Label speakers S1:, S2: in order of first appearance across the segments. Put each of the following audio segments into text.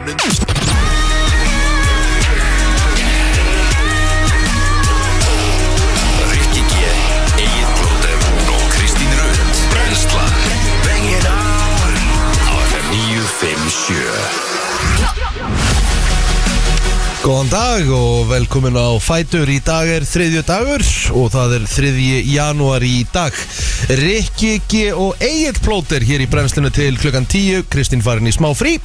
S1: morgunum Rikki G, Egil Blóter og Kristín Rund Brenslan Bang it on Á FM 957
S2: Góðan dag og velkomin á Fætur Í dag er þriðju dagur og það er þriðji janúar í dag Rikki G og Egil Plóter hér í brennslinu til klukkan 10 Kristín farin í smá frí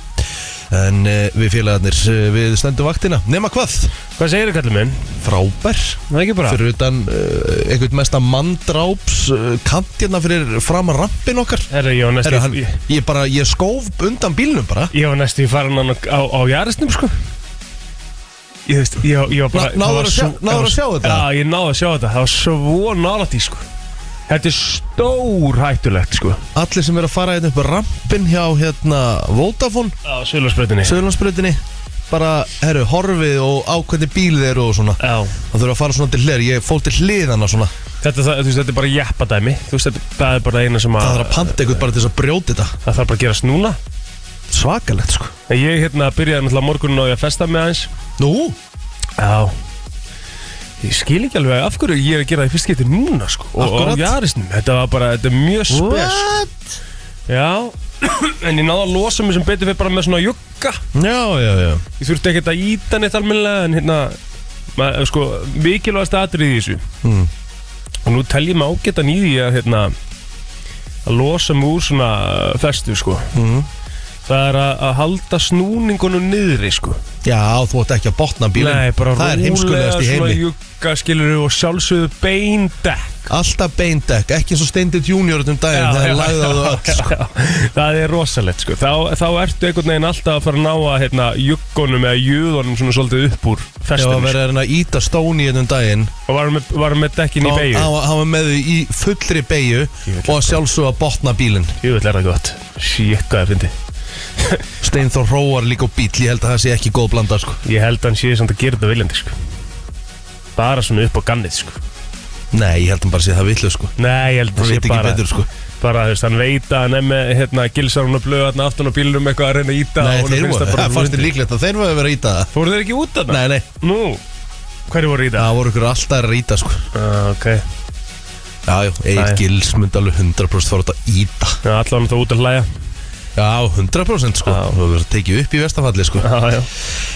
S2: En uh, við félagarnir, uh, við stendum vaktina Nema hvað?
S3: Hvað segir þið kallum minn?
S2: Frábær
S3: Það er ekki bara
S2: Fyrir utan uh, einhvern mesta manndráps uh, kant hérna fyrir fram rampin okkar
S3: Herra, ég var næstu
S2: Heru, hann,
S3: ég,
S2: Ég bara, ég skóf undan bílnum bara
S3: ég var næstu í farin á, á, á jarðisnum sko Ég veist, ég, ég var bara
S2: Ná- náðurðu að
S3: það var
S2: sjá-
S3: svo-
S2: náðurðu að
S3: það var-
S2: sjá þetta?
S3: Já, ég náðu að sjá þetta, það var svo nálægt í sko Þetta er stór hættulegt sko
S2: Allir sem er að fara hérna upp rampin hjá hérna Vodafone
S3: Á sölursbreytinni
S2: Söðurlandsbröðinni bara, herru, horfið og á hvernig bíl þeir eru og svona
S3: Já
S2: það þurfa að fara svona til hler, ég fól til hliðana svona
S3: Þetta, það, þú veist, þetta er bara jeppadæmi Þú veist, þetta það er bara eina sem að
S2: það þarf að panta eitthvað bara til þess að brjóta þetta
S3: það þarf bara að gerast núna
S2: svakalegt sko
S3: En Ég hérna byrjaði náttúrulega morgunin á ég að festa með aðeins
S2: nú,
S3: Já Ég skil ekki alveg af hverju ég er að gera það í fyrst getur núna sko Og
S2: Akkúrat.
S3: á jarisnum Þetta var bara, þetta er mjög spes sko. Já En ég náða að losa mig sem betur við bara með svona jugga
S2: já, já, já
S3: Ég þurfti ekkert að íta neitt almennilega En hérna maður, Sko, mikilvægast atrið í þessu
S2: Mm.
S3: Og nú tel ég mig ágætan í því að hérna Að losa mig úr svona uh, festu sko
S2: Mm.
S3: Það er að, að halda snúningunum niðri sko
S2: já, þú ætti ekki að botna bílinn
S3: Nei, bara
S2: það er
S3: rólega
S2: heimskulegast í
S3: svona
S2: heimi
S3: jugga skilur og sjálfsögðu beindekk
S2: alltaf beindekk, ekki eins og Steindit Junior um daginn,
S3: Já,
S2: það
S3: já,
S2: er lagð á þau öll sko.
S3: Já, það er rosalegt sko. þá, þá ertu einhvern veginn alltaf að fara að ná að hérna, juggunum eða júðunum svona svolítið upp úr
S2: ég var
S3: festinu
S2: að
S3: vera...
S2: vera hérna að íta stóni hérna um daginn
S3: og varum með, varum með dekkin í
S2: og
S3: beigju
S2: hann var- hann var með þau í fullri beigju
S3: Ég veit
S2: og að sjálfsög að botna bílinn
S3: Jú, þetta er það gott Shit, hvað er fyndi
S2: Steinþór Róar líka á bíl, ég held að það sé ekki góð blanda sko.
S3: Ég held að hann sé samt að gera þetta viljandi sko. bara svona upp á gannið sko.
S2: Nei, ég held að hann bara sé það villu sko
S3: Nei, ég held
S2: Hann
S3: að
S2: veit
S3: sé
S2: ekki
S3: bara,
S2: betur sko
S3: bara þú veist, hann veit að hann er með hérna, gilsar hún að blöða hann aftan á bílunum eitthvað að reyna að íta
S2: Nei,
S3: og honum
S2: þeir
S3: finnst
S2: voru,
S3: það bara
S2: það fannst þér
S3: fyndið.
S2: líklegt að þeir voru að vera að íta það
S3: Fóru þeir ekki út af
S2: Nei, nei,
S3: Nú, hverju voru að íta?
S2: það voru ykkur alltaf að íta sko
S3: Ah, okay.
S2: Já, já, Egil
S3: Nei.
S2: Gils myndi alveg 100% fara út að íta
S3: Já, allan það út að hlæja
S2: Já, 100% sko
S3: Já.
S2: Það voru að tekið upp í vestafalli sko
S3: Já, já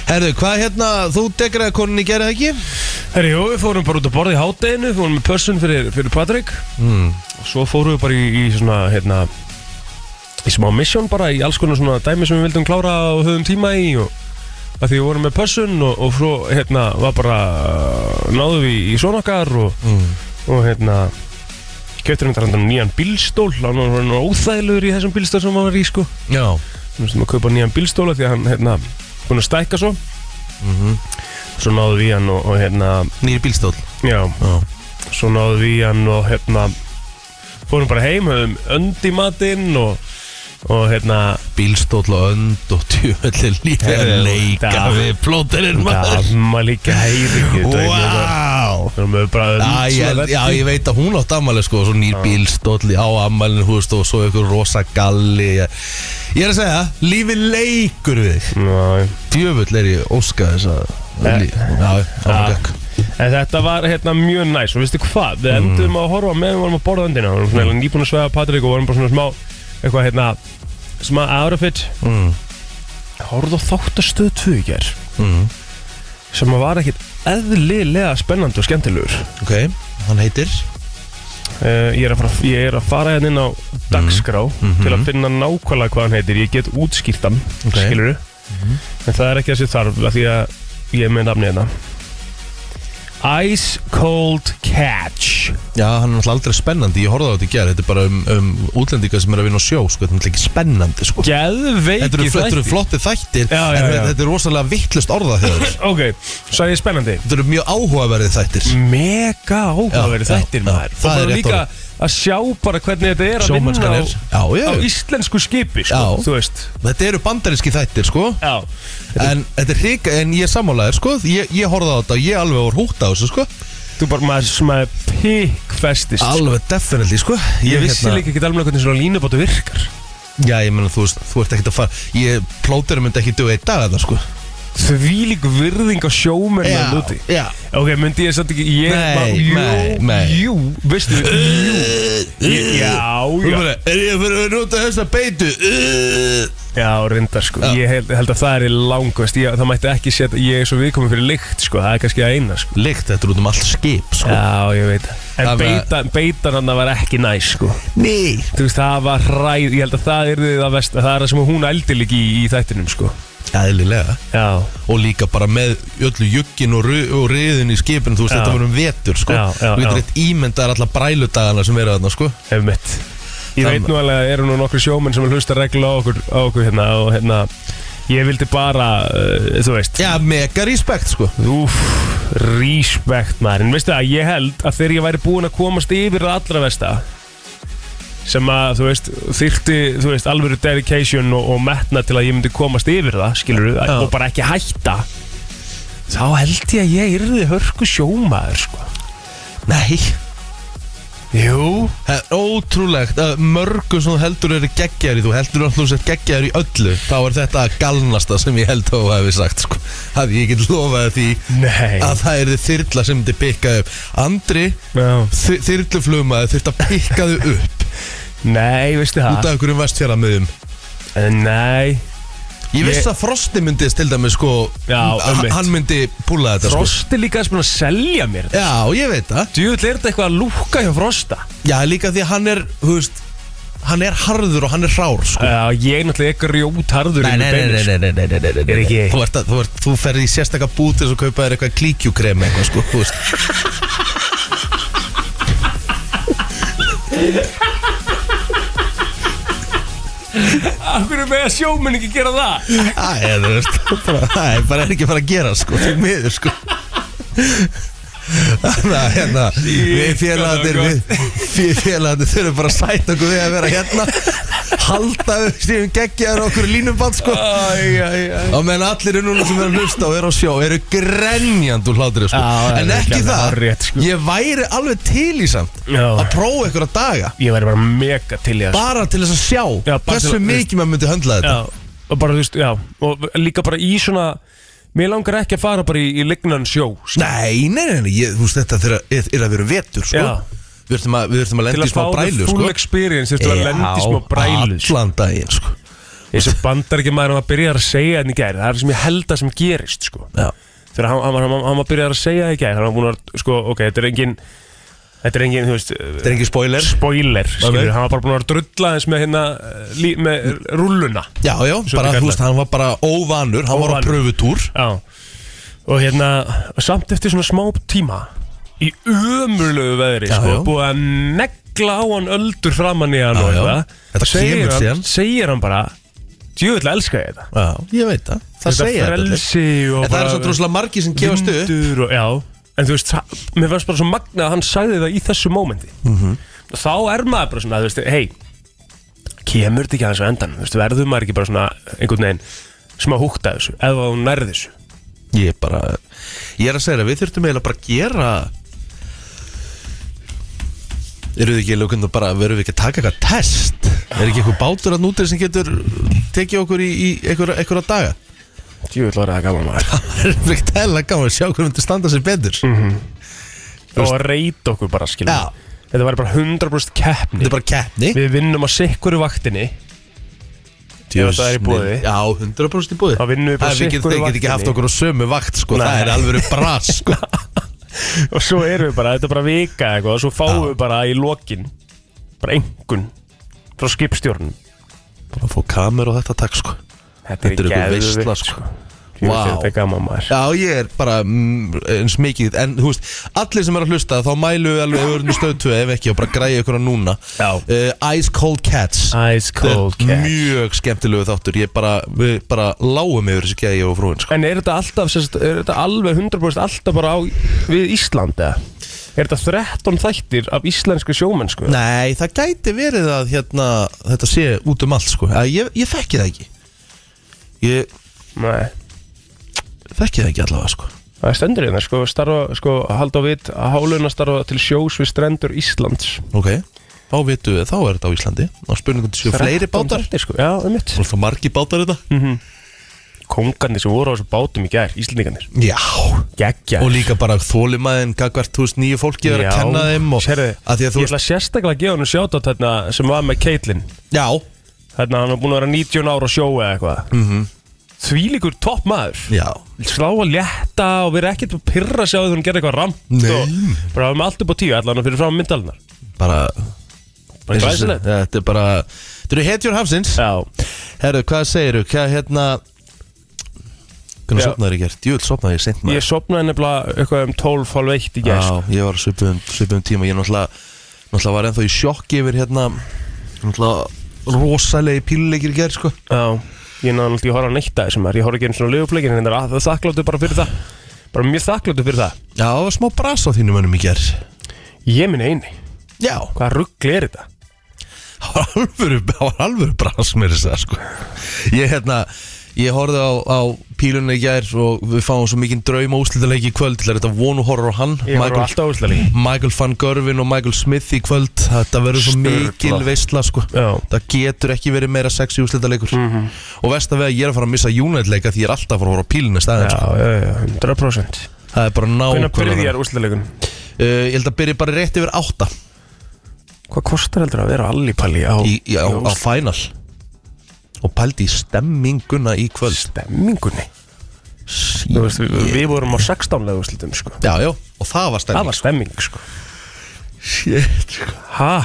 S2: Herðu, hvað hérna, þú degraði koninni gerði það ekki?
S3: Herri, jú, við fórum bara út að borða í hátteginu, fórum með pössun fyrir, fyrir Patrik
S2: Mm.
S3: og svo fórum við bara í, í svona, hérna, í smá mission bara í alls konar svona dæmi sem við vildum klára og höfum tíma í og að því við vorum með pössun og, og svo, hérna, var bara, uh, náðum við í svona okkar og,
S2: Mm.
S3: og hérna, keftur við þarna nýjan bílstól, hann var hann var óþægilegur í þessum bílstól sem hann var í, sko.
S2: Já,
S3: Við sem að kaupa nýjan bílstóla því að hann, hérna, búin að stækka svo.
S2: Mhm.
S3: Svo náðum við í hann og, og hérna,
S2: nýri bílstól
S3: já,
S2: Já,
S3: svo náðum við í hann og hérna fórum bara heim, höfum önd í matinn og, og hérna
S2: bílstól og önd og tjöfell
S3: Herðu,
S2: Leika
S3: það-
S2: við plóterinn maður
S3: dama líka heyri ekki þetta er ekki bara-
S2: Wow
S3: við erum bara
S2: Já, ég, held- já, ég veit að hún átt ammæli sko, svo nýr bílstóll á ammælinu, þú veist, og svo ykkur rosa galli. Ég, ég er að segja, lífið leikur við þig.
S3: Ná,
S2: Djöfull er ég óska þess að...
S3: Eh,
S2: lí- Já,
S3: já.
S2: já,
S3: en þetta var hérna mjög næs og veistu hvað, við
S2: Mm.
S3: endum að horfa meðan við vorum að borða öndina, við vorum svona mm. nýbúin að svega Patrik og vorum bara svona smá eitthvað hérna, smá outfit
S2: Mm.
S3: horfðu á þáttastöð 2 í ger
S2: Mm.
S3: sem að var ekkit eðlilega spennandi og skemmtilegur
S2: Ok, hann heitir...
S3: Uh, ég, er að fara, ég er að fara hérna inn á dagskrá
S2: Mhm.
S3: til að finna nákvæmlega hvað hann heitir ég get útskýrt hann,
S2: Ok. Mhm.
S3: okay. en það er ekki þessi þarf af því að ég er með nafni hérna Ice Cold Catch
S2: Já, hann er náttúrulega aldrei spennandi, ég horfði á þetta í gerð, þetta er bara um, um útlendinga sem er að vinna á sjó, sko, þetta er náttúrulega ekki spennandi, sko. Þetta
S3: Geðveiki
S2: eru, þetta eru flotti þættir,
S3: Já, já,
S2: en
S3: já.
S2: þetta er rosalega vittlust orðað hjá þér.
S3: Ok, sagði ég spennandi
S2: Þetta eru mjög áhugaverðið þættir.
S3: Mega áhugaverði
S2: Já, já,
S3: þættir
S2: já.
S3: maður
S2: Það
S3: Og
S2: er
S3: bara
S2: rétt
S3: líka að sjá bara hvernig þetta er að vinna á,
S2: Sjómennskan er. Já, já.
S3: á íslensku skipi
S2: Já.
S3: sko, Þú veist
S2: Þetta eru bandaríski þættir, sko.
S3: Já,
S2: En þetta er hrík, en ég er sammálaðir sko Ég, ég horfði á þetta og ég alveg voru hútt á þessu sko
S3: þú bara maður, maður pikkfestist
S2: Alveg definitely sko
S3: hérna- Ég vissi líka ekki alveg hvernig svona línubátu virkar
S2: Já, ég meina, þú, veist, þú ert ekkert að fara Ég plótir myndi ekki duga í dag þarna, sko
S3: Þvílík virðing á sjómennan
S2: Já,
S3: úti
S2: já
S3: Ok, myndi ég samt ekki ég,
S2: Nei,
S3: bara, jú,
S2: nei, nei.
S3: Jú, veistu Jú, Ég- já,
S2: Þú
S3: já
S2: bara, er ég að fyrir að nota þessa beitu? Uh,
S3: Já, reyndar sko
S2: Já.
S3: Ég held, held að það er langvest ég, Það mætti ekki setja Ég er svo viðkomið fyrir lykt sko Það er kannski að eina sko
S2: Líkt, þetta er út um allt skip, sko
S3: Já, ég veit það.
S2: Það
S3: En
S2: var-
S3: beita, beitan hann var ekki næs sko
S2: Nei
S3: Þú veist, það var hræð, ég held að það er það vest, það er það sem hún eldi líki í, í þættinum, sko.
S2: Æðlilega
S3: Já,
S2: Og líka bara með öllu juggin og, ru- og riðin í skipin Þú veist,
S3: Já.
S2: þetta var um vetur, sko
S3: Já,
S2: Þú
S3: já, já.
S2: getur eitt ímyndar alla bræludagana sem verða þarna, sko
S3: ef mitt. Ég
S2: Það-
S3: veit nú alveg að eru nú nokkru sjómenn sem hlusta regla á okkur, á okkur hérna og hérna, ég vildi bara, uh, þú veist,
S2: Já, mega respekt, sko
S3: úf, respect maður, en veistu það, ég held að þegar ég væri búinn að komast yfir það allra versta, sem að, þú veist, þyrfti, þú veist, alvöru dedication og, og metna til að ég myndi komast yfir það, skilur þú,
S2: Já.
S3: og bara ekki hætta, þá held ég að ég yrði hörku sjómaður, sko.
S2: Nei
S3: Jú
S2: Það er ótrúlegt að mörgum sem þú heldur eru geggjaður í, þú heldur að þú sett geggjaður í öllu, þá er þetta galnasta sem ég held að þú hefði sagt, sko. Að ég get lofaði því
S3: Nei
S2: að það er þið þyrla sem þið pikkaði upp. Andri,
S3: Já.
S2: þy- þyrluflugmaður, þurft að pikkaði upp
S3: Nei, veistu
S2: út
S3: það
S2: af einhverjum vestfjaraðmiðum.
S3: Eh, Nei
S2: Ég
S3: Ég-
S2: vissi að Frosti myndi til dæmis, sko,
S3: Já,
S2: h-
S3: einmitt.
S2: hann myndi púla þetta, sko.
S3: Frosti líka er svona að selja mér
S2: Já, ég veit það.
S3: Djúvill er þetta eitthvað að lúka hjá Frosta
S2: Já, líka því að hann er, þú veist, hann er harður og hann er hrár, sko.
S3: Já, ég er náttúrulega ekki rjótarður
S2: Nei, nei, nei,
S3: sko.
S2: nei, nei, nei, nei, nei, nei, nei, nei.
S3: Er ekki-
S2: Þú, ert að, þú, ert, þú ferð í sérstakka bútir og kaupa þér eitthvað klíkjukrem eitthvað sko þú veist.
S3: Akkur er með að sjóminn ekki gera það
S2: Æ, þú veist bara- Það er bara ekki að fara að gera sko Því miður sko Þannig að hérna Við félagarnir Við við félagarnir þurfum bara að sæta okkur við að vera hérna Halda við séum geggjaður á okkur línuband sko
S3: Æ, æ, æ
S2: Og menn allir er núna sem er að hlusta og er á sjó eru grenjand úr hlátri sko.
S3: Já, það
S2: En
S3: er
S2: ekki
S3: alveg
S2: það
S3: hárrétt, sko.
S2: Ég væri alveg til í samt
S3: Já.
S2: Að prófa ykkur að daga
S3: Ég væri bara mega til í það
S2: bara til þess að sjá
S3: Já, bara
S2: hversu
S3: til að-
S2: mikið maður myndi höndla þetta
S3: Já, og bara þú veist, já Og líka bara í svona Mér langar ekki að fara bara í, í lignan sjó sko, skilur.
S2: Nei, nei, nei, nei ég, þú veist þetta þegar- er, er að vera vetur sko.
S3: Já.
S2: Við ertum að, við þurftum að
S3: Til
S2: lenda
S3: að
S2: í smá
S3: fá það
S2: brælu
S3: full
S2: sko.
S3: experience Þú veist, að lenda í smá brælu sko.
S2: allan daginn sko.
S3: eins og bandar ekki maður hann var byrjar að segja þetta í gær það er það sem ég held að sem gerist sko.
S2: Já.
S3: þegar hann, hann, hann, hann var byrjar að segja þetta í gær hann var búin að, sko, ok, þetta er engin þetta er engin, þú veist
S2: Þetta er engin spoiler
S3: spoiler, skilur,
S2: Ok.
S3: hann var bara búin að drulla eins með hérna, eh, lí, með rulluna
S2: Já, já,
S3: Svo
S2: bara,
S3: við
S2: þú
S3: kallar.
S2: veist, hann var bara óvanur Hann var á
S3: Óvanur.
S2: pröfutúr
S3: já, og hérna samt eftir svona smá tíma í ömurlegu veðri,
S2: Já,
S3: sko,
S2: já.
S3: búið að negla á hann öldur framann í hann
S2: Já,
S3: og
S2: já.
S3: eitthvað.
S2: Þetta
S3: Segir
S2: kemur
S3: hann-
S2: síðan.
S3: segir hann bara, djúvill elska ég þetta
S2: Já, ég veit það Það
S3: Þetta
S2: segja þetta allir.
S3: frelsi og
S2: En það er svo droslega margir sem gefast upp
S3: vindur og, já, en þú veist, það- mér fannst bara svo magna að hann sagði það í þessu mómenti
S2: Mhm.
S3: þá er maður bara svona, þú veist, hei kemur þetta ekki aðeins á endan þú veist, verður maður ekki bara svona einhvern veginn smá húkt að þessu, eða hún nærði þessu
S2: Ég er bara Ég er að segja það, við þurftum eiginlega bara að gera Eru þið ekki lukund og bara Verðum við ekki að taka eitthvað test Er ekki eitthvað bátur að nútið sem getur Tekið okkur í, í einhverja, einhverja daga
S3: djúvill var það gaman maður
S2: Verðum við ekki tæla gaman að sjá hvernig þetta standa sér betur
S3: Mhm. og að reyta okkur bara, skilja
S2: Já.
S3: þetta var bara 100% keppni
S2: Þetta er bara keppni
S3: við vinnum á sikkuru vaktinni ef það er í boði.
S2: Já, 100% í bóði
S3: Þá vinnum við bara
S2: Það er ekki,
S3: sikkur
S2: þeir get ekki
S3: vaktinni.
S2: haft okkur á sömu vakt sko. Það
S3: Nei.
S2: er alveg bras sko.
S3: og svo erum við bara, þetta er bara vika eitthvað og svo fáum
S2: Já.
S3: við bara í lokin bara engun frá skipstjórnum
S2: Bara að fá kamer og þetta takk sko.
S3: Þetta er
S2: Þetta er
S3: ekki
S2: einhver
S3: eðvikt
S2: veisla, sko.
S3: sko. Jú,
S2: Vá.
S3: Þetta er gaman maður
S2: Já, ég er bara mm, eins mikið En þú veist, allir sem er að hlusta þá mælu við alveg öðrunni stöðtu ef ekki og bara græja ykkur á núna
S3: Já.
S2: Eh, Ice Cold Cats
S3: Ice Cold
S2: Þetta er
S3: Cat
S2: Mjög skemmtilegu þáttur Ég bara, við bara lágum yfir þessu gæði og frúin sko.
S3: En er þetta alltaf, sérst, er þetta alveg 100% alltaf bara á, við Ísland eða? Er þetta 13 þættir af íslensku sjómennsku?
S2: Nei, það gæti verið að hérna, þetta sé út um allt sko. Að ég, ég þekki það ekki Ég
S3: Nei
S2: þekki það ekki allavega sko.
S3: Það er stendur hérna, sko, starfa, sko, halda á vit að háluna starfa til sjós við strendur Íslands
S2: Ok, þá vitum við, þá er þetta á Íslandi Ná spurningum til séu fleiri bátar
S3: Þættir, sko. Já, um mitt
S2: Það er það margi bátar þetta
S3: Kongarnir sem voru á þessu bátum í gær, Íslendingarnir
S2: Já,
S3: Gekkja
S2: og líka bara þólimaðin gagvart þú veist nýju fólki er að kenna þeim og,
S3: sérðu,
S2: að því að þú
S3: Ég ætla sérstaklega að gefa hennu sjátt þarna sem var með Caitlyn
S2: Já,
S3: Þarna hann var búin að vera 19 ára á sjó eða eitthvað mm -hmm. Þvílíkur topp maður
S2: Mhm. já,
S3: Slá að létta og vera ekkert að pyrra sig á því að hún gerði eitthvað ramt
S2: Nei.
S3: og Bara hafa með allt upp á tíu allan og fyrir frá myndalinnar
S2: bara
S3: Bara glæsilegt
S2: Ja, Þetta er bara, þetta eru hetjur hafsins
S3: Já,
S2: Herru, hvað segiru, hvað hérna Hvernig
S3: Já.
S2: sopnaður ég gert? Jú, sopnaði ég sent
S3: ég sopnaði nefnilega eitthvað um 12 hálf eitt í gær sko.
S2: Já, ég var á svipum, svipum tíma Ég náttúrulega, náttúrulega var ennþá í sjokki yfir hérna Náttúrulega rosalegi píluleikir í gerð sko.
S3: Já, ég náði náttúrulega að horfa á neitt að þessum er Ég horfa ekki einu svona lögupleikin en það er þakkláttu bara fyrir það Bara mjög þakkláttu fyrir það
S2: Já, það var smá bras á þínum önum í gerð
S3: Ég minn eini,
S2: Já,
S3: hvaða ruggli er þetta?
S2: það var alvöru, það var alvöru bras mér þess að sko Ég hérna, ég horfði á, á pílunni í gerð og við fáum svo mikinn drauma úslitaleik í kvöld til að þetta vonu horror á hann
S3: Ég horfa alltaf úrslali
S2: Michael Van Gervin og Michael Smith í kvöld Þetta verður svo
S3: Sturla.
S2: mikil veistla sko
S3: Já. Mhm.
S2: Það getur ekki verið meira sexy úslita leikur Og vest að við að ég er að fara að missa United leika Því ég er alltaf að fara að horfa á pílinni
S3: Já,
S2: staðin sko.
S3: já, já, 100%
S2: Það er bara
S3: Hvernig
S2: nákvæmlega
S3: byrjar
S2: þannig.
S3: úrslaleikun?
S2: uh, Ég held að byrja bara rétt yfir átta
S3: Hvað kostar heldur að vera á allipalli á,
S2: í, í, á, á
S3: úrslit-
S2: final Og pældi í stemminguna í kvöld
S3: stemmingunni? Þú veist, við, við vorum á 16 lega úrslitum sko.
S2: Já, já, og það var
S3: Það
S2: stemming
S3: var stemming sko.
S2: Shit, sko.
S3: Ha?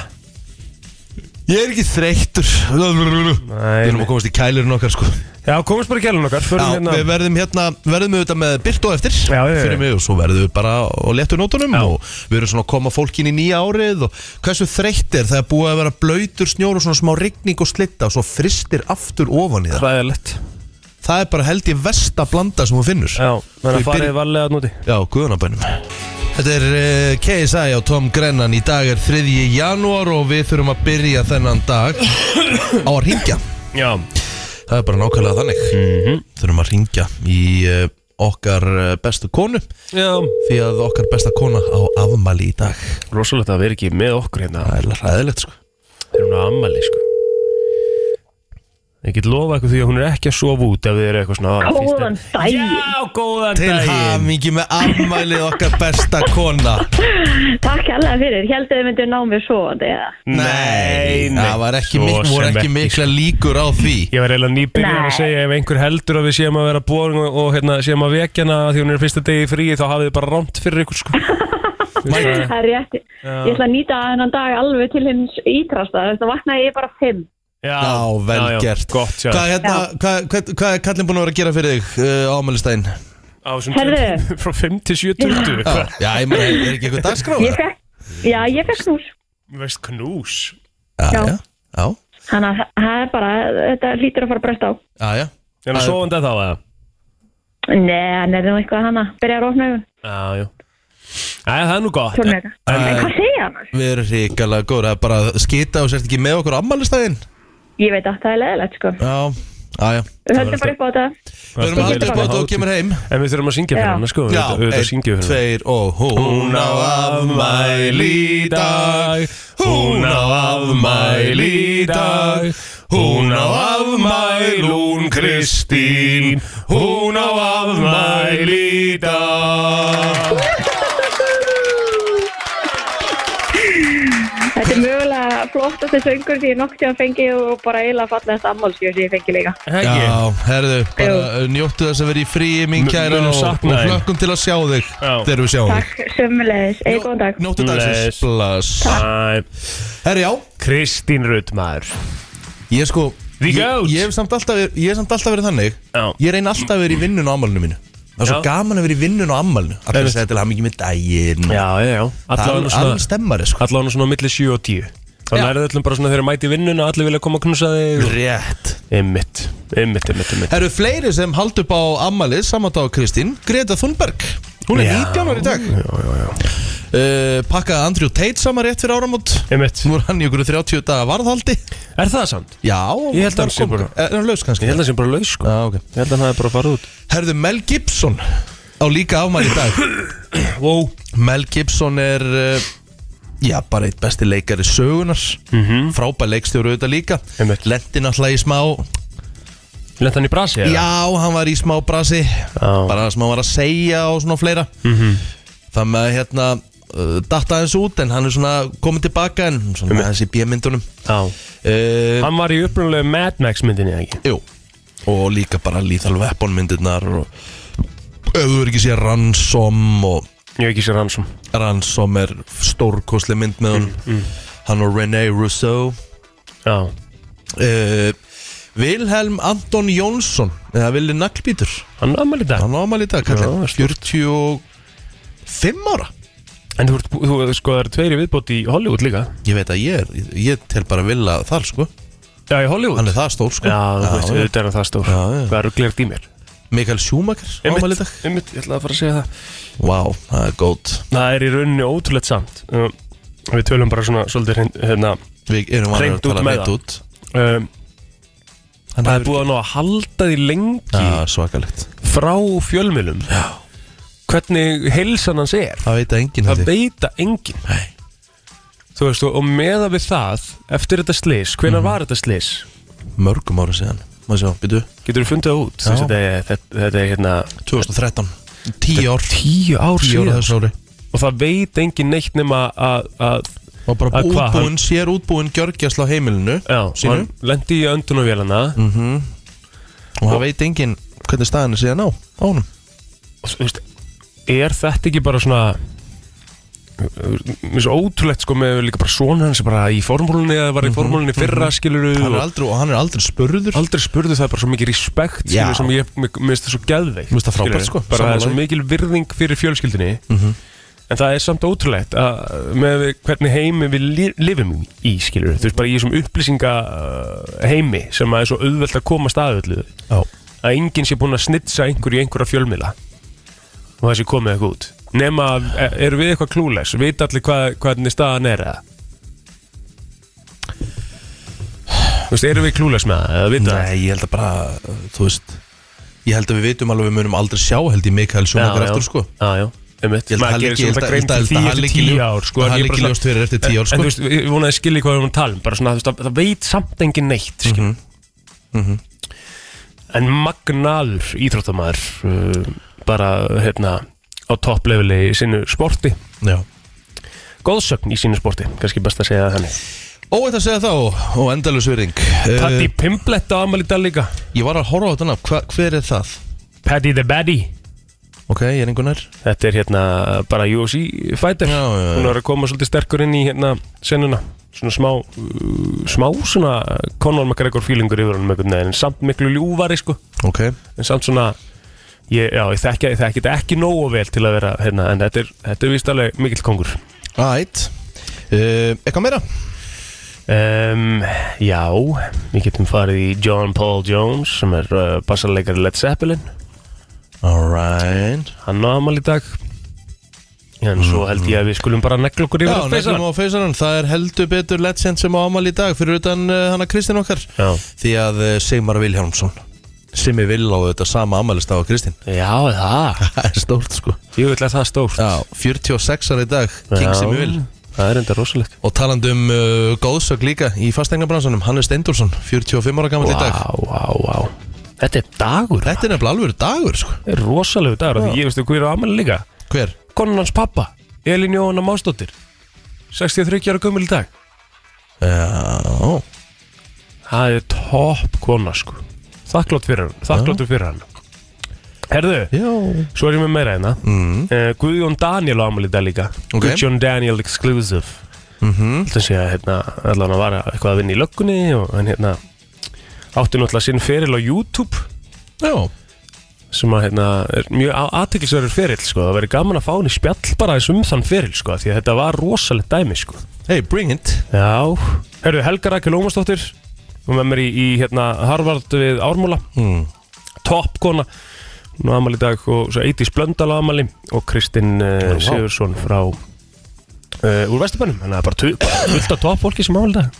S2: Ég er ekki þreyttur Við erum að komast í kælurinn okkar sko
S3: Já, komumst bara í kælun okkar
S2: Já,
S3: förum hérna-
S2: við verðum hérna, verðum auðvitað með Byrtu á eftir
S3: Já, já, já.
S2: fyrir mig og svo verðum við bara á léttu nótunum
S3: Já.
S2: og við erum svona að koma fólkin í nýja árið og hversu þreytt er það er búið að vera blöytur snjór og svona smá rigning og slitta og svo fristir aftur ofan í það
S3: Hræðilegt
S2: Það er bara held ég versta blanda sem þú finnur
S3: Já, þannig
S2: Við
S3: að farið
S2: byrjum-
S3: varlega þarna úti
S2: Já, guðanabænum Þetta er uh, KSI á Tom Grennan í dag er 3. janúar og við þurfum að byrja þennan dag á að ringja
S3: Já,
S2: Það er bara nákvæmlega þannig Þurfum að ringja í uh, okkar eh, bestu konu
S3: já
S2: Því að okkar besta kona á afmæli í dag
S3: Rosalegt að vera ekki með okkur hérna
S2: Það er ræðilegt sko
S3: Þegar hún er ammali sko Ég get lofa eitthvað því að hún er ekki að sofa út Ef þið eru eitthvað svona "Ah, fyrst
S4: Góðan
S3: er-"
S4: daginn.
S3: Já, góðan
S2: Til
S3: daginn
S2: hamingi með afmæli okkar besta kona
S4: Takk alveg fyrir, heldur þið myndu ná mér svo eða?
S3: Nei, nei
S2: Það var ekki,
S3: Svo
S2: mik voru
S3: sem
S2: ekki mikla líkur á því
S3: Ég var eiginlega nýbyrjun að
S4: Nei.
S3: segja ef einhver heldur að við séum að vera boring og, og hérna, séum að vekja hana því hún er fyrsta degi frí þá hafið þið bara rámt fyrir ykkur sko Mæ,
S4: Það er rétt, ég ætla að nýta þennan dag alveg til hins ítrasta, þess að vaknaði ég bara fimm.
S2: Já, vel gert
S3: Gott, já
S2: Hvað, hérna, hvað, hvað, hvað er kallin búin að vera að gera fyrir þig uh, á ámælistæðin?
S3: Á þessum
S4: Herðu.
S3: tíma- Frá 5 til 7.20
S2: Já, já, ég meina, er ekki eitthvað dagskráð?
S4: Ég fekk, já, ég fekk snús.
S3: Veist knús
S2: Já,
S4: Já.
S2: já, já,
S4: Þannig að það er bara, þetta hlýtur að fara að bresta á.
S2: já, já.
S3: Er það sofandi að þá eða?
S4: Nei, hann er nú eitthvað hana, byrjar ofna augun,
S3: Já, já Æ, það er nú gott
S4: svona eitthvað. En hvað segja hann?
S2: Við erum ríkalega góður að bara skita og sért ekki með okkur á ammælistæðin
S4: Ég veit að það er leðilegt, sko.
S2: Já, já, já
S4: Við höldum bara upp á þetta.
S2: Við erum aldrei búin að þú kemur heim
S3: En við þurfum að syngja fyrir
S4: Já.
S3: hana, sko
S2: Já,
S3: Við þurfum að syngja fyrir hana
S2: tveir og Hún á afmæli í dag Hún á afmæli í dag Hún á afmæli hún Kristín Hún á afmæli í dag
S4: Þetta er mögulega flottast þessu yngur sem ég noktið að fengi og bara eiginlega fallegast ammálskjöf sem ég fengi líka.
S3: Heggi
S2: Já, herðu, bara njóttu þess að vera í fríi mín
S3: Mun-
S2: kæra
S3: munum
S2: og, og
S3: sakna þín.
S2: flökkum til að sjá þig
S3: Já.
S2: þegar við sjáum þig
S4: Takk, sömulegis. Eða góðan dag.
S2: Njóttu dagsins
S3: Bless.
S2: Bless
S3: Æ,
S2: Herri, já,
S3: Kristín Rutt, maður
S2: Ég sko
S3: The
S2: ég,
S3: goat.
S2: ég, hef samt alltaf, verið- ég hef samt alltaf verið þannig
S3: Já.
S2: Ég reyni alltaf að vera í vinnun á ammálinu mínu Það er svo
S3: Já.
S2: gaman að vera í vinnun á ammálinu Allir
S3: Einmitt.
S2: segja til hann ekki með daginn
S3: Já, já, já
S2: Það
S3: Allavega
S2: er
S3: nú
S2: alveg
S3: svona
S2: stemmari sko
S3: Allavega nú svona milli 7 og 10 Þannig
S2: Já.
S3: er það öllum bara svona þegar mæti vinnuna Allir vilja koma að knúsa þig og-
S2: Rétt
S3: Einmitt, einmitt, einmitt, einmitt
S2: Það eru fleiri sem hald upp á ammálið saman dag á Kristín Greta Thunberg Hún er
S3: Já.
S2: 19 ára í dag já, já, já. Uh, Pakkaði Andrew Tate saman rétt fyrir áramót
S3: Einmitt
S2: Nú er hann í okkur 30 daga varðhaldi
S3: Er það samt?
S2: Já
S3: Ég held að hann sé
S2: kom-
S3: bara-
S2: Eh, Er hann laus kannski?
S3: Ég held að það sé bara laus, sko
S2: Já, ok
S3: Ég held að hann hafi bara farið út
S2: Herðu Mel Gibson á líka afmæli í dag
S3: Wow
S2: Mel Gibson er uh, já, bara eitt besti leikari sögunar mm -hmm. frábær leikstjóru auðvitað líka
S3: Mhm. Einmitt.
S2: lendi náttúrulega í smá
S3: Lent hann í brasi? eða?
S2: Já, hann var í smá brasi Bara það sem hann var að segja og svona fleira mm
S3: Mhm.
S2: -hmm. Það með að hérna uh, Datta hans út en hann er svona Komið tilbaka en svona með þessi bjömyndunum
S3: Já
S2: uh,
S3: Hann var í upprunalegu Mad Max myndinni, eða ekki?
S2: Jú Og líka bara lethal weapon myndirnar og Ef þú er ekki séð Ransom og
S3: Ég hef ekki sér hans um
S2: Ransom er stórkosli mynd með hann
S3: Mm,
S2: Hann og René Rousseau
S3: Já
S2: uh, Vilhelm Anton Jónsson Eða Vili Naglbítur
S3: Hann ammali dag
S2: Hann ámæli í dag, kallinn
S3: Já,
S2: 45 ára
S3: En þú, ert- þú, þú sko, það eru tveiri viðbót í Hollywood líka
S2: Ég veit að ég er, ég tel bara vilja þar sko
S3: Já, í Hollywood
S2: Hann er það stór sko
S3: Já, þú veist, auðvitað er hann það stór
S2: Já, já.
S3: Hvað eru glert í mér?
S2: Mikael Schumacher ámæli í dag
S3: Einmitt, ég ætlaði að fara að segja það
S2: Vá, það er góð
S3: Það er í rauninni ótrúlegt samt um, Við tölum bara svona svolítið hreint- hérna
S2: Við erum vanir
S3: Hreint út með það.
S2: út
S3: um,
S2: Hann
S3: Það er
S2: hefur-
S3: búið að ná að halda því lengi
S2: Já, svakalegt
S3: frá fjölmjölum Já Hvernig heilsan hans er
S2: Það veit að enginn
S3: Það
S2: held ég.
S3: veita enginn
S2: Nei.
S3: Þú veist, og, og meða við það Eftir þetta slis, hvenar
S2: Mhm.
S3: var þetta slis?
S2: Mörgum ára síðan Má sjá, byrju
S3: Getur þú fundið það út? Þessi, þetta, er, þetta, þetta er hérna
S2: 2013 10 ár
S3: Tíu ár
S2: 10 ára
S3: síðan
S2: þessu ári
S3: Og það veit engin neitt nema að að-
S2: Og bara
S3: Að hvað,
S2: útbúinn, sér útbúinn gjörgjæsla á heimilinu
S3: Já,
S2: Sínu
S3: hann lendi í öndunavélana
S2: Mm. Og það veit enginn hvernig staðan er síðan á Ánum
S3: Og þú veist, er þetta ekki bara svona Mér er svo ótrúlegt sko með líka bara svona hans er bara í formúlunni eða var í formúlunni fyrra skilur
S2: Mhm. Hann er
S3: og
S2: aldrei, og hann er aldrei spurður
S3: aldrei spurðu það bara svo mikið respekt
S2: Já.
S3: skilur sem ég mér mér finnst það svo geðveik
S2: Mér finnst það frábært, sko,
S3: bara það er
S2: sammála því.
S3: svo
S2: Mhm.
S3: mikil virðing fyrir fjölskyldinni en það er samt ótrúlegt að uh, með við- hvernig heimi við li- lifum í skilur þú veist bara í þessum upplýsinga uh, heimi sem að er svo auðvelt að komast að öllu
S2: Já
S3: að enginn sé búinn að snitsa einhverju í einhverja fjölmila og það sé komið eitthvað út nema, að, e- eru við eitthvað klúles veit allir hvað, hvernig staðan er eða Þú veist, eru við klúles með það eða vita það?
S2: Nei, ég held að bara, uh, þú veist Ég held að við veitum alveg við munum aldrei sjá held ég Mikael Sjónakar eftir sko
S3: Já, já,
S2: Ég
S3: einmitt
S2: held að
S3: Maður
S2: hann
S3: gerir
S2: liggi-
S3: sér
S2: ég held
S3: alltaf
S2: að-
S3: grein
S2: ég held að
S3: fyrir því
S2: hann
S3: eftir
S2: liggi
S3: tíu
S2: ljó-
S3: ár, sko,
S2: hann
S3: en ég
S2: liggi
S3: bara svona-
S2: ljóst fyrir eftir tíu ár,
S3: En
S2: sko.
S3: þú veist, ég vona að skilja hvað við erum að tala um Bara svona, þú veist, það- það veit samt engin neitt mm
S2: Mhm.
S3: -hmm. En magnaður íþróttamaður uh, Bara, hérna Á topplefili í sínu sporti
S2: Já
S3: Góðsögn í sínu sporti, kannski best að segja það henni
S2: Óætt að segja þá og endalus virðing
S3: Patti
S2: uh,
S3: Pimblett á Amalita líka
S2: Ég var að horfa á þetta nafn, hva- hver er það?
S3: Paddy the Baddy
S2: Ok, ég er einhvern nær
S3: Þetta er hérna bara UFC fighter
S2: Já, já, já.
S3: Hún er að koma svolítið sterkur inn í hérna senuna Svona smá, uh, smá svona Conor McGregor feelingur yfir honum einhvern veginn En samt miklu ljúfari sko
S2: Ok,
S3: En samt svona Ég, já, ég þekki, ég þekki þetta ekki nógu vel til að vera hérna, En þetta er, þetta er víst alveg mikill kongur
S2: aðeitt uh, Eitthvað meira?
S3: um, Já, við getum farið í John Paul Jones Sem er uh, bassarleikari Led Zeppelin
S2: Alright
S3: Hann á amal í dag En svo held ég að við skulum bara negla okkur yfir
S2: Já,
S3: að feysa
S2: nefnum á feysarann, það er heldur betur legend sem á ámali í dag fyrir utan uh, hana Kristín okkar
S3: Já.
S2: Því að uh, Sigmar Vilhjálmsson Simmi Vil á þetta sama ámælist á Kristín
S3: Já, það
S2: Það er stórt sko
S3: Ég vil að það er stórt
S2: Já, 46 ára í dag, King
S3: Já,
S2: Simmi Vil
S3: Það er enda rosalegt
S2: Og taland um uh, góðsök líka í fastegnabransunum, Hannes Steindursson, 45 ára gammal í dag.
S3: vá, vá Þetta er dagur
S2: Þetta er nefnilega alveg dagur, sko.
S3: Þetta er rosalegu dagur af Því ég veistu hver er ámæli líka
S2: Hver?
S3: Konan hans pappa Elin Jóhanna Másdóttir 63 ára gömul í dag
S2: Já,
S3: Það er topp kona sko Þakklátt fyrir hann Þakkláttur fyrir hann Herðu,
S2: já.
S3: svo er ég með meira hérna mm. Guðjón Daniel á ámæli í dag líka
S2: Ok. Mhm.
S3: Guðjón Daniel Exclusive mm -hmm. sé að hérna, allan að vara eitthvað að vinna í löggunni og hann hérna átti náttúrulega sinn feril á YouTube
S2: Já,
S3: sem að hérna, er mjög aðteklisverður ferill sko. það verið gaman að fá hann í spjall bara eins um þann ferill sko, því að þetta var rosalegt dæmi sko.
S2: hey, bring it.
S3: Já, herru Helga Rækjul Ómarsdóttir hún er með mér í, í hérna, Harvard við Ármúla
S2: Mm.
S3: topp kona hún á amal í dag og svo Eiti Splöndal á amali og Kristinn uh,
S2: Vá.
S3: Sigursson frá uh, úr Vesturbænum þannig að bara tu- bara fullt af topp fólki sem ámalið dag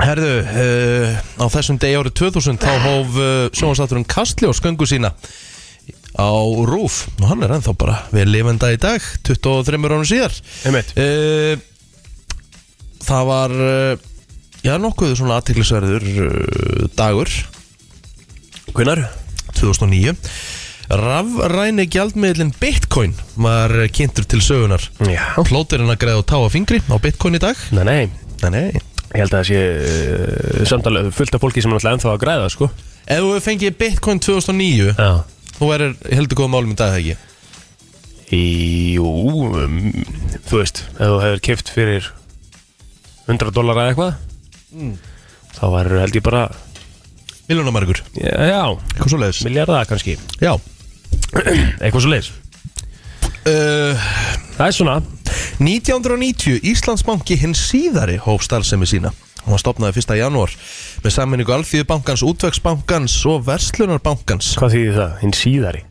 S2: Herðu, uh, á þessum degi árið 2000 þá hóf uh, sjónastátturinn Kastljós göngu sína á Rúf. Og hann
S3: Eh,
S2: er ennþá bara við lifenda í dag, 23 árum síðar.
S3: Einmitt.
S2: Uh, Eh, það var uh, já, nokkuð svona aðtiklisverður uh, dagur
S3: Hvenar?
S2: 2009 Rafræni gjaldmiðlinn Bitcoin var eh, kynntur til sögunar
S3: Já
S2: Plóterinn að greiða og tá á fingri á Bitcoin í dag
S3: Nei, nei,
S2: Nei, nei
S3: ég held að það sé uh, samt alveg fullt af fólki sem er alltaf ennþá að græða, sko
S2: Ef þú hefur fengið Bitcoin 2009
S3: Já
S2: Þú erir heldur góð málum í dag, ekki?
S3: Jú, um, þú veist, ef þú hefur keft fyrir 100 dólar eða eitthvað þá var held ég bara,
S2: Miljónamargur
S3: já, já
S2: Eitthvað svo leiðis
S3: miljardar kannski,
S2: Já
S3: eitthvað svo leiðis
S2: uh,
S3: Það er svona,
S2: 1990 Íslandsbanki hinn síðari hóf starfsemi sína Hún var stopnaði 1. janúar með sammenningu Alþýðubankans, Útvegsbankans og Verslunarbankans
S3: hvað þýðir það, hinn síðari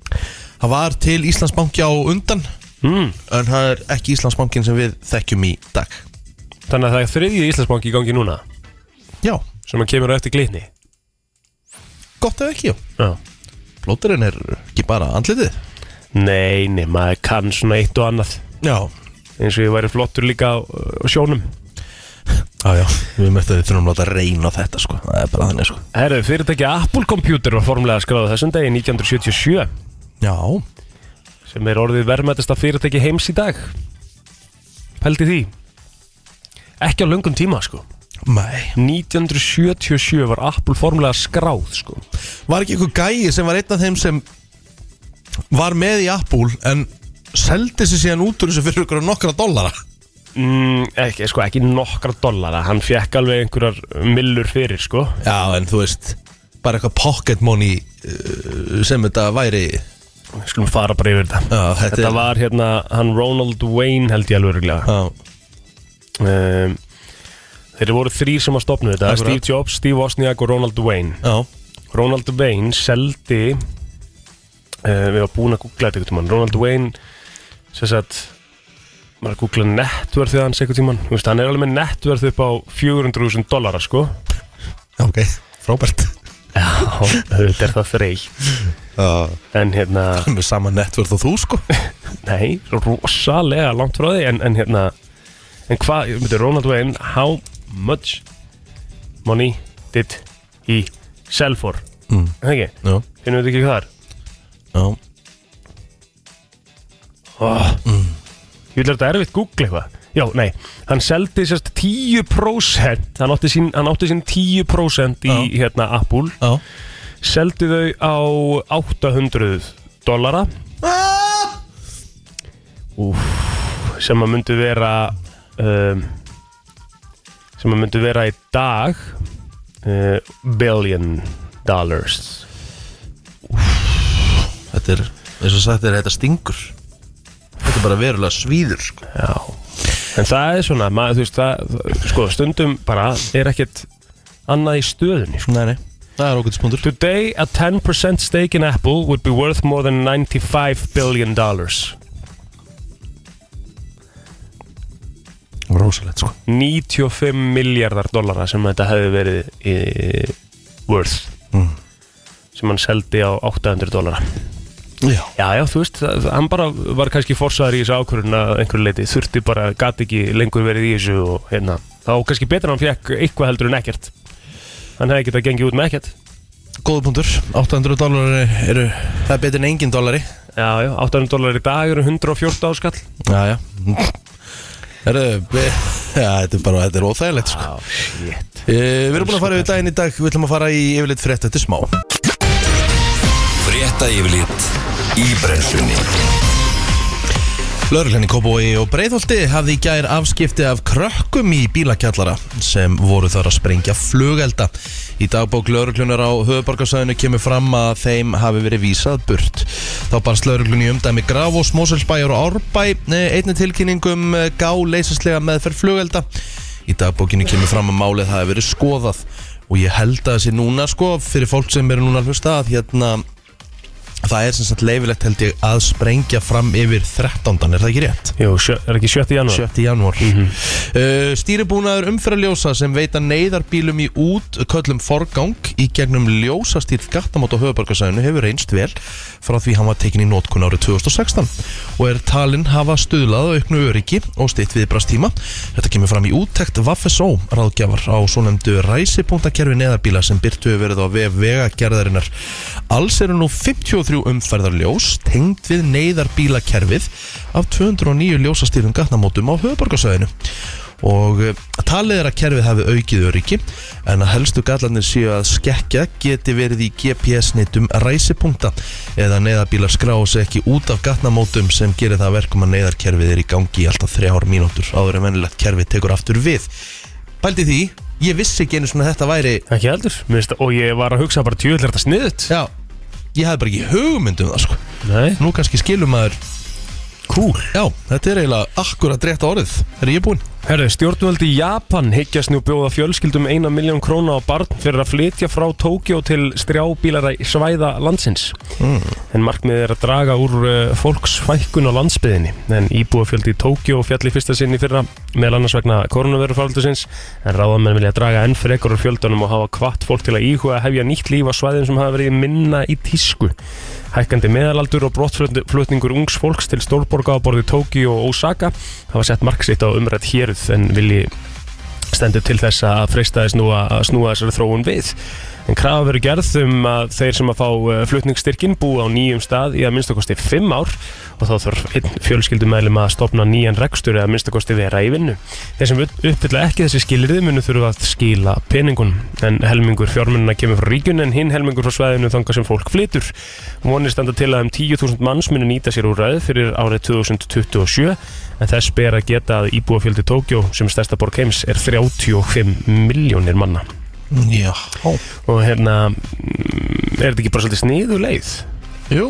S2: Það var til Íslandsbanki á undan
S3: mm.
S2: en það er ekki Íslandsbankin sem við þekkjum í dag
S3: Þannig að það er þriðji Íslandsbanki í gangi núna
S2: Já,
S3: sem að kemur á eftir glitni
S2: gott ef ekki
S3: Já.
S2: Plóterinn er ekki bara andlitið
S3: Nei, nei, maður kann svona eitt og annað
S2: Já,
S3: eins og ég væri flottur líka á, á sjónum
S2: já, já Við möttum við þurfum að láta reyna á þetta sko Það er bara þannig sko
S3: Herðu, fyrirtæki Apple Computer var formlega skráð þessum degi 1977
S2: Já,
S3: sem er orðið verðmættasta fyrirtæki heims í dag Pældi því Ekki á löngum tíma, sko
S2: nei
S3: 1977 var Apple formlega skráð, sko
S2: Var ekki einhver gæi sem var einn af þeim sem var með í Apple en seldi sér síðan út úr þessu fyrir ykkur nokkra dollara
S3: mm, ekki, sko, ekki nokkra dollara Hann fekk alveg einhverjar millur fyrir, sko
S2: Já, en þú veist bara eitthvað pocket money uh, sem þetta væri
S3: Við skulum fara bara yfir þetta
S2: Já, þetta
S3: þetta,
S2: er-
S3: var hérna, hann Ronald Wayne held ég alveg örgulega
S2: Já,
S3: um, Þeir voru þrýr sem að stopna þetta
S2: Akkurat.
S3: Steve Jobs, Steve Wozniak og Ronald Wayne
S2: já,
S3: Ronald Wayne seldi uh, Við varum búin að googla þetta einhvern tímann Ronald Wayne sem sagt maður er að googla netverð þegar hans einhvern tímann Þú veist, hann er alveg með netverð upp á 400.000 dollara sko
S2: já ok, frábært
S3: Já, þetta er það þreytt
S2: Já,
S3: En hérna
S2: með sama netverð og þú sko
S3: Nei, rosalega langt frá því En, en hérna En hvað, myndi Ronald Wayne How much money did he sell for
S2: Mm.
S3: Er Það ekki,
S2: Já,
S3: finnum við ekki hvað er
S2: já
S3: oh. Ég vil að þetta erfitt Google eitthvað Já, nei, hann seldi sérst 10% Hann átti sín, hann átti sín 10% í hérna Apple
S2: Já
S3: Seldi þau á 800 dollara Úf, sem að myndu vera um, sem að myndu vera í dag uh, billion dollars
S2: Þetta er, eins og sagt er þetta stingur Þetta er bara verulega svíður sko
S3: Já. en það er svona maður, þú veist, það, það- sko, stundum bara er ekkert annað í stöðunni sko.
S2: Nei, nei, það er okkur spundur
S3: Today a 10% stake in Apple would be worth more than 95 billion dollars
S2: Rósalegt sko
S3: 95 miljardar dollara sem þetta hefði verið í, worth sem hann seldi á 800 dollara
S2: Já
S3: Já, já, þú veist, það- hann bara var kannski forsaður í þessu ákvörðun að einhverju leiti þurfti bara, gati ekki lengur verið í þessu og hérna, þá var kannski betur að hann fekk eitthvað heldur en ekkert hann hefði getað gengið út með ekkert
S2: Góða punktur, 800 dólar eru, það er betur en engin dólari
S3: Já, já, 800 dólar í dag eru 114 áskall
S2: Já, já Herðu, við- já, þetta er bara, þetta er óþægilegt sko.
S3: Já, shit
S2: e, Við erum búin að fara yfir daginn í dag, við ætlum að fara í yfirleitt frétt eftir smá
S1: Frétta yfirlit í brennslunni
S2: Lörglenni Kópói og Breiðholti hafði í gær afskipti af krökkum í bílakjallara sem voru þar að sprengja flugelda. Í dagbók lörglunar á höfuborgarsæðinu kemur fram að þeim hafi verið vísað burt. Þá barst lörglunni umdæmi Gravos, Moselsbæjar og Árbæ eh, einni tilkynningum gá leysaslega meðferð flugelda. Í dagbókinu kemur fram að málið hafi verið skoðað og ég held að þessi núna sko fyrir fólk sem eru núna að hlusta að hérna Það er sem sagt leifilegt held ég að sprengja fram yfir 13. Er það ekki rétt?
S3: Jú, sjö, er ekki 7. janúar?
S2: 7. janúar uh, Stýribúnaður umfyrarljósa sem veita neyðarbílum í út köllum forgang í gegnum ljósastýrt gattamót á höfubarkasæðinu hefur reynst vel frá því hann var tekin í nótkun árið 2016 og er talinn hafa stuðlað á auknu öryggi og stýtt viðbrastíma Þetta kemur fram í úttekt Vaffesó ráðgjafar á svo nefndu ræsipunktakerfi neyðarbíla sem byrtu hefur verið á vef vegagerðarinnar Alls eru nú 53 umferðarljós tengd við neyðarbílakerfið af 209 ljósastýrum gatnamótum á höfuborgarsöðinu og eh, talið er að kerfið hafi aukið öryggi en að helstu gallarnir séu að skekja geti verið í GPS-nitum ræsipunkta eða neyðarbílar skráu sig ekki út af gatnamótum sem gerir það að verkum að neyðarkerfið er í gangi í alltaf 3 ár mínútur áður en venilegt kerfið tekur aftur við Bældi því, ég vissi ekki einu svona þetta væri
S3: Ekki heldur, Mér finnst- og ég var að hugsa bara tjóðlega þetta sniðut
S2: Já, ég hafði bara ekki hugmynd um það sko
S3: Nei,
S2: Nú kannski skilum maður Kúl Já, þetta er eiginlega akkurat rétt orðið Er ég búinn?
S3: herru, stjórnvöldi í Japan hyggjast nú bjóða fjölskyldum 1 miljón króna á barn fyrir að flytja frá Tókjó til strjábílara svæða landsins en markmiðið er að draga úr uh, fólksfækkun á landsbyðinni en íbúafjöldi í Tókjó fjall í fyrsta sinni fyrra meðal annars vegna koronavirufaldusins en ráðamenn vilja draga enn frekur úr fjöldunum og hafa kvart fólk til að íhuga að hefja nýtt líf á svæðin sem hafa verið minna í tísku Hækkandi meðalaldur og brottflutningur ungs fólks til stórborga á borði Tókjó og Osaka hafa sett mark sitt á umrætt héruð en vilji stendur til þess að freista þess nú að að snúa þessari þróun við. En krafa verið gerð um að þeir sem að fá eh, flutningsstyrkin búa á nýjum stað í að minnstakosti 5 ár og þá þarf einn fjölskyldumælum að stopna nýjan rekstur eða að minnstakosti vera í vinnu. Þeir sem uppfylla ekki þessi skilirði munu þurfa að skila peningun en helmingur fjármunna kemur frá ríkun en hinn helmingur frá svæðinu þanga sem fólk flytur. Vonir standa til að um 10.000 manns muni nýta sér úr ræð fyrir árið 2027 en þess ber að geta að íbúafjöldi Tókjó sem er stærsta borg heims er 35 miljónir manna
S2: Mm, Já
S3: og hérna mm, er þetta ekki bara svolítið sniðu leið
S2: Jú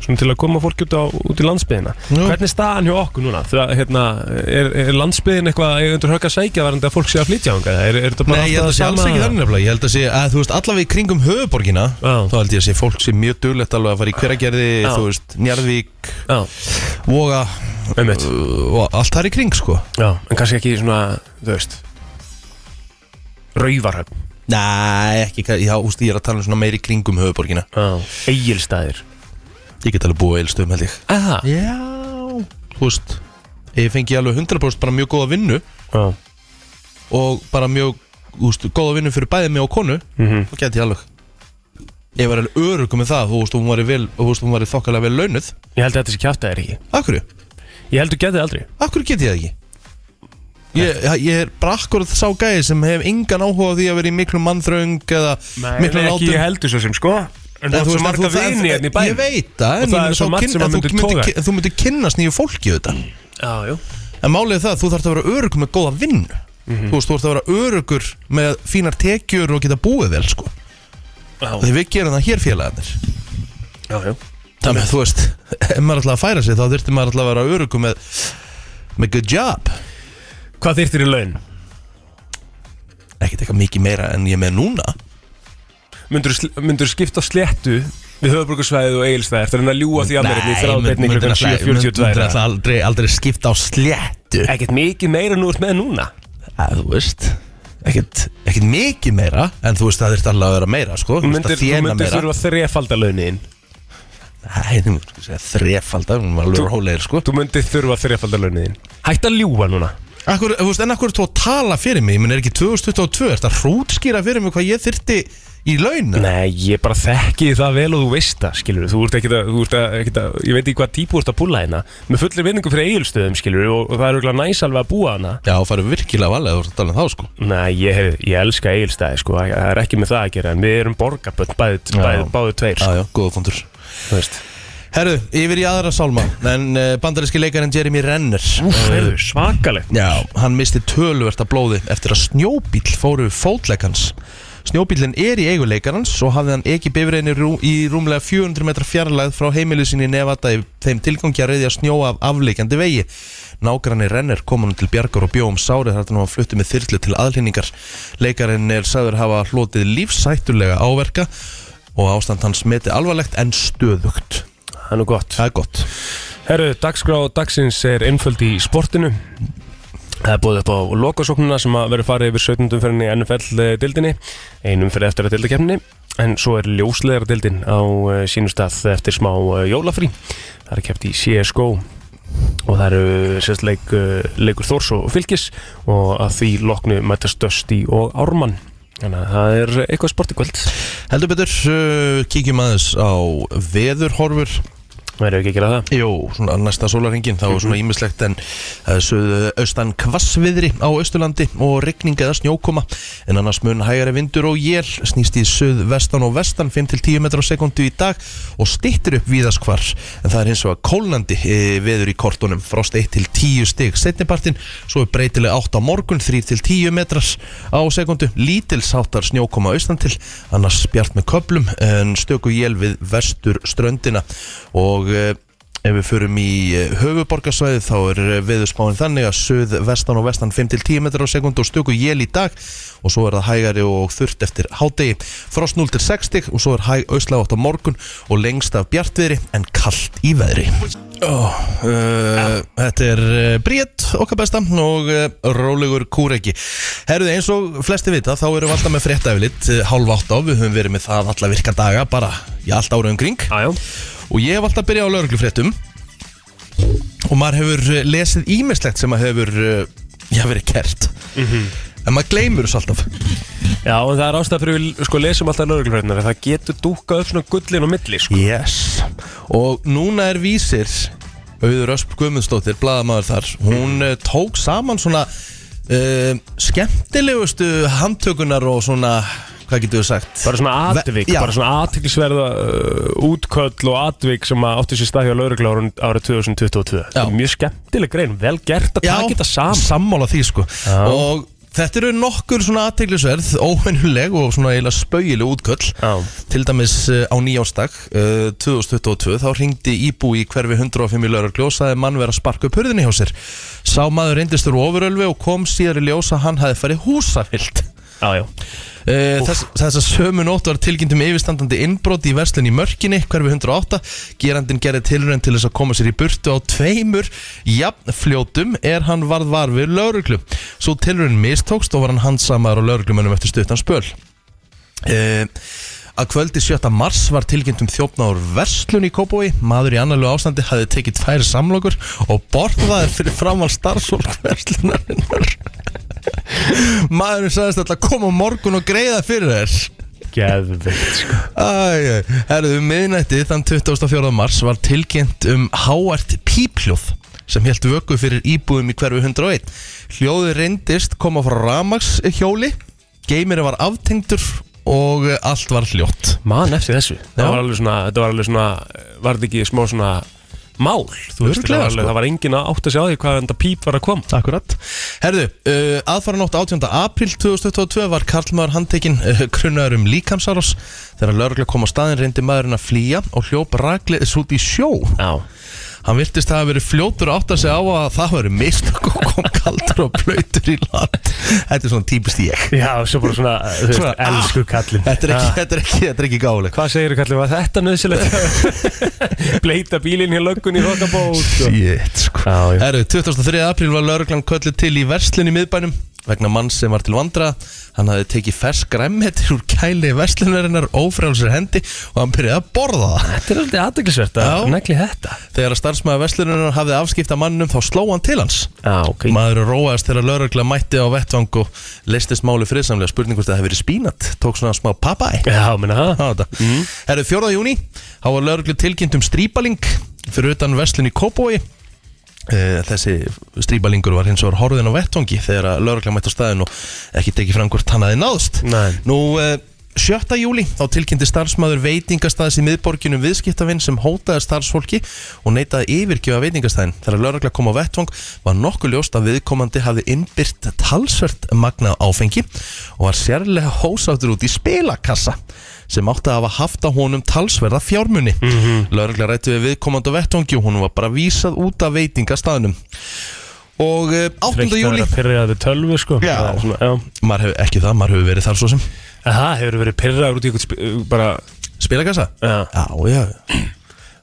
S3: svona til að koma fólk út, á, út í landsbyðina
S2: Jú.
S3: hvernig er staðan hjá okkur núna þegar hérna, er, er landsbyðin eitthvað eiga undir högg að sækja varandi að fólk sé að flytja á er, er þetta bara
S2: Nei, ég held að
S3: alltaf
S2: sé alls ekki þannig nefnilega Ég held að sé að þú veist allavega í kringum höfuborgina
S3: Já.
S2: Þá held ég að sé fólk sé mjög duglegt alveg að fara í hveragerði
S3: Já.
S2: Þú veist, Njarðvík,
S3: Já,
S2: Voga
S3: einmitt.
S2: uh, Og allt þar í kring sko
S3: Já, en kannski ekki svona, þú veist Rauvarhöfn
S2: Nei, ekki, ka- já, úst, ég er að tala um svona meiri í kringum höfuborgina
S3: Egilstaðir
S2: Ég get alveg búið eilstöðum held ég
S3: Aha.
S2: Já Þú veist, ég fengi alveg 100% bara mjög góða vinnu
S3: Já,
S2: og bara mjög úst, góða vinnu fyrir bæði mig og konu
S3: Mhm.
S2: og geti ég alveg ég var alveg örugum með það þú veist, hún var, vel, þú veist, hún var þokkalega vel launuð
S3: ég held að þetta sé kjátt að það er ekki
S2: Akkurju,
S3: Ég held að þú getið aldrei
S2: akkurju geti ég það ekki Ég, ég er bara akkurat sá gæði sem hef engan áhuga á því að vera í miklum mannþröng eða miklum látum
S3: heldur svo sem sko
S2: En
S3: En
S2: þú
S3: þú ert svo
S2: veist,
S3: marga
S2: en þú-
S3: vini
S2: en-
S3: hérna í bæn
S2: Ég veit það,
S3: Og
S2: en ég
S3: það
S2: meina
S3: er svo
S2: þá
S3: margt
S2: kyn-
S3: sem
S2: en
S3: að
S2: þú
S3: myndi
S2: myndir
S3: tóga
S2: ki- Þú myndir kynnast nýju fólki þetta
S3: Já, jú
S2: En málið er það, þú þarf að vera örugur með góða vinnu
S3: Mhm.
S2: Þú veist, þú ert að vera örugur með fínar tekjur og geta búið vel sko.
S3: Já,
S2: Þegar við gerum það hér félagarnir
S3: já, já
S2: Þannig að þú veist, ef maður ætlaði að færa sig þá þurfti maður ætlaði að vera örugum með, með good job
S3: Hvað þyrftir í laun?
S2: Ekkert eitthvað mikið meira en ég er með núna
S3: Myndur skipta sléttu við höfbrukarsvæðið og eigilsvæðið eftir en að ljúa því að mér hérna í þráðbeinni
S2: myndir
S3: klukkan
S2: alltaf- myndir
S3: 7.42
S2: alltaf aldrei, aldrei skipta á sléttu
S3: Ekkert mikið meira en þú ert með núna
S2: að, Þú veist, ekkert, ekkert mikið meira en þú veist það þurfti allavega að vera meira sko.
S3: Þú
S2: Þú veist
S3: myndir,
S2: að
S3: þú
S2: þjena
S3: myndir
S2: meira
S3: þurfa að þrefalda launin
S2: Nei, þú myndir segja þrefalda, við erum alveg
S3: Þú-
S2: rólegir sko
S3: Þú myndir þurfa að þrefalda launin Hætt að ljúa núna
S2: Akkur, þú veist, En akkur er þú að tala fyrir mig, ég minn er ekki 2022, er það hrútskýra fyrir mig hvað ég þyrfti í laun
S3: Nei, ég bara þekki það vel og þú veist það, skilur Þú ert ekkit að, þú ert að, ekkit að ég veit ekki hvað típu þú ert að búla hérna Með fullir vinningu fyrir eigilstöðum, skilur og, og það er auðvitað næs alveg að búa hana
S2: Já, farið virkilega valega, þú ert að tala um þá sko
S3: Nei, ég, hef- ég elska eigilstæði, sko Það það er ekki með það að gera, en við erum borgarbönd bæði,
S2: Já.
S3: bæði, báði tveir, sko
S2: Já, já, góða fundur
S3: Þú veist
S2: Herru, yfir í aðra sálma En uh, bandaríski leikarinn Jeremy Renner Eh,
S3: Heyrðu, Svakalegt
S2: Já, hann misti töluvert af blóði Eftir að snjóbíll fóru fótleikans Snjóbíllinn er í eigu leikarans Og hafði hann ekki bifriðinni rú, í rúmlega 400 metra fjarlæð Frá heimilu sinni í Nevada Í þeim tilgangi að reyðja snjó af afleikandi vegi Nágranni Renner kom hann til bjargar og bjó um sárið þar þannig að hann flutti með þyrlu til aðlýningar Leikarinn er sagður hafa hlotið lífsættulega áverka og ástand hans meti alvarlegt en stöðugt
S3: Það er nú gott
S2: Það er gott
S3: Herru, dagskrá dagsins er einföld í sportinu Það er búið upp á lokasóknuna sem að verður farið yfir 17. umferðinni í NFL-dildinni einum fyrir eftir að dildakefninni en svo er ljóslegar dildin á eh, sínum stað eftir smá eh, jólafrí Það er keft í CSGO og það eru sérst leik, eh, leikur Þórs og Fylgis og að því loknu mætast Dösti og Ármann Þannig að það er eitthvað sport í kvöld
S2: Heldur betur, uh, kíkjum aðeins á veðurhorfur
S3: Verður ekki að gera það
S2: Jó, svona næsta sólarhingin þá er svona ímislegt en uh, söðu austan kvassviðri á Östurlandi og rigning eða snjókoma en annars mun hægari vindur og jél snýst í söð vestan og vestan 5-10 metrar á sekundu í dag og stittir upp víðast hvar en það er hins vegar kólnandi eh, veður í kortunum frost 1-10 stig setnipartin svo er breytileg 8 á morgun 3-10 metrar á sekundu lítilsáttar snjókoma austan til annars bjart með köplum en stöku jél við vestur ströndina og eh, Ef við förum í höfuborgarsvæði þá er eh, veðurspáin þannig að söð vestan og vestan 5-10 metrar á sekund og stöku jél í dag og svo er það hægari og þurft eftir hádegi. Frost 0-6 stig og svo er hæg ausla átt á morgun og lengst af bjartviðri en kallt í veðri. Oh, uh, þetta er uh, Bríett okkar besta og uh, Rólegur Kúreki Herruði eins og flesti vita þá erum við alltaf með fréttaeflitt uh, hálf átt á, við höfum verið með það alla virka daga bara, já allt ára um kring
S3: Ajá,
S2: og ég hef alltaf byrjað á lauruglufréttum og maður hefur eh, lesið ímislegt sem maður hefur eh, já, verið kert en maður gleymur þessu alltaf
S3: Já, en það er ástæð fyrir við sko lesum alltaf lögreglufrétnar það getur dúkað upp svona gullin og milli sko.
S2: yes. og núna er vísir Auður Ösp Guðmundsdóttir, blaðamaður þar hún eh, tók saman svona uh, skemmtilegustu handtökunar og svona hvað getur við sagt
S3: bara svona atvik,
S2: Ve- já.
S3: bara svona atveiksverða uh, útköll og atvik sem að áttu sér stað hjá lögreglu árun- árið 2022
S2: Já.
S3: mjög skemmtileg grein, vel gert að taka þetta saman
S2: sammála því sko og þetta eru nokkur svona aðteglisverð óvennuleg og svona eiginlega spauileg útköll
S3: Já.
S2: til dæmis eh, á nýjástak uh, 2022 þá ringdi íbúi í hverfi 105 í lauruglu og sagði mann vera að sparka upp hurðinni hjá sér sá maður reyndistur ofurölvi og kom síðar í ljósa hann hafi farið húsafilt
S3: Já, já,
S2: Eh, Þess, þessa sömu nótt var tilkynnt um yfirstandandi innbrot í verslun í mörkinni hverfi 108, gerandin gerði tilrönd til þess að koma sér í burtu á tveimur jafnfljótum er hann varð var við lauruglu svo tilrönd mistókst og var hann handsamaður á lauruglumönnum eftir stuttan spöl Eh, að kvöldi 7. mars var tilkynnt um þjófnáður verslun í Kópói maður í annarlu ástandi hafði tekið tvær samlokur og borðaðir fyrir framval starfsfólk verslunarinnar maðurinn sagðist alltaf koma á morgun og greiða fyrir þér
S3: geðveikt sko.
S2: Æ, æ. Herðu, um miðnætti þann 24. mars var tilkynnt um háart pípljóð sem held vöku fyrir íbúðum í hverfi 101. Hljóði reyndist koma frá Ramax hjóli, geimir var aftengdur og eh, allt var hljótt.
S3: Man eftir þessu
S2: Já.
S3: Það var alveg svona, þetta var alveg svona var þetta ekki smá svona mál þú veist, það
S2: Örugglega,
S3: var, alveg,
S2: sko.
S3: það var engin að átta sig á því hvað þetta píp var að koma
S2: Akkurat. Herðu, uh, aðfara nótt 18. april 2022 var Karlmaður handtekinn uh, grunnaður um líkamsárás. Þegar lögregla kom á staðin reyndi maðurinn að flýja og hljóp rakleðis út í sjó.
S3: Já,
S2: Hann virtist að hafa verið fljótur að átta sig á að það verið mistök og kom kaldur og blöytur í land. Þetta er svona típist ég.
S3: já svo bara svona, þú veist,
S2: Svona, ah,
S3: elsku kallinn
S2: Þetta er ekki,
S3: Ah.
S2: þetta er ekki, þetta er ekki gáðuleg.
S3: Hvað segir þú kallið, var þetta nöðsilegt? Bleita bílinn hér löggun í Rokkabó
S2: Shit, sko.
S3: Já, já.
S2: Herru, 23. apríl var lauruglan köllu til í verslun í miðbænum vegna mann sem var til vandra. Hann hafði tekið fersk græmmetir úr kæli verslunarinnar ófrælsir hendi og hann byrjaði að borða það.
S3: Þetta er aldrei aðdeklisvert að
S2: Já.
S3: negli þetta
S2: Þegar að starfsmæða verslunarinnar hafði afskipta mannum þá sló hann til hans.
S3: Já, ok
S2: Maður róaðist þegar laurugla mætti á vettvang og leistist máli friðsamlega spurning hvort það hefði verið spínat, tók svona smá papæ
S3: Já, menna
S2: Það
S3: það
S2: mm. er 4. júni, þá var lauruglu tilkynnt um strípaling fyrir utan verslun í Kópói Eh, Þessi strípalingur var hins vegar horfðin á vettvangi þegar að laurugla mætti á staðin og ekki tekið fram hvort hann aðeins náðst
S3: Nei.
S2: Nú, eh, 7. júli, þá tilkynnti starfsmæður veitingastæðis í miðborginum viðskiptavinn sem hótaði starfsfólki og neitaði yfirgjöfa veitingastæðin. Þegar lögregla kom á vettvang var nokkuð ljóst að viðkomandi hafði innbyrt talsvert magnað áfengi og var sérlega hósáttur út í spilakassa sem átti að hafa haft á honum talsverða fjármunni. Mm Lögregla rætti við viðkomandi á vettvangi og honum var bara vísað út af veitingastæðinum. Og eh, 8.
S3: Þreytt að
S2: júli,
S3: vera pyrraður við tölvu, sko
S2: Já.
S3: Það er svona, já.
S2: maður hefur ekki það, maður hefur verið þar svo sem.
S3: En Það hefur verið pyrraður út í eitthvað sp- uh, bara
S2: Spilakassa?
S3: Já.
S2: Já, já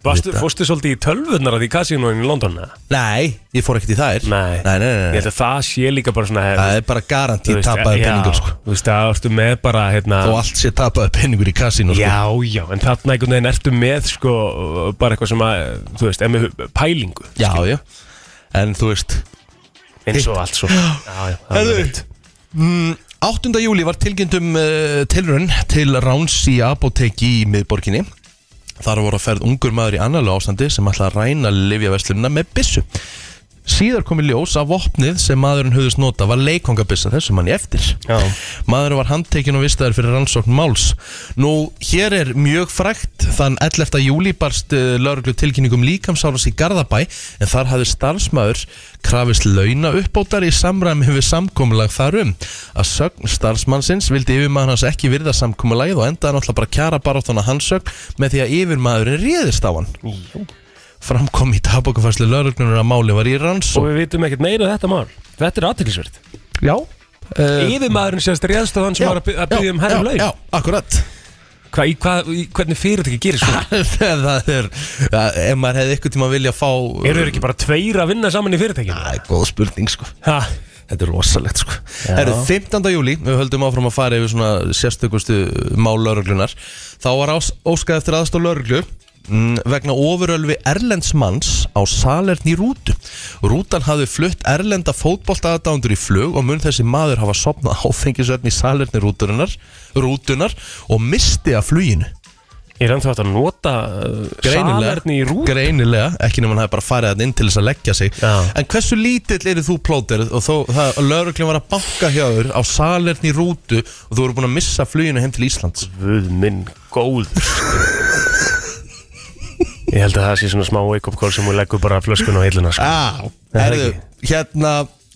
S3: Varstu, fórstu svolítið í tölvurnar að því kasinóin í London? eða?
S2: Nei, ég fór ekkert í þær
S3: Nei.
S2: nei, nei, nei,
S3: Ég
S2: nei.
S3: held að það sé líka bara svona hef,
S2: Það er bara garantið tapaði penningur sko.
S3: Þú veist, það ertu með bara hérna,
S2: Og allt sé tapaði penningur í kassinu sko.
S3: Já, já, en þarna einhvern veginn ertu með sko, bara eitthvað sem að, þú veist, er með hu- pælingu
S2: já, já En þú veist
S3: eins og allt svo Já, já, það er
S2: Herðu.
S3: rétt.
S2: Mm, 8. júli var tilkynnt um uh, tilrun til ráns í apoteki í miðborginni. Þar voru að ferð ungur maður í annarlu ástandi sem ætlaði að ræna livjaverslunina með byssu. Síðar kom í ljós að vopnið sem maðurinn höfðust nota var leikongabissa þessum hann í eftir.
S3: Já.
S2: Maðurinn var handtekinn og vistaður fyrir rannsókn máls. Nú, hér er mjög frægt þann 11. júli barst uh, lauruglu tilkynningum líkamsáras í Garðabæ en þar hafði starfsmæður krafist launa uppbótar í samræmi við samkomulag þarum. Að sögn starfsmannsins vildi yfirmaður hans ekki virða samkomulagið og endaði náttúrulega bara kjara baráttuna hans sögn með því að yfirmaðurinn réðist á hann. Framkom í tabokafærslu lauruglunar að máli var í
S3: Og
S2: rannsókn.
S3: við vitum ekkert meira um þetta mál Þetta er aðtilsvert
S2: Já. Uh,
S3: Yfirmaðurinn sérst réðst á þann sem var að by- að byggja um herrum
S2: Já,
S3: laun
S2: akkurat.
S3: Hva, í, hva, í, Hvernig fyrirtæki gerir svona?
S2: Þegar það er að, Ef maður hefði ykkur tíma að vilja fá
S3: Eru þeir ekki bara tveir að vinna saman í fyrirtækinu?
S2: Það er góð spurning sko
S3: Ha,
S2: Þetta er rosalegt sko Það eru 15. júli Við höldum áfram að fara yfir svona sérstökustu mál lauruglunar Þá var ás, óskað eftir aðstof lauruglu mm, vegna ofurölvi Erlendsmanns á salerni í rútu Rútan hafði flutt Erlenda fótbolta aðdándur í flug og mun þessi maður hafa sopnað áfengisöfn í salerni rútunar, rútunar og misti af fluginu
S3: Ég er ennþá hægt að nota uh,
S2: Greinilega,
S3: salerni í rúð
S2: greinilega, ekki nema hann hafi bara farið hann inn til þess að leggja sig
S3: Já.
S2: En hversu lítill eru þú plóter og þó, það, lögreglum var að banka hjá þér á salerni í rútu og þú voru búin að missa fluginu heim til Íslands
S3: Guð minn góð Ég held að það sé svona smá wake-up call sem hún leggur bara flöskun á heiluna sko.
S2: Já,
S3: Það er
S2: herðu, hérna,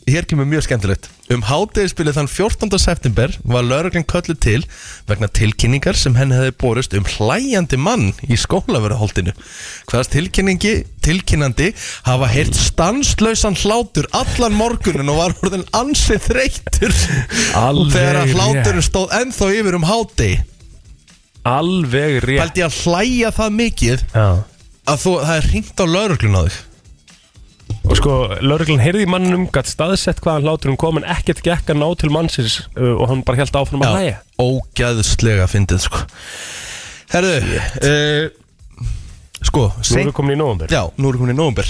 S2: hér kemur mjög skemmtilegt Um hátegisbilið þann 14. september var lögreglum kölluð til vegna tilkynningar sem henni hefði borist um hlæjandi mann í skólaveruholtinu Hvaðast tilkynningi, tilkynnandi hafa heyrt stanslausan hlátur allan morgunin og var orðin ansið þreyttur
S3: Alveg
S2: Þegar að
S3: rétt.
S2: hláturinn stóð ennþá yfir um hátegi
S3: Alveg rétt
S2: Pældi ég að hlæja það mikið
S3: Já.
S2: að þú, það er hringt á lögreglun á þig
S3: Og sko, lauruglan heyrði í mannum gatt staðsett hvaðan hlátur hún kom en ekkert gekk að ná til mannsins uh, og hann bara held áfram að hlæja
S2: ógæðslega fyndið sko Herðu uh, Sko
S3: Nú
S2: seint,
S3: erum við komin í nóvumber
S2: Já, nú erum hún í nóvumber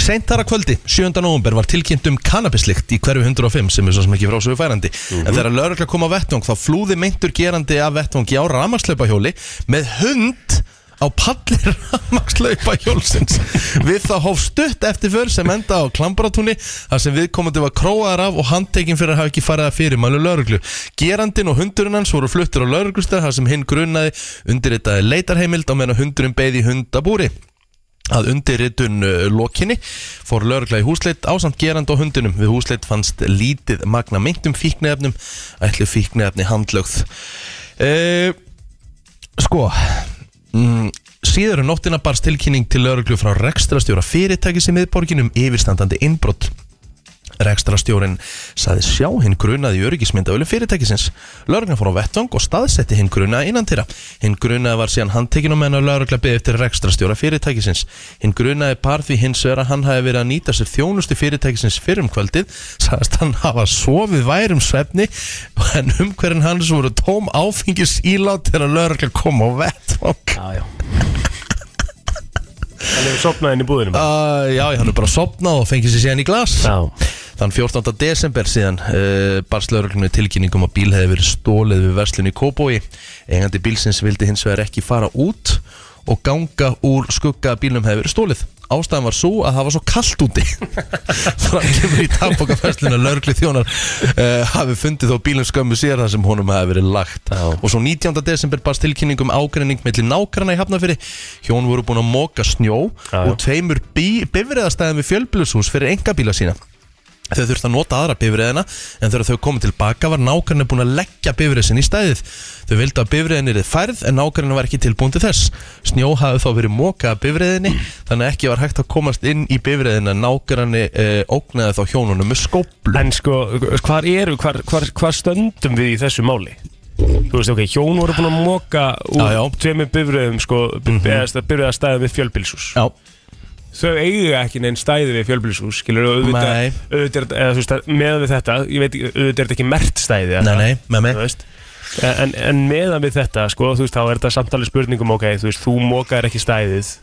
S2: Seint þar að kvöldi, 7. nóvumber var tilkynnt um kannabislikt í hverfi 105 sem er svo sem ekki frá svo færandi en þegar lögregla kom á vettvang þá flúði meintur gerandi af vettvangi á ramagsleipahjóli með hund á pallir ramagsleipahjólsins við þá hóf stutt eftir för sem enda á klambaratúni þar sem viðkomandi var króaðar af og handtekinn fyrir að hafa ekki farið að fyrirmælu lögreglu gerandin og hundurinn hans voru fluttur á lögreglustæð þar sem hinn grunnaði undirritaði leitarheimild á meðan hundurinn beði hundabúri að undirritun uh, lokinni fór lögregla í húsleitt ásamt gerandi á hundinum við húsleitt fannst lítið magna um meintum fíknefnum ætlu fíknefni handlögð e, sko mm, síður um nóttina barst tilkynning til lögreglu frá rekstrastjóra fyrirtækis í miðborginum yfirstandandi innbrott Rekstrastjórin saði sjá hinn grunaði í öryggismyndavölu fyrirtækisins. Lörgna fór á vettvang og staðsetti hinn grunaði innan þeirra. Hinn grunaði var síðan handtekinn og menn að lörgla beði eftir rekstrastjóra fyrirtækisins. Hinn grunaði par því hins vegar að hann hafi verið að nýta sér þjónustu fyrirtækisins fyrr um kvöldið, sagðist hann hafa sofið værum svefni en umhverjum hans voru tóm áfengis ílát þegar lörgla kom á vettvang.
S3: Já, já Hann hefur sopnað inn í búðinu bara.
S2: Uh, já, hann er bara sopnað og fengið sér síðan í glas.
S3: Já,
S2: Þann 14. desember síðan uh, barst lauruglunni tilkynningum að bíl hefði verið stólið við verslun í Kóbói. Engandi bílsins vildi hins vegar ekki fara út og ganga úr skugga að bílnum hefði verið stólið. Ástæðan var svo að það var svo kallt úti. Fram kemur í tapokafesslun að lauruglu þjónar uh, hafi fundið þó bílum skömmu sér þar sem honum hafi verið lagt. Og svo 19. desember barst tilkynningum ágreining mellir nákvæmna í Hafnafyrir. Hjón voru búin að móka snjó
S3: Já, já.
S2: og tveimur bí- bifriðastæðum við fjölbílushús fyrir engabíla sína. Þau þurftu að nota aðra bifriðina en þegar þau komið tilbaka var nákvæmlega búin að leggja bifrið sinni í stæðið. Þau vildu að bifriðin er færð en nákvæmlega var ekki tilbúin til þess. Snjó hafði þá verið móka að bifriðinni þannig að ekki var hægt að komast inn í bifriðina nákvæmlega eh, ógnaði þá hjónunum með skóplu.
S3: en sko, hvar eru, hvar, hvar, hvar stöndum við í þessu máli? þú veist, ok, hjón voru búin að moka úr
S2: Já, já.
S3: tveimur bifröðum, sko, mm -hmm. bifröða stæði við fjölbílshús
S2: Já,
S3: þau eiga ekki neinn stæði við fjölbílshús skilur þú,
S2: Nei.
S3: auðvitað, auðvitað er- eða, þú veist, með við þetta, ég veit, ekki, auðvitað er þetta ekki mert stæði, eða
S2: nei,
S3: það,
S2: nei, með
S3: þú
S2: mig
S3: veist en, en meðan við þetta, sko, þú veist, þá er þetta samtalið spurningum, ok, þú veist, þú mokaðir ekki stæðið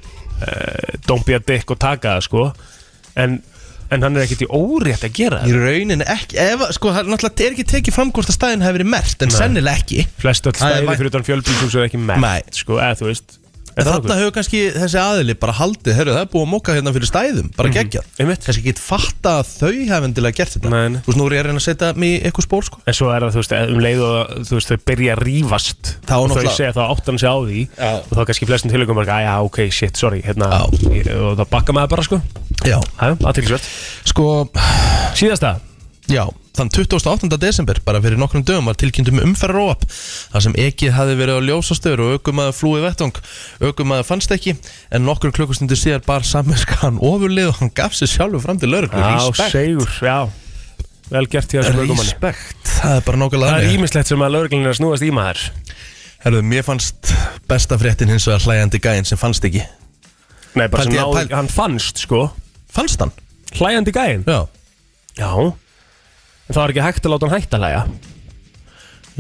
S3: uh, don't be a dick og taka það, sko en, en hann er ekkert í órétt að gera
S2: Í
S3: það
S2: rauninni ekki, ef, að- sko, það er náttúrulega er ekki tekið fram hvort að stæðin hefur verið mert, en sennilega ekki
S3: flest öll
S2: Æ,
S3: stæðið
S2: væ-
S3: fyrir utan fjölbílshús er ekki
S2: Nei.
S3: mert, sko, eða þú veist er
S2: En
S3: það
S2: þarna
S3: nokkuð?
S2: hefur kannski þessi aðili bara haldið, herru, það er búið að moka hérna fyrir stæðum, bara mm
S3: Mhm, Einmitt.
S2: Kannski ekki fatta að þau hefur endilega gert þetta
S3: Nei, nei.
S2: Þú veist, nú er ég að reyna að setja mig í eitthvað spór, sko
S3: En svo er það, þú veist, um leið og þú veist, þau byrja að rífast
S2: Þá
S3: og þau
S2: náttúrulega-
S3: segja þá áttan sig á því
S2: Já.
S3: og þá kannski flestum tilökum bara, já, ok, shit, sorry hérna,
S2: Já.
S3: ég, og þá bakka maður bara, sko
S2: Já,
S3: Það er aðtilsvöld
S2: sko,
S3: Síðasta,
S2: Já, þann 28. desember, bara fyrir nokkrum dögum, var tilkynntum umferðaróap þar sem ekið hafi verið á ljósastöður og aukumæður flúið vettung. Aukumæður fannst ekki, en nokkur klukkustundur síðar bar samvinskan ofurlið og hann gaf sér sjálfur fram til lauruglu.
S3: Já, segur, já Vel gert hjá þessum lögumanni
S2: Respekt, það er bara nákvæmlega
S3: Það er
S2: þannig.
S3: ímislegt sem að lögreglunir er að snúast í maður
S2: Herðu, mér fannst besta fréttin hins vegar hlæjandi gæinn sem fannst ekki.
S3: Nei, bara sem
S2: Pældi ég-
S3: náði,
S2: pæl-
S3: hann fannst sko
S2: Fannst hann?
S3: Hlæjandi gæinn
S2: Já.
S3: Já En það var ekki hægt að láta hann hægt að hlæja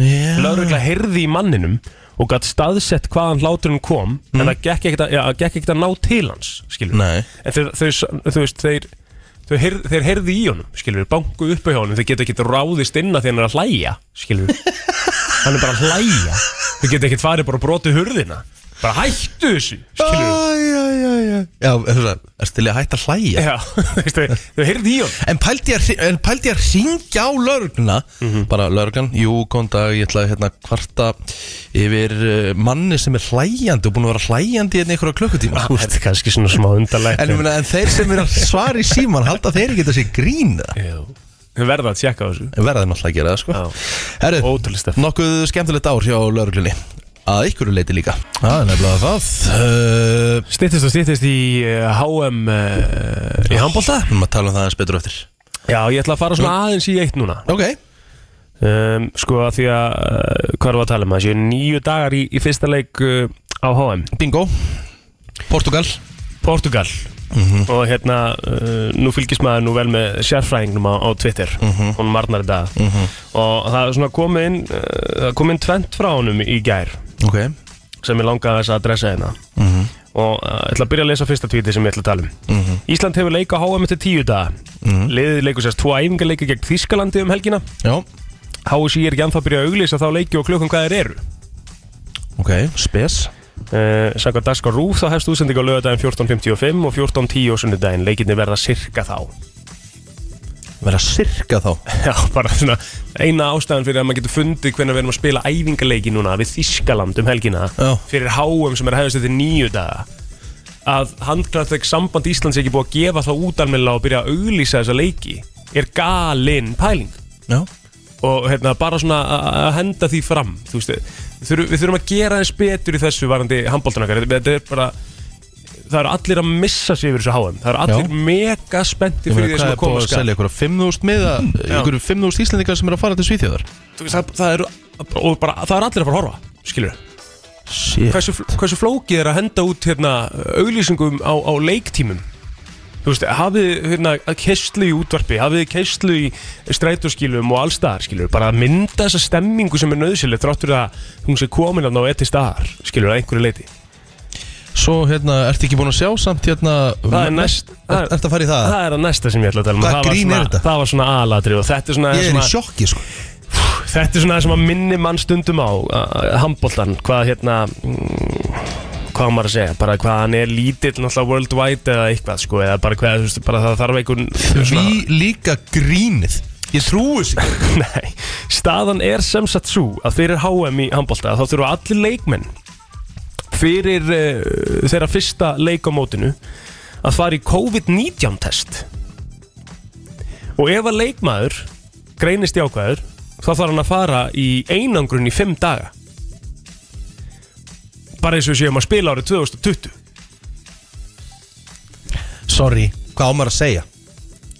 S2: Já.
S3: Lögregla heyrði í manninum Og gætt staðsett hvaðan hláturinn kom En það gekk ekkert að, já, það gekk ekkert að ná til hans Skilur
S2: Nei.
S3: En þeir, þeir, þú veist, þeir Þeir, heyrð, þeir heyrði í honum, skilur við, banku upp á honum Þeir geta ekkert ráðist inn að því hann er að hlæja, skilur við Hann er bara að hlæja Þeir geta ekkert farið bara að broti hurðina Bara hættu þessu, skilur við
S2: Æjæjæjæ. Já, er til í að hætta að hlæja?
S3: Já, þú veist, þau- þau heyrði í honum
S2: En pældi ég að hri- en pældi ég að ringja á lörgluna Bara lörglan, jú, góðan dag Ég ætla að hérna kvarta Yfir uh, manni sem er hlæjandi Og búin að vera hlæjandi hérna í einhverja klukkutíma þú veist.
S3: Þetta er kannski svona smá undarlegt
S2: en, ég meina, en þeir sem er að svara í síman Halda þeir ekki þessi grín eða?
S3: Þau verða að tjekka á þessu
S2: En Verða þeir náttúrulega að gera það sko
S3: Já.
S2: Herru,
S3: Ótrúlega stef
S2: nokkuð skemmtilegt ár hjá lörglunni Að ykkur leiti líka Það er nefnilega það uh,
S3: Stittist og stittist í eh, HM uh, í handbólta
S2: Við maður tala um það aðeins betur á eftir
S3: Já, ég ætla að fara svona aðeins í eitt núna
S2: Ok,
S3: um, Sko að því að, uh, hvað er að tala um það Sér nýju dagar í, í fyrsta leik uh, á HM
S2: bingo Portugal
S3: Portugal Og hérna, uh, nú fylgist maður nú vel með sérfræðingnum á, á Twitter Hún marnar í dag Og það er svona komið inn, uh, það er komið inn tvent frá honum í gær
S2: Ok,
S3: sem ég langaði þess að adressa hérna og uh, ég ætla að byrja að lesa fyrsta tvíti sem ég ætla að tala um Ísland hefur leika HM eftir tíu daga liðið leikur sérst tvo æfingarleika gegn Þískalandi um helgina
S2: já
S3: HSI er ekki anþá að byrja að auglýsa þá leiki og klukkan hvað þeir eru
S2: Ok, spes
S3: uh, Sækvað Daskar Rúf þá hefst útsending á lögadaginn 14.55 og 14.10 og sunnudaginn leikinni verða sirka þá
S2: Verða sirka þá
S3: Já, bara svona eina ástæðan fyrir að maður getur fundið hvernig við erum að spila æfingarleiki núna við Þískaland um helgina
S2: Já.
S3: fyrir háum sem er að hefðast eftir nýju daga að handklæðtæk samband Íslands er ekki búið að gefa það út almennilega og byrja að auglýsa þessa leiki er galinn pæling
S2: Já
S3: og hérna, bara svona að- að henda því fram þú veist, við þurfum, við þurfum að gera þess betur í þessu varandi handbóltanakar þetta er bara það eru allir að missa sig yfir þessu háum það eru allir
S2: Já.
S3: mega spenntir
S2: Ég
S3: fyrir
S2: meina, hvað
S3: því sem
S2: er
S3: að
S2: búið
S3: koma
S2: að
S3: skal
S2: selja ykkur 5.000 miða ykkur 5.000 íslendingar sem eru að fara til Svíþjóðar
S3: Þú veist, það, það eru og bara, það eru allir að fara að horfa skilur
S2: Shit
S3: hversu, hversu flókið er að henda út hérna, auglýsingum á, á leiktímum þú veist, hafið hérna, keistlu í útvarpi, hafið keistlu í strætóskilum og allstaðar skilur, bara að mynda þessa stemmingu sem er nöðsileg þráttur að hún sé komin að ná etti staðar, skilur, að einhverju leiti
S2: Svo hérna, ertu ekki búin að sjá samt hérna
S3: Það er næst- það
S2: Er
S3: er-
S2: þetta að fara í það?
S3: það er að næsta sem ég ætla að tala um
S2: Hvað
S3: það var
S2: Ah. grín er
S3: svona-
S2: þetta?
S3: það var svona aðlatri og þetta er svona,
S2: Ég er í
S3: svona
S2: sjokki sko
S3: Þetta er svona það sem að minni mann stundum á Hamboltan, hvað hérna mm, Hvað á maður að segja Bara hvað hann er lítill náttúrulega worldwide Eða eitthvað sko, eða bara hvað þú veist, bara Það þarf einhvern svona-
S2: Því líka grínið Ég trúi sig
S3: Nei, staðan er sem sagt svo Að fyrir HM í Hambolta Þá þurfa allir leikmenn Fyrir uh, þeirra fyrsta leik á mótinu Að fara í COVID-19 test Og ef að leikmaður greinist jákvæður þá þarf hann að fara í einangrun í fimm daga bara eins og við séum að spila árið 2020
S2: Sorry, hvað á maður að segja?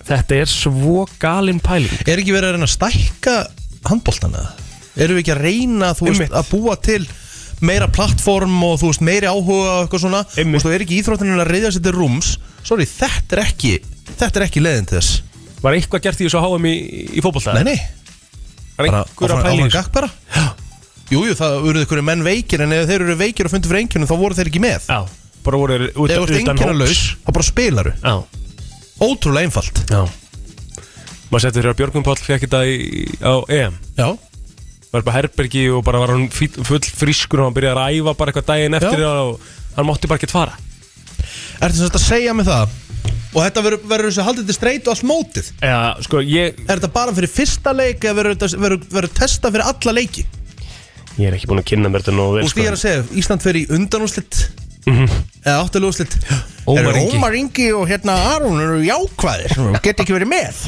S3: Þetta er svo galin pæling
S2: Er ekki verið að reyna að stækka handbóltana? Erum við ekki að reyna þú veist,
S3: Einmitt.
S2: að búa til meira plattform og þú veist, meiri áhuga og eitthvað svona
S3: Einmitt.
S2: og þú er ekki íþróttinu að reyðja sér til rúms Sorry, þetta er ekki þetta er ekki leiðin til þess
S3: Var eitthvað gert í þessu háum í, í fótbolta?
S2: Nei, nei,
S3: Var
S2: bara
S3: einhver að pæla í
S2: áfram
S3: þessu?
S2: gakk bara Jújú, jú, það eru einhverju menn veikir en ef þeir eru veikir og fundur fyrir einkjörnum þá voru þeir ekki með
S3: Já, bara voru þeir
S2: Ef þú
S3: utan,
S2: ert
S3: utan
S2: einkjörnulegs,
S3: hóps
S2: þá bara spilaru
S3: Já,
S2: Ótrúlega einfalt
S3: já Maður setti þér að Björgum Páll fekk þetta í, á EM
S2: Já,
S3: var bara herbergi og bara var hann fí- full frískur og hann byrjaði að æfa bara eitthvað daginn
S2: Já.
S3: eftir það og hann mátti bara ekkert fara
S2: ertu sem sagt að segja mig það og þetta verður verður þessu haldið til streit og allt mótið
S3: Já, sko, ég,
S2: Er þetta bara fyrir fyrsta leik eða verður þetta- verður verður testa fyrir alla leiki?
S3: ég er ekki búin að kynna mér þetta nógu
S2: Þú
S3: vel sko.
S2: veist ég er að segja, Ísland fer í undanúslitt eða áttalúslitt
S3: Ómar Ingi.
S2: Ómar Ingi og hérna Aron eru jákvæðir og get ekki verið með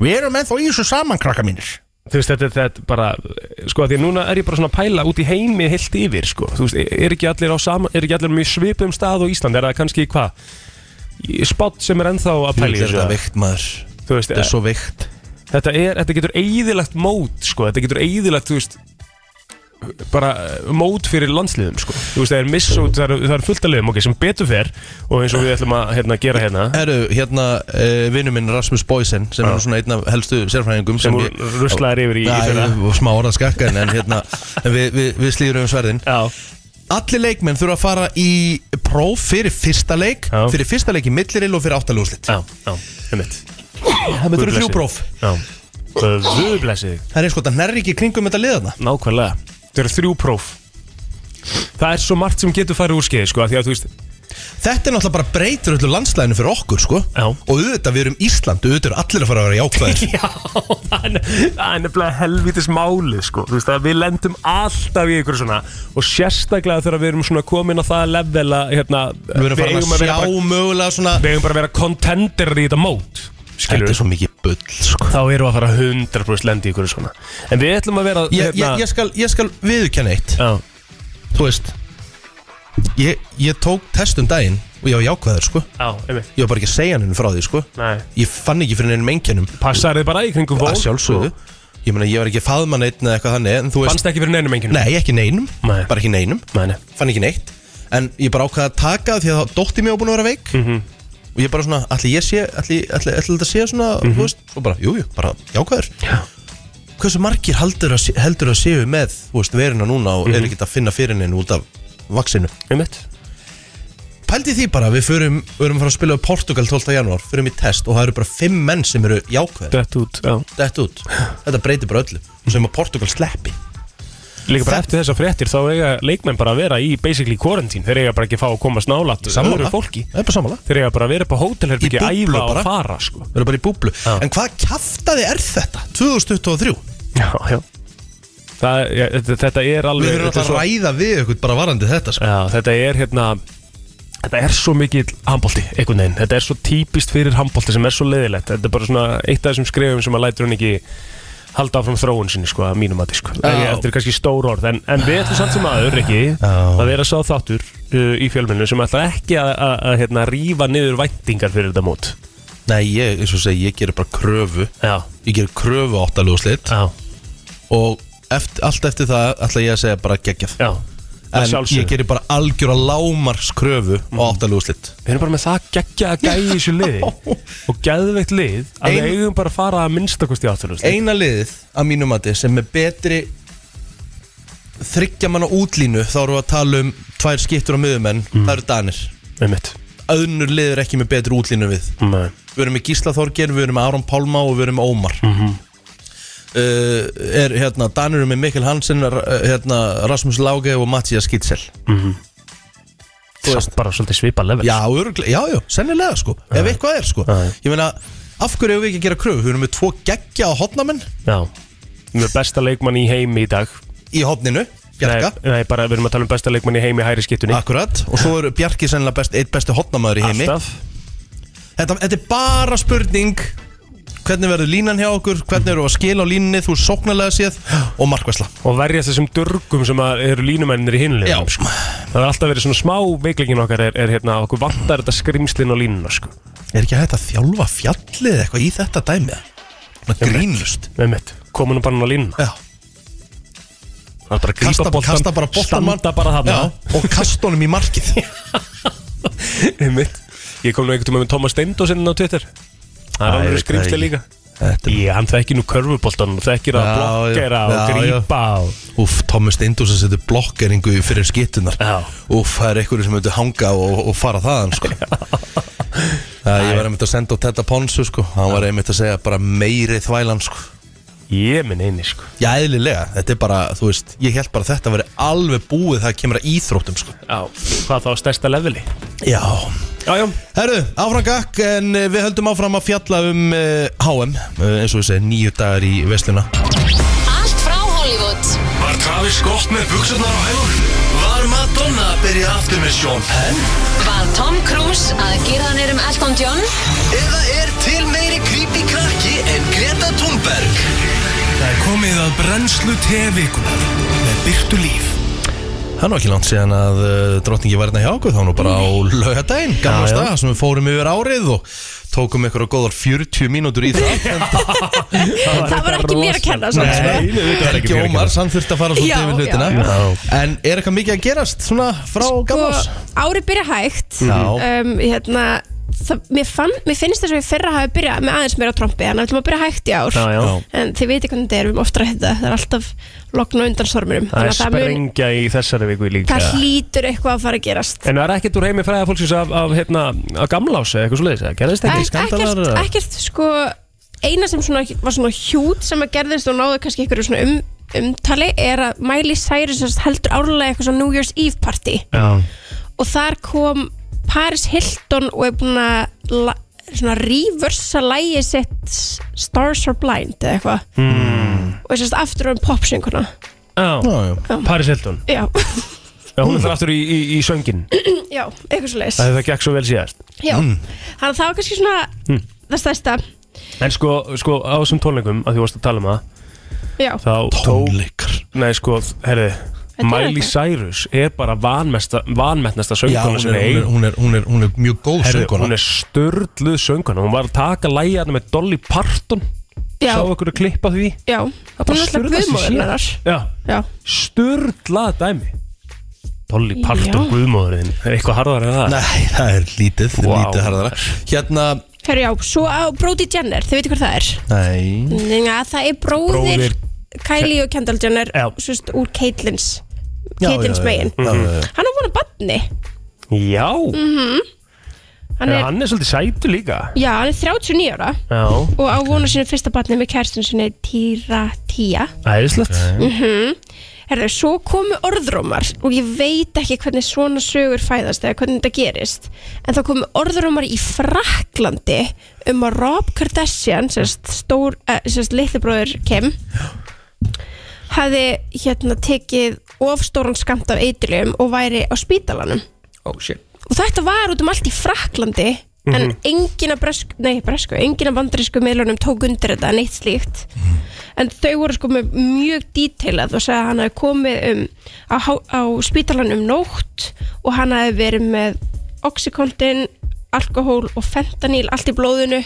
S2: Við erum ennþá í þessu saman krakka mínir
S3: Þú veist, þetta, þetta er bara, sko, af því að núna er ég bara svona að pæla út í heimi heilt yfir, sko Þú veist, er ekki allir á sama, er ekki allir mjög svipum stað og Ísland, er það kannski hvað? Spátt sem er ennþá að pæla í
S2: Þetta er
S3: þessu
S2: þetta veikt maður
S3: Þú veist, e-
S2: Þetta er svo veikt
S3: þetta, er, þetta getur eigðilegt mót sko. þetta getur eigðilegt þú veist bara eh, mót fyrir landsliðum sko. þú veist það er miss og það er, það er fullt að liðum okay, sem betur fer og eins og við ætlum að hérna, gera hérna
S2: Herru, hérna uh, vinnu minn Rasmus Boysen sem er svona einn af helstu sérfræðingum
S3: sem
S2: ég-
S3: ruslaðir yfir í, í fyrra
S2: Já, og smá orðaskakka en, en hérna en við, við, við slýður um sverðin
S3: Já,
S2: Allir leikmenn þurfa að fara í próf fyrir fyrsta leik
S3: Já.
S2: fyrir fyrsta leik í milliril og fyrir áttalúslitt
S3: já, já, einmitt
S2: Það
S3: Guð
S2: eru þrjú
S3: blessi.
S2: próf
S3: Já, Guð blessi þig
S2: Það er eins og þetta nærri ekki í kringum þetta liðana
S3: Nákvæmlega, það eru þrjú próf Það er svo margt sem getur farið úr skeið sko, af því að þú veist
S2: Þetta er náttúrulega bara breytur öllu landslæðinu fyrir okkur sko
S3: Já.
S2: Og auðvitað við erum Ísland auðvitað eru allir að fara að vera jákvæðir
S3: Já, það er ne- það er nefnilega helvitis máli sko. Þú veist að við lendum alltaf í ykkur svona og sérstaklega þegar við erum svona komin á það level að hérna,
S2: Við erum farin að
S3: eigum að
S2: sjá
S3: vera bara,
S2: mögulega svona
S3: við eigum bara að vera contender í þetta mót skilur
S2: Þetta er
S3: við
S2: svo mikið bull sko
S3: þá erum við að fara 100% lendi í ykkur svona en við ætlum að vera hérna-
S2: Ég, ég, ég skal, ég skal viðurkenna eitt
S3: Já,
S2: Þú veist ég, ég tók test um daginn og ég var jákvæður sko
S3: já, einmitt
S2: Ég var bara ekki að segja henni frá því sko
S3: Nei.
S2: Ég fann ekki fyrir neinum einkennum
S3: Passar þið bara í kringum fólk
S2: Að sjálfsögðu Ég meina ég var ekki faðma neitt eða eitthvað þannig En þú veist
S3: Fannst ekki fyrir neinum enginn
S2: Nei, ekki neinum
S3: Nei.
S2: Bara ekki neinum
S3: Nei, nei
S2: Fann ekki neitt En ég bara ákvaði að taka það því að þá dótti mér var búin að vera veik
S3: Mhm.
S2: -hmm. Og ég bara svona, ætli ég sé Ætli, ætli, ætli þetta sé svona,
S3: Mhm.
S2: þú veist Svo bara, jú, jú, bara jákvæður Já Hversu margir heldur að, sé- heldur að séu með Þú veist, verina núna og
S3: Mhm.
S2: er ekki að finna fyrir henni Út af vaksinu
S3: Einmitt
S2: Pældi því bara, við förum, við erum að fara að spila á Portugal 12. janúar, förum í test og það eru bara fimm menn sem eru jákvæðir
S3: Dött út, já
S2: Þetta út, þetta breytir bara öllu sem að Portugal sleppi
S3: Líka bara
S2: Þetta-
S3: eftir þessa fréttir þá eiga leikmenn bara að vera í basically quarantine Þeir eiga bara ekki að fá að komast nálat öðru fólki
S2: Það er bara sammála
S3: Þeir eiga bara að vera upp á hótelherbyggja
S2: Í búblu
S3: æfa og
S2: bara.
S3: fara sko
S2: Við erum bara í búblu
S3: Já.
S2: En hvað kjaftaði er þetta? 2023
S3: Já, já Það, ja, þetta, þetta er
S2: Við
S3: alveg
S2: erum
S3: þetta,
S2: alltaf
S3: er
S2: að
S3: svo,
S2: ræða við ykkur bara varandi þetta sko.
S3: já, þetta er hérna Þetta er svo mikill handbólti, einhvern veginn Þetta er svo típist fyrir handbólti sem er svo leiðilegt Þetta er bara svona eitt af þessum skrefum sem að lætur hann ekki halda áfram þróun sinni sko, að mínum að sko.
S2: Já.
S3: Þetta er kannski stór orð en, en við ætlum samt sem aður ekki
S2: Já.
S3: að vera sá þáttur uh, í fjölmennu sem ætlar ekki að, að, að hérna, rífa niður væntingar fyrir þetta mót
S2: Nei, ég, eins og segi, ég gerir bara kröfu
S3: Já,
S2: Ég gerir kröfu áttaljóðslit
S3: já,
S2: Og eftir, allt eftir það ætla ég að segja bara geggjað
S3: já
S2: En
S3: Að sjálfsögðu.
S2: ég gerir bara algjöra lámars kröfu á áttaljóðslit
S3: Við erum bara með það geggja að gæja í þessu liði og geðveikt lið að við
S2: Ein-
S3: eigum bara að fara að minnstakosti áttalust
S2: Eina liðið að mínum mati sem er betri þryggja manna útlínu þá erum við að tala um tvær skiptur á miðumenn það eru Danir
S3: einmitt
S2: öðnur liður ekki með betri útlínu við
S3: Nei.
S2: við erum með Gísla Þorger, við erum með Aron Pálma og við erum með Ómar uh, er hérna, Danir eru með Mikkel Hansen r- uh, hérna, Rasmus Láge og Mattias Kitzel
S3: samt bara svolítið svipa level
S2: já, öruglega, já, já, sennilega sko ef eitthvað er sko,
S3: Já.
S2: ég meina af hverju hefur við ekki að gera kröfu, við erum með tvo geggja á hotnamenn
S3: já. Við erum besta leikmann í heimi í dag
S2: í hotninu, Bjarka
S3: nei, nei, bara við erum að tala um besta leikmann í heimi í hæri skiptunni
S2: Akkurat, og svo eru Bjarki sennilega best, eitt besti hotnamaður í heimi
S3: Alltaf
S2: þetta, þetta er bara spurning hvernig verður línan hjá okkur, hvernig eru að skila á línni þú sóknarlega séð og markvæsla
S3: og verjast þessum dörgum sem að eru línumennir í
S2: Já,
S3: hinlega Það er alltaf verið svona smá veiklegin okkar er, er hérna, okkur vantar þetta skrimslinn á línuna sko.
S2: er ekki hægt að þjálfa fjallið eitthvað í þetta dæmi Svona grínlust
S3: einmitt, komunum bara hann á línuna
S2: Já,
S3: Það er bara að
S2: Kasta,
S3: grípa boltan,
S2: kasta bara boltan
S3: Standa bara þarna
S2: Já, Og kasta honum í markið
S3: Einmitt. Ég kom nú einhvern tíma með Thomas Steindó sinni á Twitter Það
S2: Æ, ég
S3: er alveg
S2: veit það
S3: skrýmsli
S2: ekki.
S3: líka
S2: Þetta er-
S3: Ég, hann þekkir nú körfuboltan og þekkir að
S2: Já,
S3: blokkera
S2: já,
S3: og
S2: já, já.
S3: grípa og...
S2: Úf, Thomas Steindús að setja blokkeringu fyrir skittunar
S3: Já.
S2: Úf, það er einhverju sem myndi hanga og, og fara þaðan sko. Æ, Ég var einmitt að senda á Tetta Ponsu sko. Hann var einmitt að segja bara meiri þvælan sko.
S3: Ég minn eini sko
S2: Já, eðlilega, þetta er bara, þú veist Ég held bara að þetta veri alveg búið það kemur að íþróttum sko.
S3: Já, hvað þá á stærsta leveli
S2: Já
S3: Já, já,
S2: Herðu, áfram gakk en eh, við höldum áfram að fjalla um uh, HM uh, eins og við segjum nýju dagar í vesluna
S5: Allt frá Hollywood
S1: Var Travis gott með buksunar á hælunum? Var Madonna að byrja aftur með Sean Penn?
S5: Var Tom Cruise að gera hann um Elton John
S1: Eða er til meiri creepy krakki en Greta Thunberg? Það er komið að brennslu tevikunar með byrtu líf.
S2: Það er nú ekki langt síðan að uh, drottningi var hérna hjá okkur, þá var nú bara á laugadaginn, gamla
S3: Já, já.
S2: stað, sem við fórum yfir árið og tókum ykkur á góðar 40 mínútur í það.
S6: Það var ekki mér að kenna
S3: Nei,
S6: svona, sko.
S3: nei, þetta
S2: Helgi
S3: var ekki mér að
S2: Ómar,
S3: kenna
S2: sann þurfti að fara svo
S6: Já,
S2: yfir hlutina.
S6: já,
S2: En er eitthvað mikið að gerast svona frá gamla
S6: Og
S2: ás?
S6: Sko, árið byrja hægt
S2: Já,
S6: um, hérna, það, mér, fann, mér finnst þess að við fyrra hafi byrjað með aðeins meira trompi en við ætlum að byrja hægt í ár
S3: Já, já,
S2: Já.
S6: en þið veitir hvernig þetta er, við erum ofta að hitta það er alltaf lokn og undan storminum
S3: það er
S6: Þannig að mun-
S3: sprengja í þessari viku líka
S6: það hlýtur eitthvað að fara að gerast
S3: En það er ekkert úr heimi fræða fólksins af, af, hérna, af gamlási eitthvað svo leiðis, gerðist ekki
S6: Ek- ekkert, ekkert sko eina sem svona, var svona hjút sem að gerðist og náðu kannski einhverju svona um, umtali er að Miley Cyrus sem sagt heldur árlega eitthvað svona New Year's Eve party
S3: Já,
S6: og þar kom Paris Hilton og er búin að la- svona reversa lægi sitt S- Stars Are Blind eða eitthvað mm. og þess að aftur um popsinguna
S3: já,
S2: já, já.
S3: Paris Hilton
S6: já,
S3: Já, hún er það aftur í, í, í söngin
S6: já, eitthvað svo leis
S3: Það hefur það gekk svo vel síðast
S6: já, þannig að það var kannski svona það stærsta,
S3: En sko, sko á þessum tónleikum að því varst að tala um það
S6: já,
S3: þá tók,
S2: Tónleikar.
S3: nei sko, herri
S6: Þetta er
S3: Miley
S6: þetta.
S3: Cyrus er bara vanmesta, vanmetnasta
S2: Já,
S3: söngkona
S2: hún
S3: sem
S2: er, hún, er,
S3: eigin
S2: hún, er, hún, er, hún er mjög góð
S3: Herri,
S2: sönguna.
S3: hún er störluð söngkona hún var að taka lægjana með Dolly Parton
S6: já,
S3: sá okkur að klippa því
S6: já
S3: Það
S6: hún er alltaf
S3: sturlað sem sé.
S6: guðmóðurnar
S3: Já,
S6: já,
S3: störlað dæmi Dolly Parton
S6: Já.
S3: guðmóðurinn er eitthvað harðar en það
S2: Nei, það er lítið, wow.
S3: Vá.
S2: lítið harðara. Hérna,
S6: herru já, svo á Brody Jenner, þið veitir hvað það er
S2: nei,
S6: Næja, það er bróðir,
S3: Bróðir-
S6: Kylie og Kendall Jenner
S3: Já.
S6: sérst, úr Caitlyn's
S2: Já,
S6: Caitlyn's
S2: já, já.
S6: megin
S2: Já, já, já.
S6: hann á vona barni
S3: Já,
S6: Mm, hann
S3: en
S6: er,
S3: hann er svolítið sætu líka
S6: já, hann er 39 ára
S3: Já,
S6: og á vona sinu fyrsta barni með kærstun sinni Týra Tía
S3: æðislegt
S6: Herðu, svo komu orðrómar og ég veit ekki hvernig svona sögur fæðast eða hvernig þetta gerist en þá komu orðrómar í Fraklandi um að Rob Kardashian sérst, stór, eh, sérst litlibróður Kim hafi hérna tekið ofstóran skamt af eitriðum og væri á spítalanum
S3: Oh shit
S6: og þetta var út um allt í Fraklandi en engin að bresku, nei bresku engin að bandarísku meðlunum tók undir þetta neitt slíkt en þau voru sko með mjög dítilað og sagði að hann hafi komið um, á, há- á spítalanum um nótt og hann hafi verið með oxykontin alkohól og fentanyl allt í blóðinu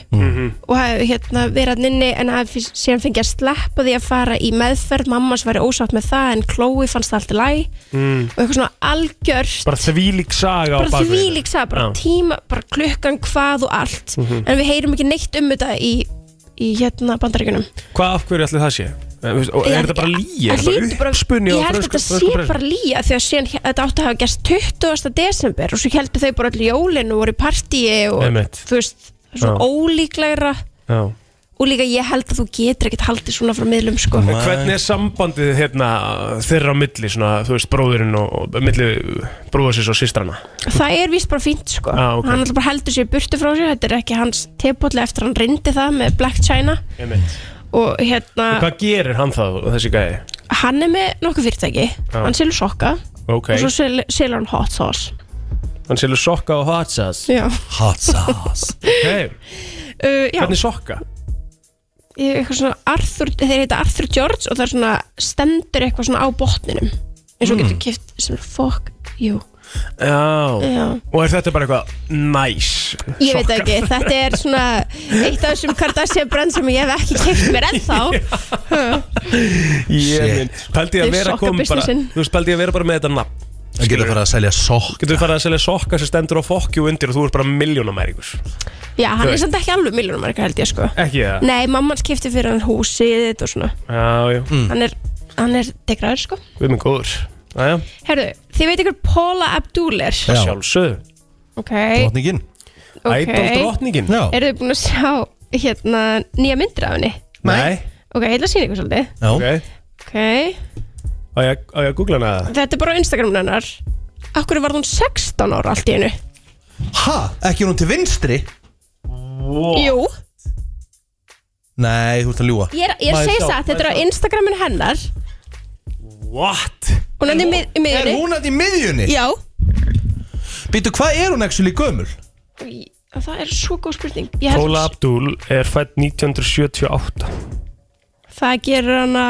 S6: og hafi hérna verið að nynni en hafi fyrst- síðan fengið að sleppa því að fara í meðferð mammas væri ósátt með það en Chloe fannst það allt í læg og eitthvað svona algjörst
S3: Bara þvílík saga á
S6: bara
S3: bakvið hérna.
S6: því líksa,
S3: Já.
S6: bara
S3: Mhm.
S6: tíma, bara klukkan, hvað og allt en við heyrum ekki neitt um þetta í, í hérna bandaríkunum
S3: Hvað af hverju allir það sé? Eh, veist, og Er þetta bara líi? Er
S6: hlýtur
S3: þetta bara uppspunni
S6: Ég held að þetta sé bara líja því að síðan, þetta átti að hafa gerst 20. desember og svo heldur þau bara öll jólin og voru í partíi og
S3: Einmitt.
S6: þú veist, það er svona
S3: Já.
S6: ólíklegra
S3: Já
S6: og líka ég held að þú getur ekkert haldið svona frá miðlum sko
S3: En Hvernig er sambandið hérna þeirra á milli svona, þú veist, bróðurinn og, og milli bróðursins og sýstrana?
S6: Það er víst bara fínt sko
S3: Já, ok.
S6: Hann alltaf bara heldur sér burtu frá sér Þetta er ekki hans tepolli eftir að hann reyndi það með Black China
S3: Einmitt.
S6: og hérna
S3: Hvað gerir hann þá, þessi gæði?
S6: hann er með nokkuð fyrirtæki hann selur sokka
S3: Ok,
S6: og svo sel- selur hann hot sauce
S3: hann selur sokka og hot sauce
S6: já,
S2: hot sauce.
S3: Ok,
S6: uh, já
S3: hvernig sokka?
S6: ég- eitthvað svona Arthur, þeir heita Arthur George og það er svona stendur eitthvað svona á botninum eins og mm. getur kift sem fuck you
S3: Já.
S6: Já.
S3: Og er þetta bara eitthvað næs?
S6: Ég veit það ekki, þetta er svona eitt af þessum Kardashian brand sem ég hef ekki keipt mér ennþá
S3: Ég minn, pældi ég að
S6: Þeir
S3: vera
S6: sokka
S3: kom bara
S6: businessin.
S3: Þú veist, pældi ég að vera bara með þetta nafn
S2: Það getur að fara að selja sokk
S3: Getur þú farið að selja sokka sem stendur á fokkju undir og þú ert bara miljónamæringus
S6: Já, hann
S3: Þú
S6: er
S3: veist.
S6: samt ekki alveg miljónumarka held ég sko
S3: Ekki það?
S6: Nei, mamma hans keipti fyrir hann húsið og svona
S3: Já, já,
S6: Hann er, hann er degraður sko
S3: við erum góður Æja,
S6: Herðu, þið veit ykkur Paula Abdul er
S2: Já.
S3: sjálfsögðu
S6: Ok,
S2: Drotningin
S6: ok
S3: Ædol drottningin
S2: Já,
S6: Eru þið búin að sjá hérna nýja myndir af henni?
S3: Nei,
S6: Ok, ég ætla að sína ykkur svolítið
S2: já
S3: ok
S6: Ok,
S3: Á ég á ég að googla hana það?
S6: þetta er bara á Instagram hennar Akkur var hún 16 ára allt í hennu
S2: Ha, ekki er hún til vinstri?
S6: Jú,
S2: Nei, þú ert að ljúa
S6: ég, er- ég
S3: Má ég
S6: segi
S3: sjá,
S6: það, þetta er á Instagramin hennar
S3: What?
S6: Hún er í mið- í
S2: Er
S6: miðjunni
S2: hún að í miðjunni?
S6: Já
S2: Býtu, hvað er hún actually gömul?
S6: Í- Það er svo góð spurning Ég held-
S3: Paula Abdul er fætt 1978
S6: Það gerir hana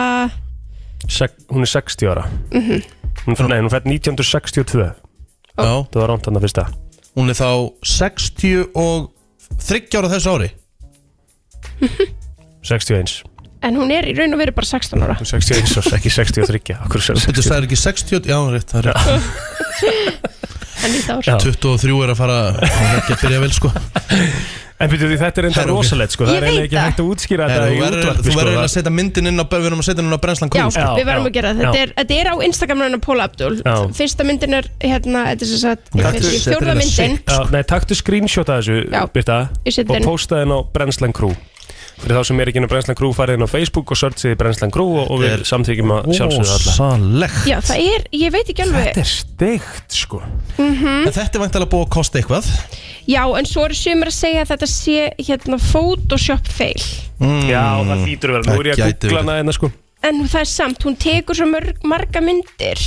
S3: Sek, Hún er 60 ára
S6: Mhm.
S3: hún, Nei, hún er fætt 1962
S2: Já,
S3: Það var rámt hann að fyrsta
S2: hún er þá 60 og 30 ára þessu ári
S3: 61
S6: En hún er í raun og veru bara 16 ára
S3: Hún er 61 og ekki 63 Akkur sér
S2: Býtu,
S3: 60
S2: það er ekki 60, já, hún er rétt, það er rétt
S6: En í þá
S3: Já.
S2: 23 er að fara, hún er ekki að byrja vel, sko
S3: En byrju því þetta er enda
S2: Herra, ok.
S3: rosalegt sko Það
S6: Ég
S3: er eiginlega
S6: veit
S3: ekki
S6: það.
S3: hægt að útskýra
S2: Heru,
S3: þetta í
S2: Þú verður
S3: útvarpi
S2: þú verður
S3: sko
S2: eiginlega
S3: það-
S2: að setja myndin inn á, við erum að setja henni á brennslan
S6: Já,
S2: kúl, sko
S3: Já,
S6: við
S3: já,
S6: verðum að gera það.
S3: já.
S6: Þetta er, þetta er á Instagram hennar Paula Abdul
S3: Já.
S6: Fyrsta myndin er hérna Þetta er sem sagt
S2: Já, þetta
S6: kannski
S2: er-
S6: fjórða
S2: þetta er
S6: myndin
S3: Já, nei, taktu screenshot af þessu,
S6: Já,
S3: Birta
S6: ég seti
S3: og
S6: inn.
S3: posta þenn á Brennslan Crew Fyrir þá sem er ekki inn á Brennslan Crew, farið inn á Facebook og searchið Brennslan Crew og, og við
S2: Þetta er
S3: samþykjum að sjálfsögðu alla
S2: Ósalegt
S6: Já, það er, ég veit ekki alveg
S3: Þetta er steikt, sko
S2: En þetta er vantilega búið að kosta eitthvað
S6: Já, en svo eru sumir að segja að þetta sé hérna Photoshop fail
S2: Mm.
S3: Já, það þýtur að vera, nú er
S2: Það
S3: ég að
S2: gæti
S3: googla
S2: verið.
S3: hana hérna, sko
S6: En það er samt, hún tekur svo mörg, marga myndir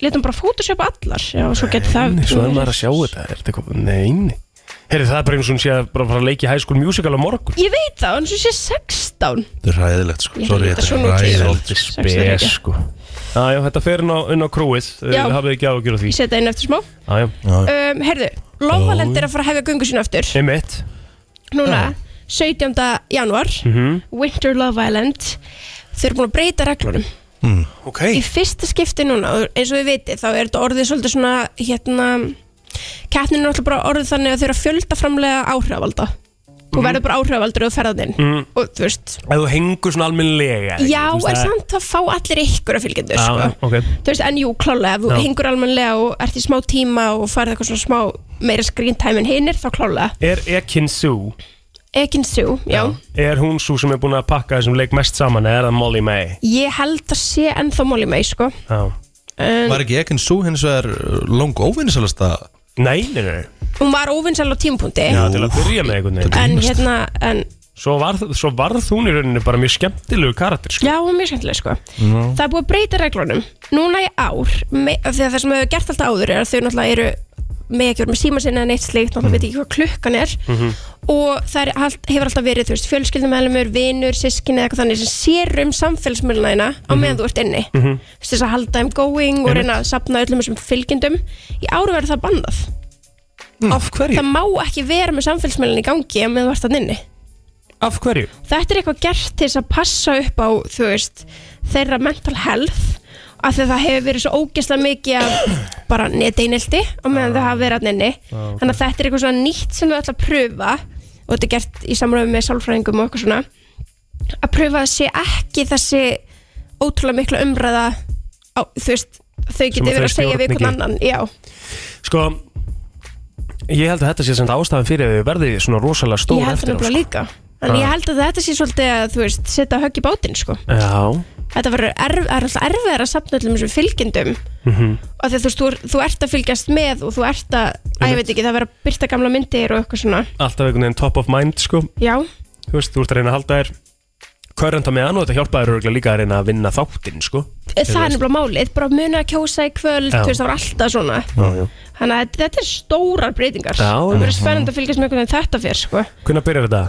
S6: Leta hún bara Photoshop allar Já, svo getur það
S3: Nei, svo er maður að sjá þetta, er þetta eitthvað, neini Herri, það er bara eins og hún sé að bara fara að leiki High School Musical á morgun
S6: Ég veit það, hann svo sé 16
S2: Þetta er ræðilegt, sko
S6: Ég Sorry, held að þetta er svona ræðilegt. tíu.
S3: Svolítið
S6: Sex er
S3: spes,
S6: ekki.
S3: sko Já, já, þetta fer inn á, inn á crewið,
S6: Já.
S3: það hafið ekki á að gera því
S6: Ég setja inn eftir smá
S3: Já, já,
S6: um, Herðu, Lofaland er að fara að hefja göngu sín aftur
S3: einmitt
S6: Núna, 17. januar
S3: Mhm.
S6: Winter Love Island Þau eru búin að breyta reglunum
S3: Ok
S6: Í fyrsta skipti núna, og eins og við vitið Þá er þetta orðið svolítið svona hérna, Keppnin er náttúrulega bara orðið þannig að þau eru að fjölda framlega áhrifalda
S3: Mhm.
S6: Þú verður bara áhrifaldur og ferðaninn mm. Og þú veist
S3: Ef þú hengur svona almennilega ekki?
S6: Já,
S3: Mhm. Þú veist,
S6: en
S3: það er-
S6: samt það fá allir ykkur að fylgjendur
S3: Já,
S6: sko.
S3: já, ok.
S6: Þú veist, en jú, klálega, ef þú
S3: Já.
S6: hengur almenlega og ert í smá tíma og farið eitthvað svona smá meira screen time en hinir, þá klálega
S3: Er Ekin Su
S6: Ekin Sue, já.
S3: Er hún svo sem er búin að pakka þessum leik mest saman eða er það Molly May
S6: Ég held að sé ennþá Molly May, sko.
S3: Já.
S6: En
S2: Var ekki ekki svo hins vegar long óvinnisalasta
S3: Nei, nei, nei
S6: hún var óvinnsæl á tímapunkti.
S3: Já, til að byrja með einhvern veginn
S6: En hérna, en,
S3: Svo varð, svo varð hún í rauninni bara mjög skemmtilegu karakter sko.
S6: já, hún er mjög skemmtileg, sko. Það er búið að breyta reglunum. Núna í ár, me, af því að það sem hefur gert alltaf áður er að þau náttúrulega eru með ekki verið með síma sinna en eitt slikt, náttúrulega veit ekki hvað klukkan er og það er, allt- hefur alltaf verið, þú veist, fjölskyldumælumur, vinur, sískinni eða eitthvað þannig sem sér um samfélagsmjölunæðina á meðan þú ert inni. Þú veist, þess að halda þeim going og reyna að sapna öllum þessum fylgjendum. Í áru verður það bannað.
S3: Af hverju?
S6: það má ekki vera með samfélsmiðlun í gangi ef með þú ert að nynni
S3: Af hverju?
S6: þetta er eitthvað gert til þess að passa upp á þú veist, þeirra mental health af því að það hefur verið svo ógeðslega mikið af bara neteinildi og meðan þau hafa verið að nynni þannig að þetta er eitthvað svona nýtt sem þau ætla að pröfa og þetta er gert í samröfum með sálfræðingum og eitthvað svona að pröfa að sé ekki þessi ótrúlega mikla umræða á, þú veist, þau geti
S3: að þau
S6: verið að segja
S3: stjórna
S6: við hvern
S3: ekki.
S6: annan já,
S3: Sko, ég held að þetta sé sem ástæðan fyrir að þau verði svona rosalega stór
S6: ég held það
S3: eftir á, sko.
S6: nefnilega líka en
S3: Já.
S6: ég held að þetta sé svolítið að þú veist setja högg í bátinn sko
S3: sko. Já,
S6: þetta verður erf, er alltaf erfiðar að safna öllum þessum fylgjendum mm og því að þú, veist, þú, er- þú ert að fylgjast með og þú ert að, að ég veit ekki, það verður að byrta gamla myndir og eitthvað svona,
S3: alltaf einhvern veginn top of mind sko.
S6: já
S3: Þú veist, þú ert að reyna að halda þér Körrenda með hann og þetta hjálpaði örgulega líka að reyna að vinna þáttinn sko.
S6: það er nefnilega málið, bara muna að kjósa í kvöld
S3: Já.
S6: þú veist, það var alltaf svona
S3: Já, já.
S6: þannig að þetta er stórar breytingar
S3: Já,
S6: það verður spennandi að fylgjast með hvernig þetta fyrr sko.
S3: Hvernig byrjar þetta?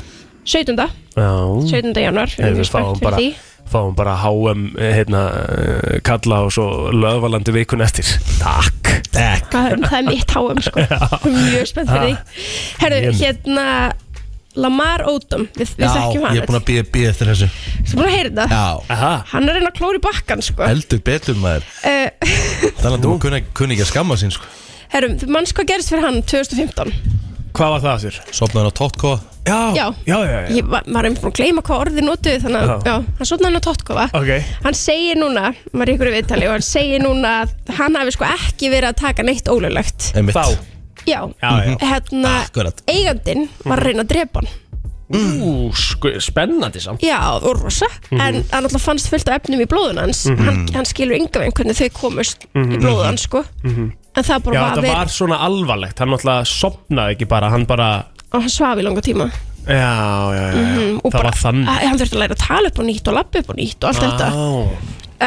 S6: 17.
S3: Já.
S6: 17. januar,
S3: Nei,
S6: við erum
S3: við
S6: mjög spennt
S3: fáum
S6: fyrir
S3: bara,
S6: því
S3: fáum bara HM eh, hérna, eh, kalla og svo löðvalandi vikun eftir Takk
S2: Takk
S6: Hvað, það er mitt háum sko Mjög spennt fyrir því Herðu,
S3: Ég-
S6: hérna Lamar Odom,
S2: Já,
S6: við, við þekkjum hann
S2: ég er búin að býja býja eftir þessu
S6: Þú er búin að heyra þetta
S2: Já,
S3: Aha,
S6: Hann er að reyna að klóra í bakkan sko
S2: heldur betur maður
S6: uh,
S2: Þannig að þú kunni, kunni ekki að skamma sín sko
S6: Herru, þú manns hvað gerist fyrir hann 2015
S3: hvað var það þér?
S2: Sopnaður á tóttkóa
S3: Já,
S6: Já.
S3: já, já, já.
S6: Ég var, var einmitt búin að gleyma hvað orðið notuðu Þannig að,
S3: Já.
S6: já, hann sotna hann á tóttkofa
S3: Ok,
S6: Hann segir núna, maður er ykkur í viðtali og hann segir núna að hann hafi sko ekki verið að taka neitt ólöglegt
S2: Einmitt.
S3: þá
S6: Já,
S3: Já, já.
S6: hérna
S2: Akkurat.
S6: eigandinn var að reyna að drepa hann
S3: Ú, sko, spennandi samt
S6: Já, og rosa
S3: Mhm.
S6: En hann alltaf fannst fullt af efnum í blóðun hans hann, hann skilur yngan veginn hvernig þau komust í blóðun hans sko En það bara
S3: Mhm. Já,
S6: var
S3: þetta
S6: verið
S3: var svona alvarlegt Hann náttúrulega sopnaði ekki bara Hann bara
S6: og hann svaf í langa tíma
S3: Já, já, já, já.
S6: Mhm, Mm, og
S3: Það var þannig Ah.
S6: að, Hann þurfti að læra að tala upp og nýtt og lappa upp og nýtt og allt þetta
S3: Á.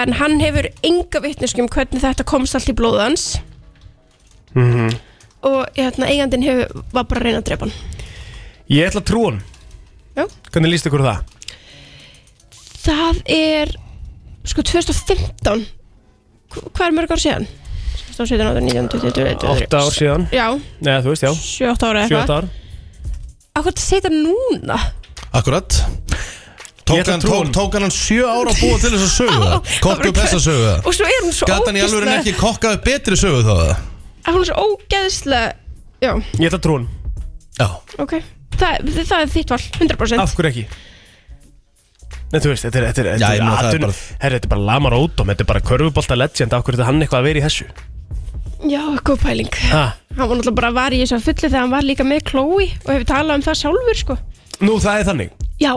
S6: En hann hefur enga vitneskjum hvernig þetta komst allt í blóðun hans
S3: Mhm.
S6: Og hérna, eigandinn hefur, var bara að reyna að drepa hann
S3: Ég ætla að trú hann
S6: Já.
S3: Hvernig líst ykkur á það?
S6: Það er sko 2015 Hva- Hvað er mörg ár síðan? 16, 17, 18, 19, 20, 21,
S3: 8 ár síðan
S6: Já,
S3: Nei, þú veist, já
S6: 7-8 ára
S3: 7
S6: eitthvað
S3: ár
S6: Akkur þetta segir þetta núna
S2: Akkurat
S3: Ég
S2: Tók
S3: ætla
S2: hann,
S3: að trúa
S2: tók,
S3: honum.
S2: tók hann hann sjö ára að búa til þess að sögu
S6: Á,
S2: það Kokku
S6: það
S2: upp
S6: var-
S2: þess að sögu það
S6: Og svo er hún svo
S2: Gat hann í alveg
S6: ógeðslega
S2: ekki kokkað upp betri sögu þá það
S6: að Hún er svo ógeðslega Já,
S3: Ég ætla að trú hann
S2: Já,
S6: ok Það, það er þitt val, 100%
S3: Af hverju ekki? Nei, þú veist, þetta er Þetta er,
S2: Já,
S3: þetta
S2: ég
S3: er,
S2: meina, það er
S3: atvinnu-
S2: bara-
S3: Herra, þetta er bara lamar ódóm Þetta er bara körfubolta legend Af hverju þetta hann eitthvað að vera í þessu?
S6: Já, góð pæling
S3: Ha?
S6: Hann var náttúrulega bara var í þessu að fullu þegar hann var líka með Chloe og hefur talað um það sjálfur sko
S3: Nú, það er þannig
S6: Já,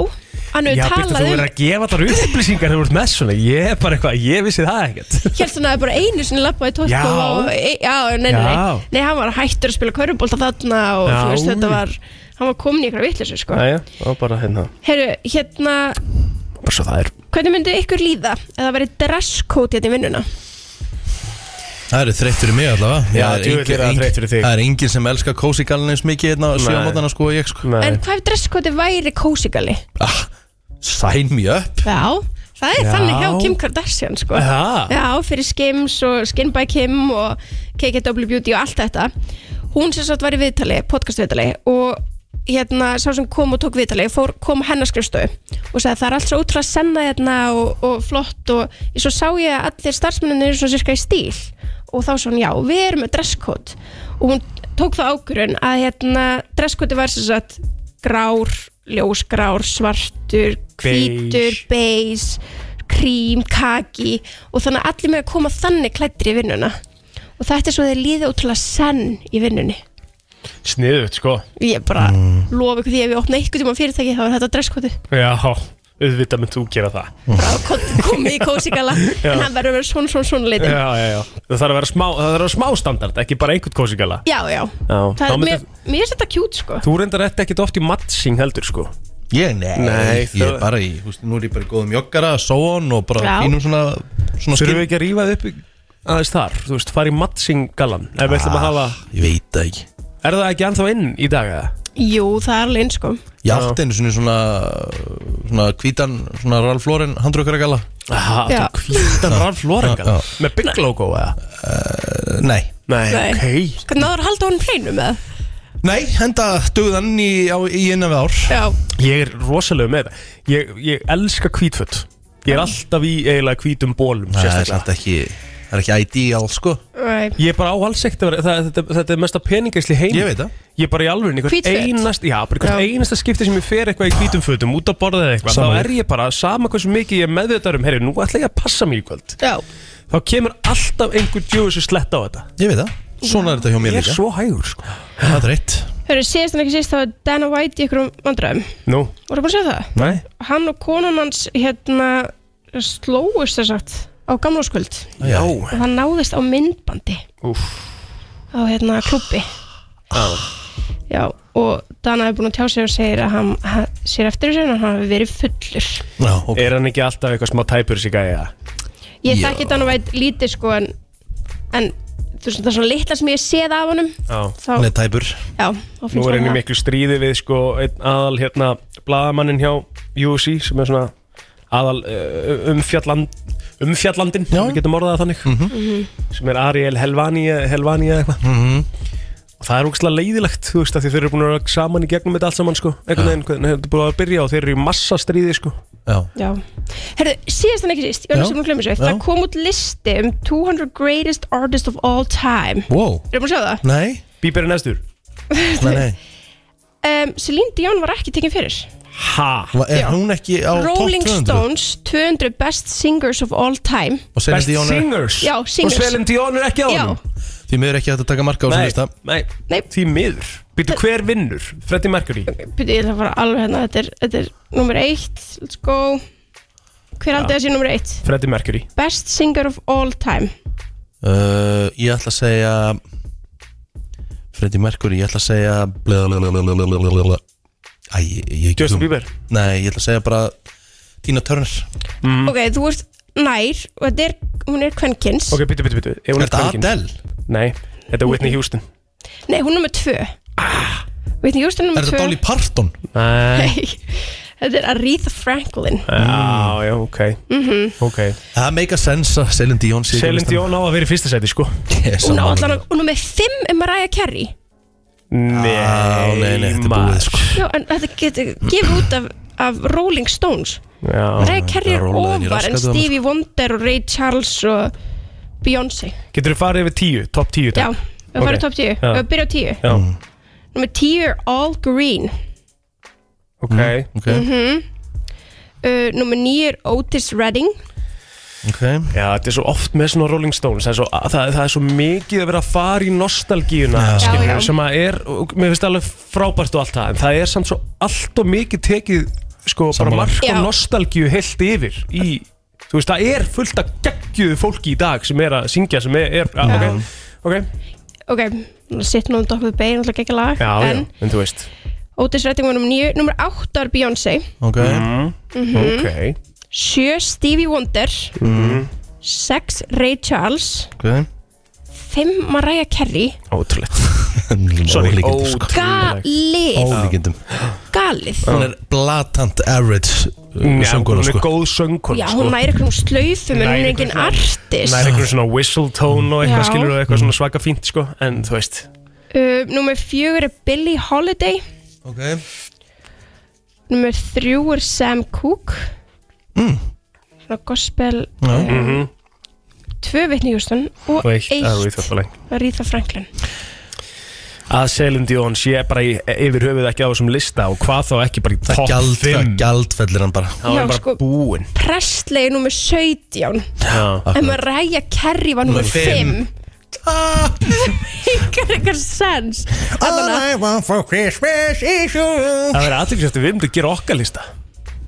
S6: hann
S3: Já,
S6: hefur
S3: byrju,
S6: talað
S3: þú verður
S6: um
S3: að gefa allar upplýsingar Þú verður með svona Ég er bara eitthvað Ég vissi það ekkert
S6: Hérst hann að bara einu sinni lappa í tóttkó
S3: Já.
S6: og, e, Já, nei, nei,
S3: Já.
S6: nei Nei, hann var hættur að spila körubólta þarna og
S3: Já.
S6: þú veist, þetta var Hann var komin í ykkur vitleysu sko
S3: Æja, og bara hérna
S6: Herru, hérna,
S3: Bara svo það er
S6: hvernig myndi ykkur líða ef það væri dresscode hérna í vinnuna?
S2: það eru þreytt fyrir mig allavega Það
S3: Já,
S2: er
S3: djúvill
S2: engin-
S3: er það
S2: engin-
S3: þreytt fyrir þig.
S2: Það er enginn sem elskar kósi gallin eins mikið hérna á sjö
S3: Nei.
S2: mótana sko og ég sko
S6: En
S3: Nei
S6: hvað ef dresscode væri kósigali?
S2: ah, Sign me up
S6: Já, það er
S3: Já.
S6: þannig hjá Kim Kardashian sko.
S3: Ha?
S6: Já, fyrir Skims og Skin by Kim og KKW Beauty og allt þetta Hún sem sagt var í viðtali, podcast viðtali og hérna, sá sem kom og tók viðtali fór, kom á hennar skrifstöðu og sagði það er allt svo útrúlega senna hérna og, og flott og svo sá ég að allir starfsmenninni eru svona sirka í stíl og þá svo hún, já, við erum með dresscode og hún tók það ákvörun að hérna, dresscode var sem sagt grár, ljósgrár, svartur hvítur,
S3: Beige.
S6: beige krím, kaki og þannig að allir með að koma þannig klættir í vinnuna og þetta er svo þeir líða útrúlega senn í vinnunni
S3: Sniðut, sko
S6: ég bara mm. lofa ykkur því ef ég opna einhvern tíma fyrirtæki þá er þetta dresskoti
S3: Já, auðvitað mynd þú gera það
S6: komið í kósigala
S3: Mm. Já.
S6: en hann verður að vera svona svona svona litin já,
S3: Já, já, já Það þarf að vera smá, það þarf að vera smá standard, ekki bara einhvern kósigala
S6: já,
S3: Já,
S6: Það
S3: þá
S6: er,
S3: myndi-
S6: mér, mér er þetta kjút sko
S3: Þú reyndar þetta ekkit oft í matching heldur, sko
S2: Ég, nei,
S3: Nei,
S2: ég er
S3: það-
S2: bara í, húst, nú er ég bara í góðum joggara, sóan og bara
S6: Já.
S2: fínum svona, svona
S3: Þurfum við
S2: skinn
S3: ekki að rífa þið upp í- aðeins þar, þú veist, fara í matching galan Ef við ætlum að hafa,
S2: Ah, Ég veit það ekki
S3: er það ekki ennþá inn í dag, eða?
S6: jú, það er alveg eins sko
S2: Ég átti einu svona svona, svona hvítan, svona Ralph Lauren handrökkaragalla
S3: Aha,
S6: Já.
S3: þú hvítan Ralf Lorengan
S2: Já, já.
S3: Með big logo, eða?
S2: Eh, Nei
S3: Nei,
S6: Nei.
S3: ok
S6: hvernig náður að halda honum hreinu með það?
S2: Nei, henda döðan í, á- í innan við ár
S6: já,
S3: Ég er rosalega með það Ég, ég elska hvítföt Ég er alltaf í eiginlega hvítum bólum,
S2: Það er samt
S3: sérstaklega Mm.
S2: ekki, það er ekki ideal sko
S6: right.
S3: Ég er bara á alls ekkert að vera, það- þetta, þetta er mesta peningarsli heim
S2: Ég veit það
S3: Ég er bara í alveg einhvern
S6: Hvít föt?
S3: einast Já, bara einhvern
S6: Já.
S3: einasta skipti sem ég fer eitthvað í hvítum fötum Út að borða eða eitthvað
S2: Sama
S3: Þá er ég bara, sama hversu mikið ég er meðvitaður um Herri, nú ætla ég að passa mér í kvöld
S6: já,
S3: Þá kemur alltaf einhver djóðis að sletta á þetta
S2: Ég veit það, svona er þetta hjá mér
S3: Ég er
S2: líka
S3: svo hægur sko.
S2: Það er rétt
S6: hörru, síðast en ekki síðast þá er Dana White í ykkur um vandræðum
S3: Nú,
S6: voru búin að segja það?
S3: nei
S6: hann og konan hans hérna slóist þess að á gamláskvöld
S2: Já.
S6: og það náðist á myndbandi
S3: Úff.
S6: á hérna klubbi já og Dana er búin að tjá sig og segir að hann, hann sér eftir þessu en hann hafi verið fullur
S2: Já, ok
S3: Er hann ekki alltaf eitthvað smá tæpur sig að ég
S6: ég
S2: Já.
S6: þekki Dana væt lítið sko en, en þú veist það er svona litla sem ég hef séð af honum þá,
S2: Hann er tæpur
S6: já, þá
S3: Nú er
S6: finnst hann
S3: hann í
S6: það
S3: miklu stríði við sko, einn aðal hérna Blaðamannin hjá UFC sem er svona aðal uh, umfjalland, umfjallandin
S2: Já. Mhm.
S3: við getum orðað það þannig Mhm. sem er Ariel Helvani eh, Helvani eða eitthvað
S2: Mhm.
S3: og það er ógæslega leiðilegt þú veist að þeir eru búin að vera saman í gegnum þetta allt saman sko einhvern veginn, hvernig þetta er búin að byrja og þeir eru í massa stríði sko
S2: Já,
S6: Já, herðu, síðast en ekki síst Jónas,
S2: Já.
S6: sem hún glemur svo,
S2: Já.
S6: það kom út listi um 200 greatest artists of all time
S2: wow
S6: Erum við að sjá það?
S2: Nei,
S3: Bieber er næstur
S2: nei, nei
S6: Um, Celine Dion var ekki tekin fyrir
S3: Ha?
S2: Va- Er
S6: Já.
S2: hún ekki á
S6: Rolling
S2: topp 200?
S6: Stones, 200 best singers of all time
S2: Og Celine
S3: Best
S2: Dion er-
S3: singers?
S6: Já, singers.
S3: Og Svelin Dion er ekki á
S6: Já,
S3: honum?
S2: Því miður ekki hægt að taka marka á þessum lista
S3: nei,
S6: Nei.
S3: nei, því miður Býtu hver vinnur? Freddie Mercury
S6: byrju, ég ætla að fara alveg hérna Þetta er, þetta er nummer eitt, let's go Hver aldrei þessi nummer eitt?
S3: Freddie Mercury
S6: Best singer of all time
S2: uh, Ég ætla að segja Freddie Mercury, ég ætla að segja blablabla. Æ, ég, ég
S3: Justin Bieber
S2: Nei, ég ætla að segja bara Tina Turner
S6: Ok, þú ert nær og þetta er, hún er kvenkins
S3: Ok, býtu, býtu, býtu Er
S2: Er þetta Adele?
S3: Nei, þetta er Whitney Houston
S6: Nei, hún er nummer tvö ah. Veitin, Jústin
S2: Er
S6: nummer
S2: þetta
S6: tvö
S2: Dolly Parton?
S3: Nei
S6: Þetta er Aretha Franklin
S3: Já, já, ok Ok
S2: Það make a sense að Celine Dion sé ekki á
S3: Svelin
S2: listanum.
S3: Dion á að vera í fyrsta seti, sko
S2: Ég er
S6: Hún á
S2: sammála.
S6: allan og hún er með fimm um Mariah Carey
S3: Nei,
S2: nei, nei, þetta er
S3: maður.
S2: búið, sko.
S6: Já, en þetta getur gefið út af, af Rolling Stones
S3: Já
S6: Mariah Carey
S2: það
S6: er
S2: rólaði henni í
S6: ofar en
S2: rassgatið á mér,
S6: Stevie Wonder og Ray Charles og Beyoncé
S3: Getur þú farið yfir tíu, topp tíu
S6: Já,
S3: takk?
S6: við okay.
S3: Ok.
S6: farum top 10
S3: Já.
S6: Við byrjum á 10
S3: Já,
S6: Númer 10 er All Green
S3: ok
S2: Ok,
S6: uh, Númer 9 er Otis Redding
S2: ok
S6: Mhm.
S3: Já, þetta er svo oft með svona Rolling Stones Það er svo, það, það er svo mikið að vera að fara í nostalgíuna
S2: Já.
S3: skilur,
S6: Já, já.
S3: sem að er, og mér finnst það alveg frábært og allt það, en það er samt svo allt og mikið tekið, sko,
S2: Sammála.
S3: bara mark
S6: Já.
S3: og nostalgíu heilt yfir í, þú veist, það er fullt af geggjuðu fólki í dag sem er að syngja sem er, er já, ok, ok
S6: Ok, sitt nú um Dokkuð Bay, náttúrulega ekki lag
S3: Já,
S6: En
S3: já, en þú veist
S6: Otis Redding var nummer 9 Númer 8 er Beyoncé
S2: Ok,
S3: Mm.
S6: Mhm.
S3: Ok,
S6: 7 Stevie Wonder 6 Ray Charles
S2: ok
S6: 5 Mariah Carey
S3: ótrúlegt Sorry, Oh.
S2: Ólíkindum sko.
S3: ótrúlegt
S6: Galið,
S2: Ólíkindum
S6: galið
S2: Hún er blatant average uh,
S3: Já,
S2: sönguna
S3: Hún er
S2: sko
S3: góð söngkona
S6: Já, hún næri eitthvað slöyfum en
S3: Nær
S6: hún er
S3: einhverjum
S6: engin
S3: svona-
S6: artist
S3: Nær einhverjum svona whistle tone og eitthvað
S6: Já.
S3: skilur og eitthvað
S2: Mm.
S3: svona svaka fínt sko En þú veist,
S6: uh, Númer 4 er Billie Holiday
S2: Ok
S6: Númer 3 er Sam Cooke mm. Svona gospel
S2: Já.
S6: uh, Tvö vitni Hjústun og
S3: Veitt, að við
S6: eitt
S3: þetta lengt
S6: Aretha Franklin
S3: Að Celine Dion sé bara í, yfir höfuð ekki á þessum lista Og hvað þá ekki bara í
S2: Það
S3: top
S2: gjald, það
S3: 5
S2: gjaldfellir hann bara
S3: Það
S6: Já,
S3: var bara
S6: sko.
S3: búinn
S6: Prestley er númer 17
S3: Já.
S6: En Mariah Carey var númer
S2: Númer fimm.
S6: 5 Engar eitthvað sens Allavega,
S2: I want for Christmas is you
S3: Það verður aðtökisvægt að við myndum að gera okkar lista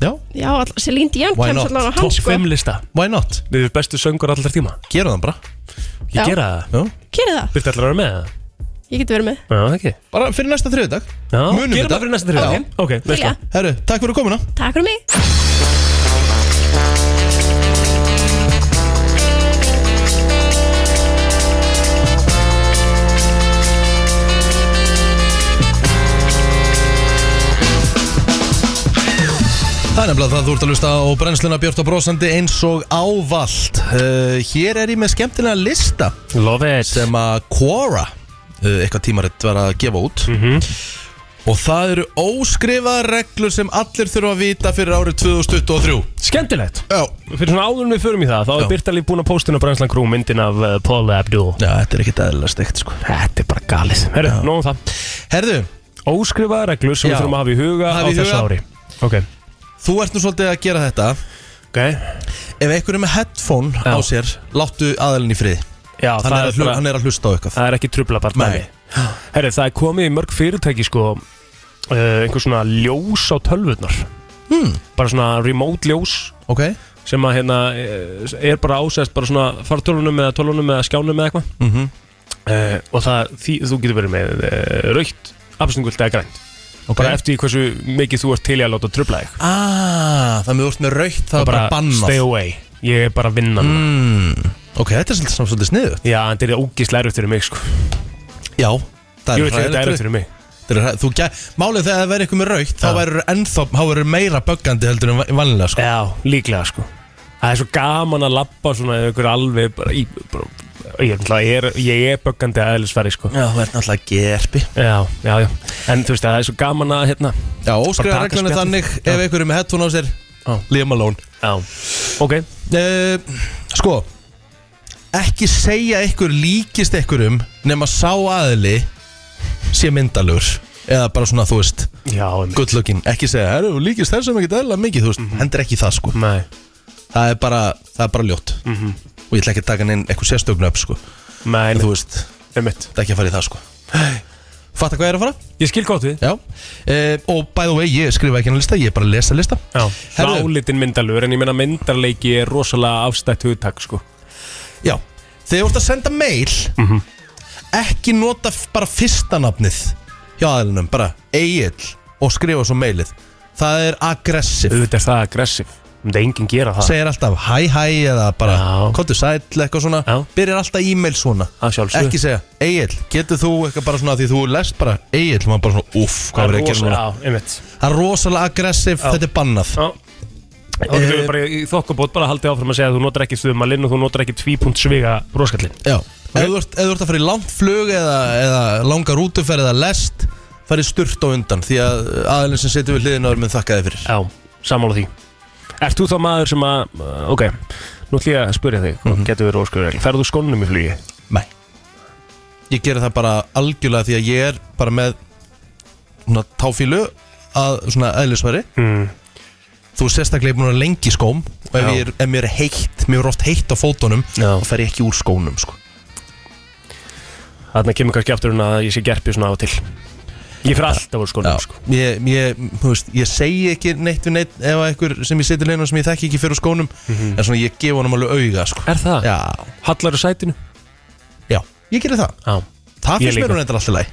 S2: Já,
S6: Já, all- Celine Dion
S2: Why
S6: kemst
S2: not?
S6: allavega á hann
S3: Top
S6: sko
S3: 5 lista
S2: why not?
S3: Við erum bestu söngur allar tíma
S2: Gera það bara
S3: Ég
S6: Já.
S3: gera það
S2: Já.
S6: Gerið það,
S3: Byrta allar að vera með það
S6: ég geti verið með
S3: Já, ekki
S2: Bara fyrir næsta þriðdag
S3: Já,
S2: Munum
S3: gerum
S2: þetta.
S3: það fyrir næsta þriðja
S2: Já.
S3: Ok,
S6: Vilja,
S3: veist
S2: Herru, takk fyrir komuna
S6: takk fyrir mig
S2: Það er nefnilega það þú ert að lusta á brennsluna Björn og Brósandi eins og ávallt uh, Hér er ég með skemmtilega lista
S3: það Love it
S2: sem að Quora uh, eitthvað tímaritt var að gefa út og það eru óskrifaða reglur sem allir þurfa að vita fyrir árið 2023
S3: Skemmtilegt
S2: Já,
S3: Fyrir svona áður en við förum í það, þá
S2: Já.
S3: er Byrta líf búin að postin á Brænslan Crew myndin af uh, Paul Abdul
S2: Já þetta er ekkit aðeinslega steikt sko
S3: Þetta er bara galið Herru, nóg um það
S2: Herðu,
S3: Óskrifaða reglur sem
S2: Já.
S3: við þurfum að hafa í huga
S2: Hafa
S3: á
S2: í
S3: þessu
S2: huga.
S3: ári Ok
S2: þú ert nú svolítið að gera þetta
S3: Ok
S2: Ef einhver er með headphone
S3: Já.
S2: á sér láttu aðeilin í frið
S3: Já,
S2: hann
S3: það
S2: er,
S3: er
S2: hlu,
S3: bara
S2: hann er að hlusta á eitthvað
S3: Það er ekki trublabart
S2: Nei.
S3: Herru, það er komið í mörg fyrirtæki sko uh, einhver svona ljós á tölvurnar hmm. Bara svona remote ljós
S2: Ok,
S3: sem að hérna eh, er bara ásæst bara svona fartölunum eða tölunum eða skjánum eða eitthvað mm
S2: Mhm.
S3: og það, því, þú getur verið með uh, raukt, abstingult eða grænt
S2: ok
S3: bara eftir því hversu mikið þú ert til í að láta tröfla þig
S2: ah, Það með úrt með raukt það er bara
S3: stay
S2: bannað
S3: away, ég er bara vinnan mm.
S2: mm. Ok, þetta er svolítið, svolítið sniðut
S3: já, en þetta er ógíslega erfitt fyrir mig sko.
S2: Já, það er
S3: ég veit að þetta er
S2: hræðilegt
S3: erfitt fyrir mig
S2: Þetta er- Þú, gæ- málið þegar það verður eitthvað með raukt þá
S3: Já.
S2: verður ennþá, þá verður meira böggandi heldur en va- vanlega sko.
S3: Já, líklega sko Það er svo gaman að labba svona eða ykkur alveg bara í bara, ég, ætla, ég, er, ég er böggandi aðeinsfæri sko
S2: Já, það er náttúrulega gerpi
S3: Já, já, já En þú veist að það er svo gaman að hérna
S2: Já, óskriða
S3: Bara taka
S2: reglunni
S3: spjaldið.
S2: þannig
S3: Já.
S2: ef einhverju með headphone á sér Liam Malone
S3: Já, ok
S2: uh, Sko Ekki segja einhver líkist einhverjum nema sá aðili sé myndalur eða bara svona, þú veist,
S3: Já, einmitt.
S2: good looking ekki segja, "Herru, þú líkist þessum ekki eðla mikið þú veist, hendur ekki það sko
S3: Mhm. Nei Mhm.
S2: það er bara, það er bara ljótt og ég ætla ekki að taka neinn eitthvað sérstögnu upp sko
S3: Nei,
S2: en
S3: nei,
S2: þú veist, það
S3: einmitt
S2: er ekki að fara í það sko Fatta hvað ég er að fara?
S3: Ég skil gott við
S2: Já uh, Og by the way, ég skrifa ekki hann lista, ég er bara að lesa lista
S3: Já,
S2: Herðu.
S3: Sálitin myndalur En ég meina myndarleiki er rosalega afstætt hugtak sko
S2: Já, þegar þú ert að senda mail
S3: Mhm.
S2: ekki nota f- bara fyrsta nafnið hjá aðlinum, bara Egil og skrifa svo mailið Það er aggressiv
S3: Auðvitað er það aggressiv Það er enginn gera það
S2: segir alltaf hæ hæ eða bara
S3: Já.
S2: kottu sæll eitthvað svona
S3: Já.
S2: byrjar alltaf e-mail svona
S3: Að sjálfsögðu.
S2: ekki segja Egil, getur þú eitthvað bara svona því þú lest bara Egil, maður bara svona uff, hvað verður
S3: er
S2: að gera
S3: rosalega
S2: núna
S3: Já, einmitt
S2: það er rosalega aggressiv, þetta er bannað
S3: Já Þá getur
S2: Eh,
S3: við bara í þokkabót bara haldið áfram að segja að þú notar ekki stuðmalinn og þú notar ekki tvípunt sviga broskallinn.
S2: Já, ef þú ert, ef þú ert að fara í langt flug eða, eða langa rútuferð eða lest farið sturt á undan því að aðeins sem setur við hliðin áður með þakka þið fyrir
S3: Já, sammála því Ert þú þá maður sem að, uh, ok, nú ætlum ég að spyrja þig, mm
S2: Mhm.
S3: -hmm. getur við róskur Ferðu þú skónum í flugi?
S2: Nei Ég gera það bara algjörlega því að ég er bara með svona táfílu að svona eðlisværi mm. Þú er sérstaklega búin að vera lengi í skóm og ef,
S3: Já.
S2: ég er, ef mér er heitt, mér er oft heitt á fótunum
S3: Já.
S2: þá fer ég ekki úr skónum sko.
S3: Þarna kemur kannski aftur en að ég sé gerpið svona á og til Ég fer alltaf úr skónum, sko
S2: ég, ég, þú veist, ég segi ekki neitt við neitt ef að einhver sem ég setur leina sem ég þekki ekki fyrir úr skónum en svona ég gef honum alveg auga sko.
S3: Er það?
S2: Já,
S3: Hallar sætinu?
S2: já, ég gerir það
S3: Já
S2: Það
S3: Ég
S2: finnst mér
S3: líka.
S2: hún eitthvað alltaf læg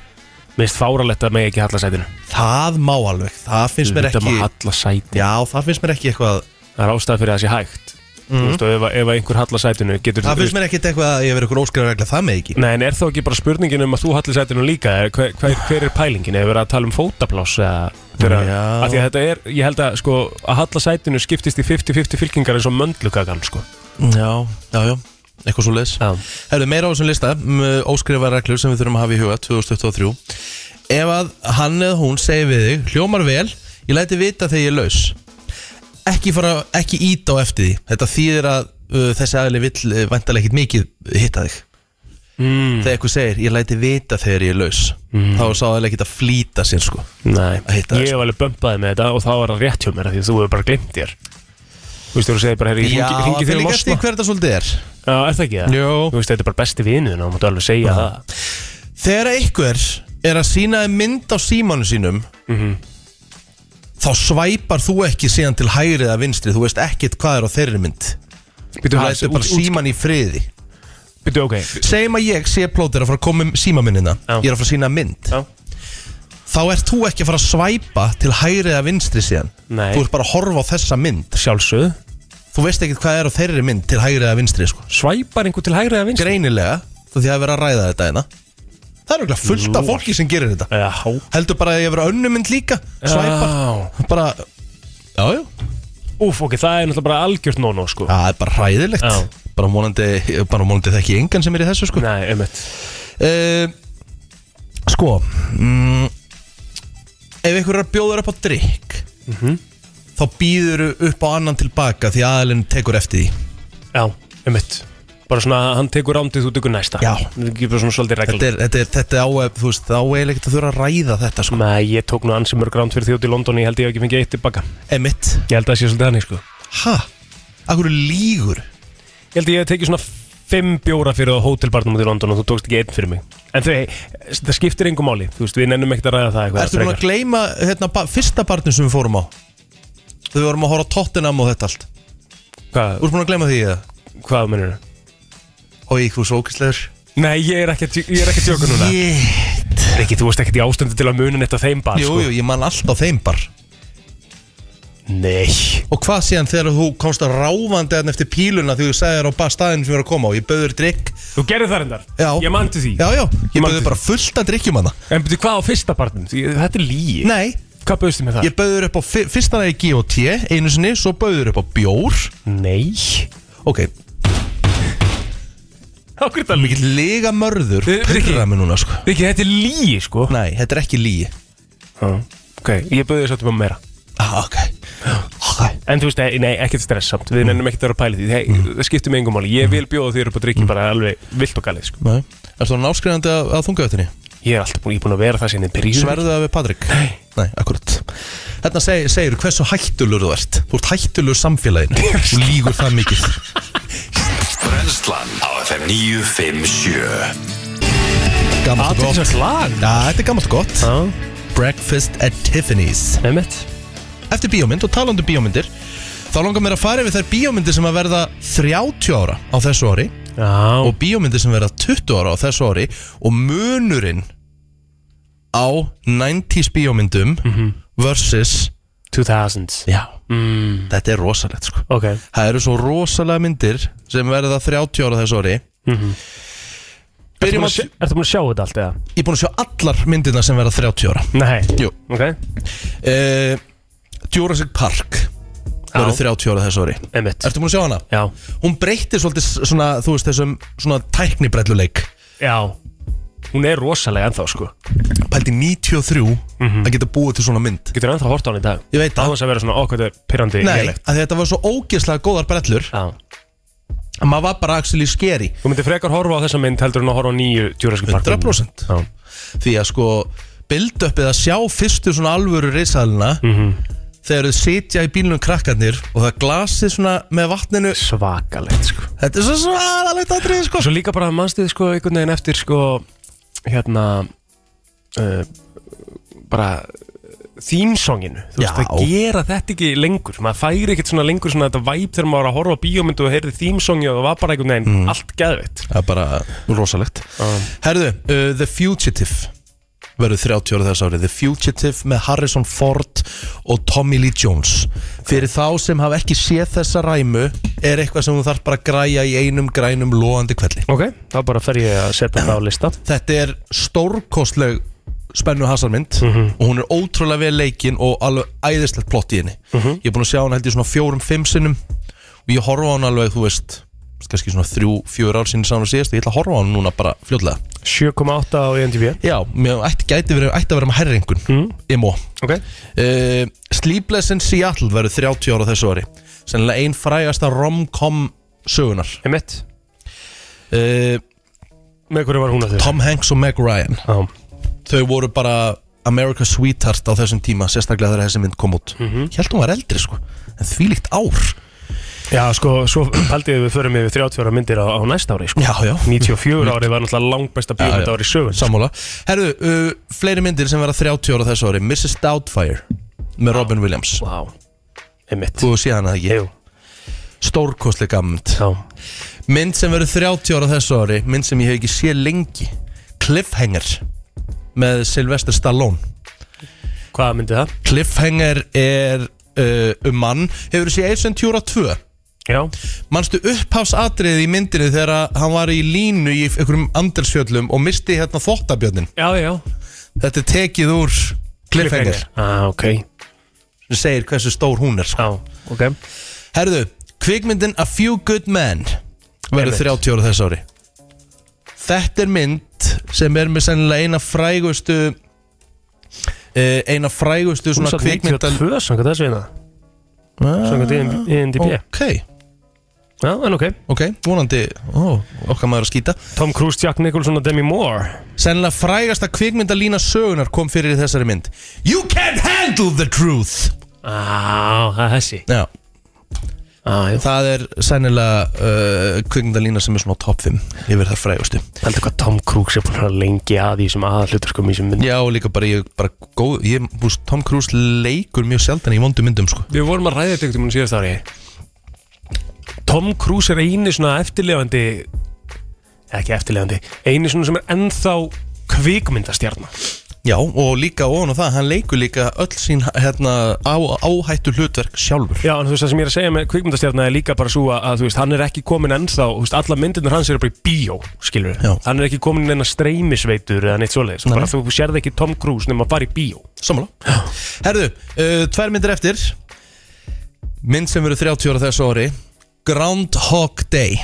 S3: Mér finnst fáralegt að megi ekki hallar sætinu
S2: Það má alveg, það finnst mér
S3: Þetta
S2: ekki
S3: maður hallar sætinu
S2: Já, það finnst mér ekki eitthvað
S3: Það er ástæð fyrir að það sé hægt Þú veist, og ef, að- ef að einhver hallar sætinu getur
S2: Mhm. Það finnst mér ekki eitthvað að ég verið eitthvað óskræður regla það með ekki
S3: Nei, en er þá ekki bara spurningin um að þú hallir sætinu líka eða hver, hver, hver er pælingin? Hefur verið að tala um fótapláss eða fyrir að,
S2: Já.
S3: að því að þetta er, ég held að sko, að halla sætinu skiptist í 50-50 fylkingar eins og möndlukakan, sko
S2: Já, já, já, eitthvað svo leis
S3: Já.
S2: Herðu, meira á þessum lista, óskræfa reglur sem við þurfum að hafa í huga 2023 Ef að hann eða hún segir við þig, hljómar vel, ég læti vita þegar ég er laus Ekki fara, ekki íta á eftir því Þetta þýðir að uh, þessi aðli vill uh, vantarlega ekkit mikið hitta þig
S3: mm.
S2: þegar eitthvað segir ég læti vita þegar ég er laus þá er sá það ekki að flýta sér sko
S3: Nei,
S2: Að hitta þig, sko.
S3: ég hef alveg bömpaði með þetta og þá var það rétt hjá mér af því að þú hefur bara glimt þér Þú veist, þú eru að segja bara, herri,
S2: Já,
S3: ég ringi
S2: það
S3: þér
S2: fyrir eftir
S3: losna
S2: hver þetta svolítið er
S3: sko." Já, er það ekki það?
S2: Jó.
S3: Þú veist, þetta er bara besti vinuðin og máttu alveg segja það
S2: Þegar einhver er að sína mynd á símanu sínum
S3: Mhm.
S2: þá svæpar þú ekki síðan til hægri eða vinstri þú veist ekkit hvað er á þeirri mynd
S3: Býtu,
S2: þú lætur bara síman í friði
S3: Býtu, ok
S2: segjum að ég sé plótir að fara að koma um símaminnina
S3: Já.
S2: ég er að fara að sína mynd
S3: Já.
S2: þá ert þú ekki að fara að svæpa til hægri eða vinstri síðan
S3: Nei.
S2: þú ert bara að horfa á þessa mynd
S3: Sjálfsögð,
S2: þú veist ekkit hvað er á þeirri mynd til hægri eða vinstri sko.
S3: svæpar einhver til hægri eða vinstri?
S2: greinilega þá því að vera að ræða þetta hérna það er auðvitað fullt af fólki sem gerir þetta
S3: Já,
S2: heldur bara að ég vera önnumynd líka svæpar,
S3: Já.
S2: bara já, já,
S3: Úf, ok, það er náttúrulega bara algjört nóno, sko
S2: það er bara hræðilegt
S3: Já.
S2: bara vonandi, bara vonandi þekki engan sem er í þessu sko
S3: Nei, einmitt
S2: uh, sko mm, ef einhver er að bjóða þér upp á drikk
S3: Mhm.
S2: þá býður upp á annan tilbaka því aðalinn tekur eftir því
S3: Já, einmitt Bara svona, hann tekur rándið, þú tekur næsta
S2: Já.
S3: Það er ekki bara svona svolítið
S2: þetta
S3: regla
S2: er, þetta er, þetta er á, þú veist, þá er ekkert að þurfa að ræða þetta sko,
S3: Nei, ég tók nú ansi mörg ránd fyrir því út í London Ég held ég hef ekki fengið eitt tilbaka
S2: emitt
S3: Ég held að það sé svolítið þannig, sko
S2: ha, akkur lígur
S3: Ég held að ég hef tekið svona fimm bjóra fyrir á hótelbarnum út í London Og þú tókst ekki einn fyrir mig En þau, það skiptir engum máli Þú veist, við nennum ekkert að ræða það eitthvað
S2: Ertu búin að
S3: frekar.
S2: gleyma hérna, ba fyrsta barnum sem við fórum á? Þegar við vorum að horfa á Tottenham og þetta allt Þú
S3: Hvað,
S2: ert búin að gleyma því eða?
S3: hvað mennur það?
S2: Og ég, þú svókislegur
S3: Nei, ég er ekki, að djú- ég er ekki að tjóka núna
S2: Jétt
S3: sko. Rikki, þú varst ekkert í ástandi til að munin eitt á þeim bar,
S2: Jú,
S3: sko
S2: jú, ég man alltaf þeim bar
S3: Nei
S2: Og hvað síðan þegar þú komst að ráfandi hann eftir píluna því þú sagði þér á bara staðinu sem ég er að koma á Ég bauður drikk
S3: Þú gerði það endar
S2: Já.
S3: Ég mann til því
S2: Já, já, ég
S3: Man-
S2: bauður bara fullt að drikkjum hana
S3: En betur hvað á fyrsta partin? Þetta er líi
S2: Nei,
S3: Hvað bauðstu með það?
S2: ég bauður upp á fi- fyrsta lagi G&T einu sinni, svo bauður upp á bjór
S3: Nei
S2: Ok,
S3: Okkur þetta líi
S2: mikill lega mörður
S3: Eh, Rikki.
S2: Pyrra mig núna, sko
S3: Viki, þetta er líi sko
S2: Nei, þetta er ekki líi
S3: Já. Ok, ég bauði þess að þú meira
S2: ah, Ok, ok
S3: En þú veist, eh, nei, ekkert stress samt
S2: Mm.
S3: Við nefnum ekkert að vera að pæla í því Hei, Það skiptir mig engum máli Ég vil bjóða þér upp á
S2: Mm.
S3: drikki bara alveg vilt og galið sko.
S2: Nei, er það náskrifandi að, að þunga öttinni?
S3: Ég er alltaf búin, ég er búin að vera það sinni byrjun
S2: Sverðu það við Patrik? Nei Nei, akkurat Þarna seg, segir hversu hættulur þú ert Þú ert hættulur samfélaginu Þú lígur það mikið
S1: Brennslan á FM 957
S2: Gammalt og gott
S3: Aðeins að lag
S2: Já, þetta er gammalt og gott
S3: Já,
S2: Breakfast at Tiffany's
S3: nefnett
S2: Eftir bíómynd og talandi um bíómyndir Þá langar mér að fara yfir þær bíómyndir sem að verða 30 ára á þessu ári
S3: Já,
S2: og bíómyndir sem verða 20 ára á þessu ári og munurinn á 90s bíómyndum
S3: Mhm.
S2: versus
S3: 2000
S2: já,
S3: mm,
S2: þetta er rosalegt sko
S3: Ok
S2: það eru svo rosalega myndir sem verða 30 ára á þessu ári byrjum að
S3: Mhm. Ertu búin að sjá þetta allt eða?
S2: ég er búin að sjá allar myndirna sem verða 30 ára
S3: Nei
S2: Jú.
S3: Ok,
S2: uh, Jurassic Park verður 30 ára á þessu ári
S3: nefnett
S2: Ertu búin að sjá hana?
S3: Já
S2: Hún breytir svolítið s- svona, þú veist, þessum svona tæknibrelluleik
S3: Já Hún er rosalega ennþá sko
S2: Pældi 93
S3: Mhm.
S2: að geta búið til svona mynd
S3: Getur ennþá hort á hann í dag
S2: Ég veit
S3: Á
S2: það
S3: þess að vera svona okkvæmt pyrrandi
S2: Nei, að þetta var svo ógeðslega góðar brellur
S3: Já
S2: að maður var bara actually scary
S3: Þú myndir frekar horfa á þessa mynd heldur en að horfa á nýju Jurassic Park
S2: 100%
S3: Já
S2: því að sko build-upið að sjá fyrstu svona alvöru reysalina þegar þau sitja í bílunum krakkarnir og það glasið svona með vatninu
S3: Svakalegt sko
S2: þetta er svo svalalegt aðrið sko
S3: Svo líka bara mannstuð sko einhvern veginn eftir sko hérna uh, bara þýmsonginu, þú veist
S2: Já.
S3: að gera þetta ekki lengur, maður færi ekkert svona lengur svona þetta væp þegar maður var að horfa á bíómyndu og heyrði þýmsongi og það var bara einhvern
S2: Mm.
S3: veginn allt geðveitt
S2: það er bara rosalegt
S3: um,
S2: Herðu, uh, The Fugitive verður 30 ára þess árið The Fugitive með Harrison Ford og Tommy Lee Jones fyrir þá sem hafa ekki séð þessa ræmu er eitthvað sem þú þarf bara að græja í einum grænum loðandi kvelli
S3: Ok, þá bara fer ég að setja það á lista
S2: þetta er stórkostleg spennu hasarmynd og hún er ótrúlega vel leikin og alveg æðislegt plott í henni ég er búin að sjá hana held ég svona fjórum, fimm sinnum og ég horfa á hana alveg, þú veist kannski svona þrjú, fjör ár sinni saman síðast og ég ætla að horfa á hana núna bara fljótlega
S3: 7,8 á IMDb
S2: já, mér ætti, gæti verið, ætti að vera með herringun emo
S3: Ok
S2: uh, Sleepless in Seattle verður 30 ára þessu ári sennilega ein frægasta rom-com sögunar
S3: Ég mitt,
S2: uh,
S3: með hverju var hún að þau?
S2: Tom Hanks og Meg Ryan
S3: Já,
S2: þau voru bara America's Sweetheart á þessum tíma sérstaklega þegar þessi mynd kom út mm -hmm. held hún var eldri sko en þvílíkt ár
S3: Já, sko, svo haldið við förum yfir 30 ára myndir á, á næsta ári sko.
S2: já, já,
S3: 94 ári var náttúrulega langbesta bíómynd
S2: Já, já.
S3: ári sögun
S2: sammála herru, uh, fleiri myndir sem verða 30 ára þessu ári Mrs. Doubtfire með Robin Williams
S3: Vá, einmitt
S2: þú hefur séð hana það ekki
S3: Jú,
S2: stórkostleg gammund
S3: já
S2: mynd sem verður 30 ára þessu ári mynd sem ég hef ekki séð lengi Cliffhanger með Sylvester Stallone
S3: Hvað myndi það?
S2: Cliffhanger er uh, um mann hefur þú séð Ace Ventura 2
S3: Já,
S2: Manstu upphafsatriði í myndinu þegar að hann var í línu í einhverjum andelsfjöllum og misti hérna þvottabjörnin
S3: já, já
S2: Þetta er tekið úr Cliffhanger
S3: ah, ok Já,
S2: sem segir hversu stór hún er sko.
S3: ok
S2: Herðu, kvikmyndin A Few Good Men verður
S3: Einmitt.
S2: 30 ára þess ári Þetta er mynd sem er með sennilega eina frægustu eh, eina frægustu
S3: Hún
S2: svona
S3: satt
S2: kvikmynda
S3: 92, svona þessu hérna Svona hvað INDB
S2: Ah, Ok,
S3: Já, en ok
S2: ok, vonandi ó, okkar maður að skýta
S3: Tom Cruise, Jack Nicholson og Demi Moore
S2: Sennilega frægasta kvikmyndalína sögunar kom fyrir í þessari mynd You can't handle the truth
S3: Á, það er þessi
S2: Já,
S3: Á, Ah, já
S2: það er sennilega uh, kvikmyndalína sem er svona top 5 yfir þar frægustu
S3: Heldur hvað Tom Cruise er búin að vera lengi að í þessum aðalluturkum í þessum mynd
S2: Já, og líka bara ég bara góð ég, búst, Tom Cruise leikur mjög sjaldan í vondum myndum sko.
S3: Við vorum að ræða þetta einhvern veginn síðast ári Tom Cruise er eini svona eftirlefandi ekki eftirlefandi eini svona sem er ennþá kvikmyndastjarnar
S2: Já, og líka ofan á það, hann leikur líka öll sín hérna, á, áhættu hlutverk sjálfur
S3: Já, en þú veist, það sem ég er að segja með kvikmyndastjarnar er líka bara svo að, að, þú veist, hann er ekki komin ennþá, þú veist, alla myndirnar hans eru bara í bíó, skilur
S2: Já.
S3: Hann er ekki komin inn að streymisveitur eða neitt svoleiðis,
S2: Nei,
S3: bara
S2: nei.
S3: þú sérð ekki Tom Cruise nema bara í bíó.
S2: Sammála Herðu, uh, tvær myndir eftir Mynd sem verður 30 ára þessu ári Groundhog Day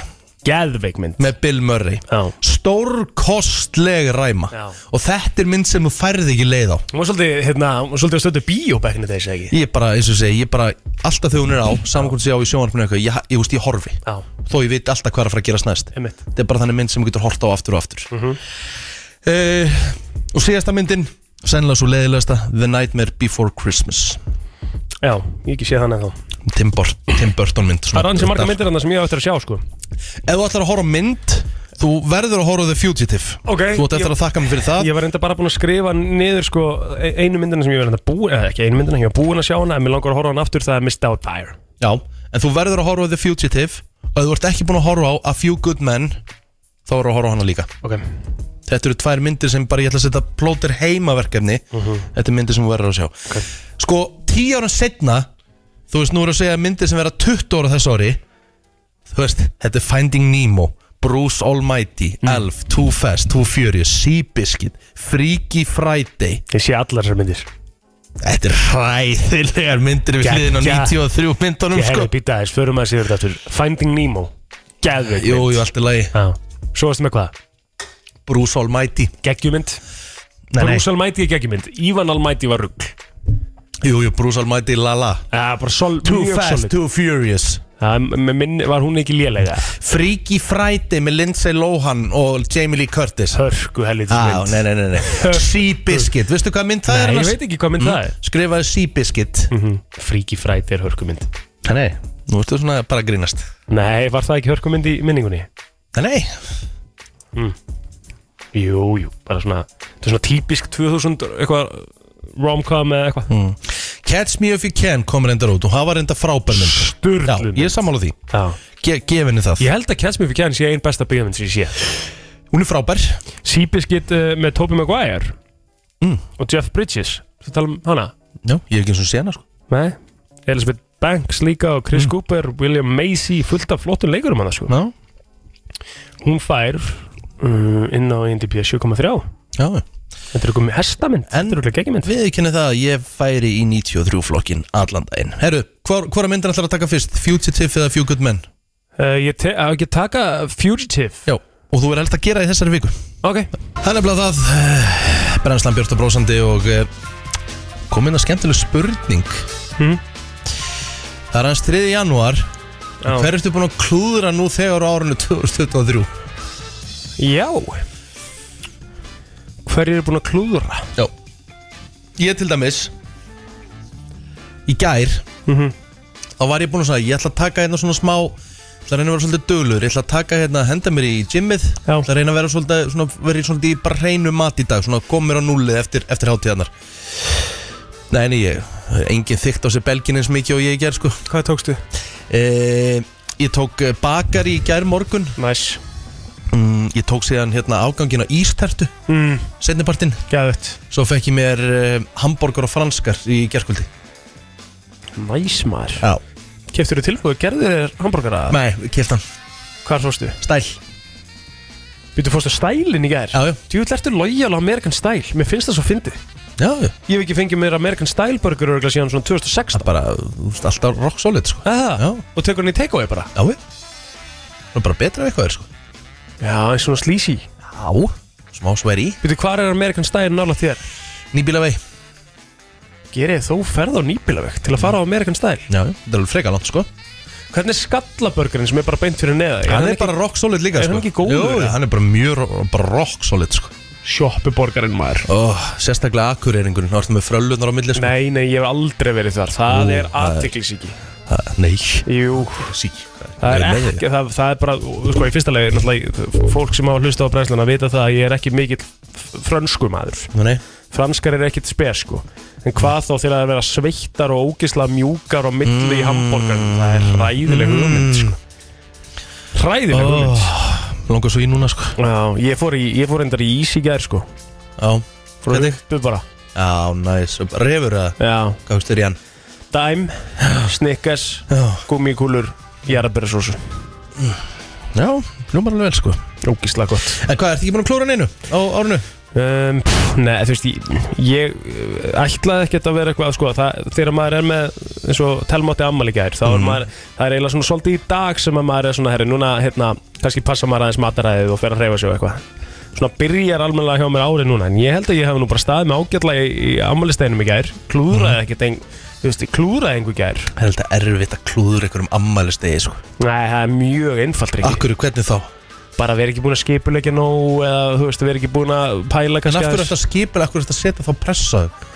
S3: Geðveikmynd.
S2: með Bill Murray
S3: Já.
S2: Stórkostleg ræma
S3: Já.
S2: Og þetta er mynd sem þú færði ekki leið á
S3: Hún var svolítið, hérna, hún var svolítið að stöndu bíó back in the days, eða ekki?
S2: Ég er bara, eins og ég segi, ég er bara Alltaf þegar hún er á, saman hvort sé á í sjónvarpinu eða eitthvað Ég, ég, veist, ég horfi
S3: Já.
S2: Þó ég veit alltaf hvað er að fara að gerast næst
S3: Einmitt. Mhm.
S2: Þetta er bara þannig mynd sem þú getur hort á aftur og aftur mm Og síðasta myndin Sennilega svo leiðilegasta The Nightmare Before Christmas
S3: Já, ég hef ekki séð þannig þá.
S2: Tim, Bur Tim Burton mynd
S3: Það er ansið marga myndir hann sem ég á eftir að sjá, sko.
S2: Ef þú ætlar að horfa á mynd Þú verður að horfa á The Fugitive
S3: Ok,
S2: Þú ætti eftir
S3: ég-
S2: að þakka mig fyrir það
S3: Ég var enda bara búin að skrifa niður, sko, e- einu myndina sem ég var enda búin, eða ekki einu myndina, ég var búin að sjá hana, en mér langar að horfa á hana aftur, það er Miss Doubtfire.
S2: Já, en þú verður að horfa á The Fugitive Og ef þú ert ekki búin að horfa á A Few Good Men Þá verður að horfa á hana líka
S3: Ok.
S2: Þetta eru tvær myndir sem bara ég ætla að setja plóter heimaverkefni Þetta er myndir sem þú verður að sjá Sko, tíu ára setna Þú veist, nú er að segja myndir sem verða 20 ára þess ári Þú veist, þetta er Finding Nemo Bruce Almighty, Elf, Too Fast, Too Furious Seabiscuit, Freaky Friday
S3: Ég sé allar þessar myndir.
S2: Þetta er hræðilegar myndir við
S3: Gegja.
S2: hliðin á 93 myndunum
S3: Ég
S2: sko.
S3: hefði býtað þess, förum að sér þetta aftur Finding Nemo, geðveik
S2: Jú,
S3: mynd
S2: jú, allt í lagi
S3: Já. Svo varstu með hvað?
S2: Bruce Almighty
S3: Geggjumynd
S2: Nei, nei.
S3: Bruce Almighty er geggjumynd Ivan Almighty var rugg
S2: Jú, jú, Bruce Almighty, la la
S3: Bara sol,
S2: Too
S3: mjög
S2: Fast,
S3: solid.
S2: Too Furious
S3: Já, með minn var hún ekki lélega
S2: Freaky Friday með Lindsay Lohan og Jamie Lee Curtis
S3: Hörku helið
S2: Á, nei, nei, nei, nei Seabiscuit, veistu hvað mynd það er? Mm.
S3: Nei, ég
S2: annars?
S3: veit ekki hvað mynd það er Mhm.
S2: Skrifaðu Seabiscuit
S3: Freaky Friday er hörkumynd
S2: Nei, nú ertu svona bara að grínast
S3: Nei, var það ekki hörkumynd í minningunni?
S2: Nei,
S3: Jú, jú, bara svona Þetta er svona típisk 2000 eitthvað rom-com eða eitthvað mm.
S2: Catch Me If You Can kom reyndar út og það var reyndar frábær mynd Já,
S3: Sturlun
S2: ég er sammála því
S3: Já.
S2: Ge Gefinni það
S3: Ég held að Catch Me If You Can sé einn besta byggðmynd sem ég sé
S2: Hún er frábær
S3: Seabiscuit uh, með Tobey Maguire
S2: Mm.
S3: og Jeff Bridges þú tala um hana
S2: Já, ég er ekki eins og sena sko
S3: Nei. Elizabeth Banks líka og
S2: Mm.
S3: Chris Cooper William Macy fullt af flottum leikurum hana sko.
S2: Já,
S3: hún fær uh, inn á IMDb 7.3
S2: já
S3: þetta er eitthvað með
S2: En-
S3: hestamynd þetta er eitthvað geggimynd
S2: Við kynni það að ég færi í 93 flokkin allan daginn Herru, hvora hvor myndir ætlar að taka fyrst? Fugitive eða Few Good Men?
S3: uh, ég te- á ekki að taka Fugitive
S2: Já Og þú er held að gera í þessari viku
S3: ok
S2: Það er nefnilega það eh, Brennslan Björn og Brósandi og eh, kom inn að skemmtileg spurning
S3: Mm.
S2: Það er hans 3. janúar
S3: Já.
S2: Hver ertu búin að klúðra nú þegar á árinu 2023?
S3: já hverjir er búin að klúðra
S2: Já Ég til dæmis Í gær Mhm. Þá var ég búin að segja, ég ætla að taka hérna svona smá Það er að reyna að vera svolítið dölur Ég ætla að taka hérna, henda mér í gymmið
S3: Já.
S2: Það er að reyna að vera svolítið, svona, vera í svolítið í bara hreinu mat í dag Svona kom mér á núlið eftir, eftir hátíðarnar Nei, nei, ég Engin þykkt á sér belgin eins mikið og ég ger sko
S3: hvað tókstu?
S2: e, Ég tók eh, bakari í gær morgun
S3: næs
S2: mm, Ég tók síðan hérna afgangin á ístertu
S3: mm,
S2: Seinnipartinn
S3: gæðut
S2: Svo fekk ég mér uh, hambúrgar og franskar í gerkvöldi
S3: næs maður
S2: Já
S3: keftur þú tilbúið gerðir þér hambúrgara
S2: Nei, keft hann
S3: hvað fórstu?
S2: Stæl
S3: Býttu fórstu stælinn í gær?
S2: Já, já
S3: Djúvill ertu lojal á American Style Mér finnst það svo fyndið
S2: Já, já
S3: Ég hef ekki fengið mér American Style burger örgulega síðan svona
S2: Það
S3: 2016
S2: er bara, þú veist, alltaf rock solid sko
S3: Aha.
S2: Já,
S3: Og tekur hann í takeaway bara
S2: já, já Það er bara betra ef eitthvað er sko
S3: Já, eins og svona sleazy
S2: Já Smá sver í
S3: Býttu hvar er American Style nála þér?
S2: Nýbílavei
S3: Gerið þó ferð á nýbílaveg til að fara á American Style
S2: Já, já Það er alveg freka langt sko
S3: Hvernig er skallaburgerinn sem er bara beint fyrir neða?
S2: Hann er bara rock solid líka
S3: er
S2: sko
S3: hann ekki góður,
S2: Jú,
S3: eða?
S2: hann er bara mjög ro- bara rock solid sko
S3: Shoppuborgarinn maður
S2: Ó, Oh, sérstaklega akureyringurinn Þá ertu með fröllunar á milli sko
S3: Nei, nei, ég hef aldrei verið þar
S2: Ú,
S3: Það er
S2: það er-
S3: aðtiklisíki
S2: Ah, Nei
S3: Jú,
S2: Sík
S3: það er ekki, það, það er bara, sko, í fyrsta legi, náttúrulega, fólk sem á að hlusta á brennsluna vita það að ég er ekki mikill frönskumadur.
S2: Nei
S3: franskar er ekkit spes sko en hvað þá þegar það er að vera sveittar og ógisla mjúkar og milli í hambúrgar það er ræðileg hugmynd sko ræðileg hugmynd
S2: Langar svo í núna sko
S3: Já, ég fór, í, ég fór endar í ís í gær sko
S2: Já
S3: Frá
S2: Hvernig?
S3: huppu bara
S2: Já, næs, refur það
S3: Já
S2: Gafst þér í hann
S3: Dæm, Snickers,
S2: Já.
S3: gummikúlur, jarðabærasósu
S2: Já, hljómar alveg vel sko
S3: Ógislega gott
S2: En hvað, ertu ekki búin að klóra hann einu á árinu?
S3: um, pff, Nei, þú veist, ég, ég uh, ætlaði ekkert að vera eitthvað sko, það, Þegar maður er með, eins og telmátti ammali gær þá
S2: Mhm.
S3: er maður, Það er eiginlega svona svolítið í dag sem að maður er svona herri Núna, hérna, kannski passa maður aðeins mataræðið og fer að hreyfa sig og eitthvað Svona byrjar almennilega hjá mér árið núna En ég held að ég hef nú bara staðið með ágætlega í, í ammælisteinum í gær
S2: Mhm.
S3: Klúðraði ekkert ein, þú veist, klúðraði einhver í gær
S2: Það er þetta erfitt að klúður einhverjum ammælistegi sko
S3: Nei, það er mjög einfalt Riki.
S2: Akkur, hvernig þá?
S3: bara verið ekki búin að skipulegja nóg eða þú veist, verið ekki búin að pæla
S2: En
S3: kannski
S2: af hverju
S3: aðeins.
S2: ertu að skipa, af hverju ertu að setja þá pressa á þau?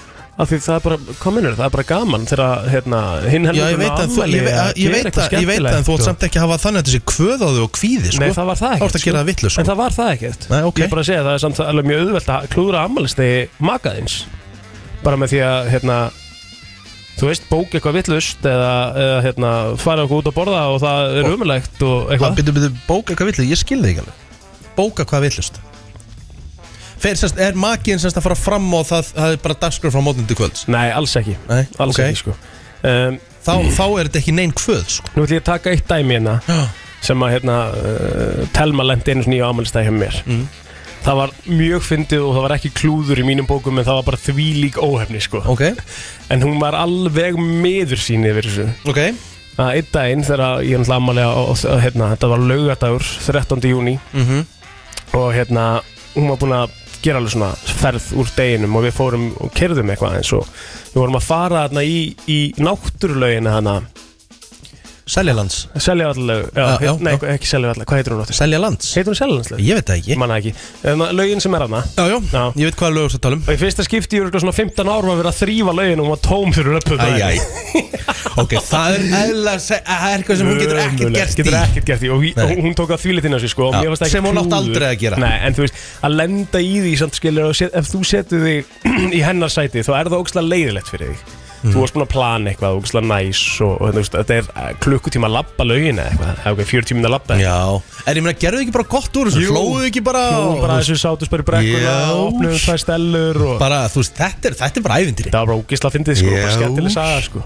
S3: af því það er bara, kominur, það er bara gaman þegar hérna, hinn
S2: Já, ég
S3: helmingurinn
S2: veit
S3: á
S2: að þú,
S3: afmæli
S2: ég veit
S3: að
S2: að, ég
S3: gera
S2: veit
S3: eitthvað
S2: að, ég veit að en þú átt
S3: skemmtilegt, sko.
S2: samt ekki að hafa þannig að þessi kvöð á þau og kvíði, sko
S3: Nei, það var það
S2: Þá
S3: ekki
S2: ert að gera það vitlu,
S3: en
S2: sko
S3: það var það ekki
S2: Nei, ok.
S3: ég er bara að segja, það er samt alveg mjög auðvelt að klúðra ammælistegi makaðins bara með því að hérna, þú veist, bók eitthvað vittlust eða, eða hérna, fara okkur út að borða og það er umulegt og
S2: Hvað,
S3: eitthvað
S2: byrju, byrju, bóka hvað villu, ég skilði ekki alveg Bóka hvað villust Fer, sérst, er makiðin sérst að fara fram og það, það er bara dagskrif frá mótnum til kvölds
S3: nei, alls ekki,
S2: Nei,
S3: alls
S2: ok.
S3: ekki sko. um,
S2: Þá, þá er þetta ekki neinn kvöð, sko
S3: nú ætlum ég að taka eitt dæmi hérna sem að hérna, uh, Telma lendi einu nýju ámælstæði hjá mér
S2: Mm.
S3: það var mjög fyndið og það var ekki klúður í mínum bókum en það var bara því lík óhefni sko.
S2: Ok,
S3: en hún var alveg meður sín yfir þessu
S2: ok
S3: að einn daginn þegar ég er náttúrulega amalega og, og, hérna, þetta var laugadagur 13. júni
S2: Mhm.
S3: og hérna hún var búin að gera alveg svona ferð úr deginum og við fórum og kerðum eitthvað eins og við vorum að fara þarna í, í náttúrulaugina hana
S2: Seljalands
S3: Seljavallalög, já,
S2: Já,
S3: já,
S2: já,
S3: nei,
S2: já.
S3: ekki Seljavallalög, hvað heitir hún áttur?
S2: Seljalands?
S3: Heitir hún Seljalandslög?
S2: Ég veit það ekki
S3: Ég manna ekki, en lögin sem er hana
S2: Já, já,
S3: Já.
S2: ég veit hvaða lögur það tala um
S3: Og í fyrsta skipti ég er svona 15 árum að vera að þrýfa lögin og hún var tóm fyrir röppu
S2: Æj, æj Ok, það er eðla Það er eitthvað sem hún getur ekkert gert
S3: Getur
S2: í
S3: ekkert gert í og,
S2: Nei.
S3: og hún tók að þvílitinn á sig sko og
S2: Já,
S3: mér fannst það ekki
S2: sem hún átti
S3: klúður.
S2: aldrei að gera.
S3: Nei, en þú veist, að lenda í því samt skilur og set, ef þú setur þig í hennar sæti þá er það ógslag leiðilegt fyrir þig
S2: Mm.
S3: Þú varst búin að plana eitthvað, ógslag næs og, og þú veist, þetta er eh, klukkutíma að labba lögin eða eitthvað, eða eitthvað 40 minna að labba
S2: Já, en ég meina, gerðu ekki bara gott úr þessu
S3: Jú.
S2: Flóðu ekki bara
S3: Nú bara þessu sátus bara í brekkuna
S2: Já.
S3: og opnuðum tvær stellur og
S2: Bara, þú veist, þetta er, þetta er bara ævindri
S3: það var bara ógisla að fyndið sko,
S2: Já.
S3: bara skemmtileg saga sko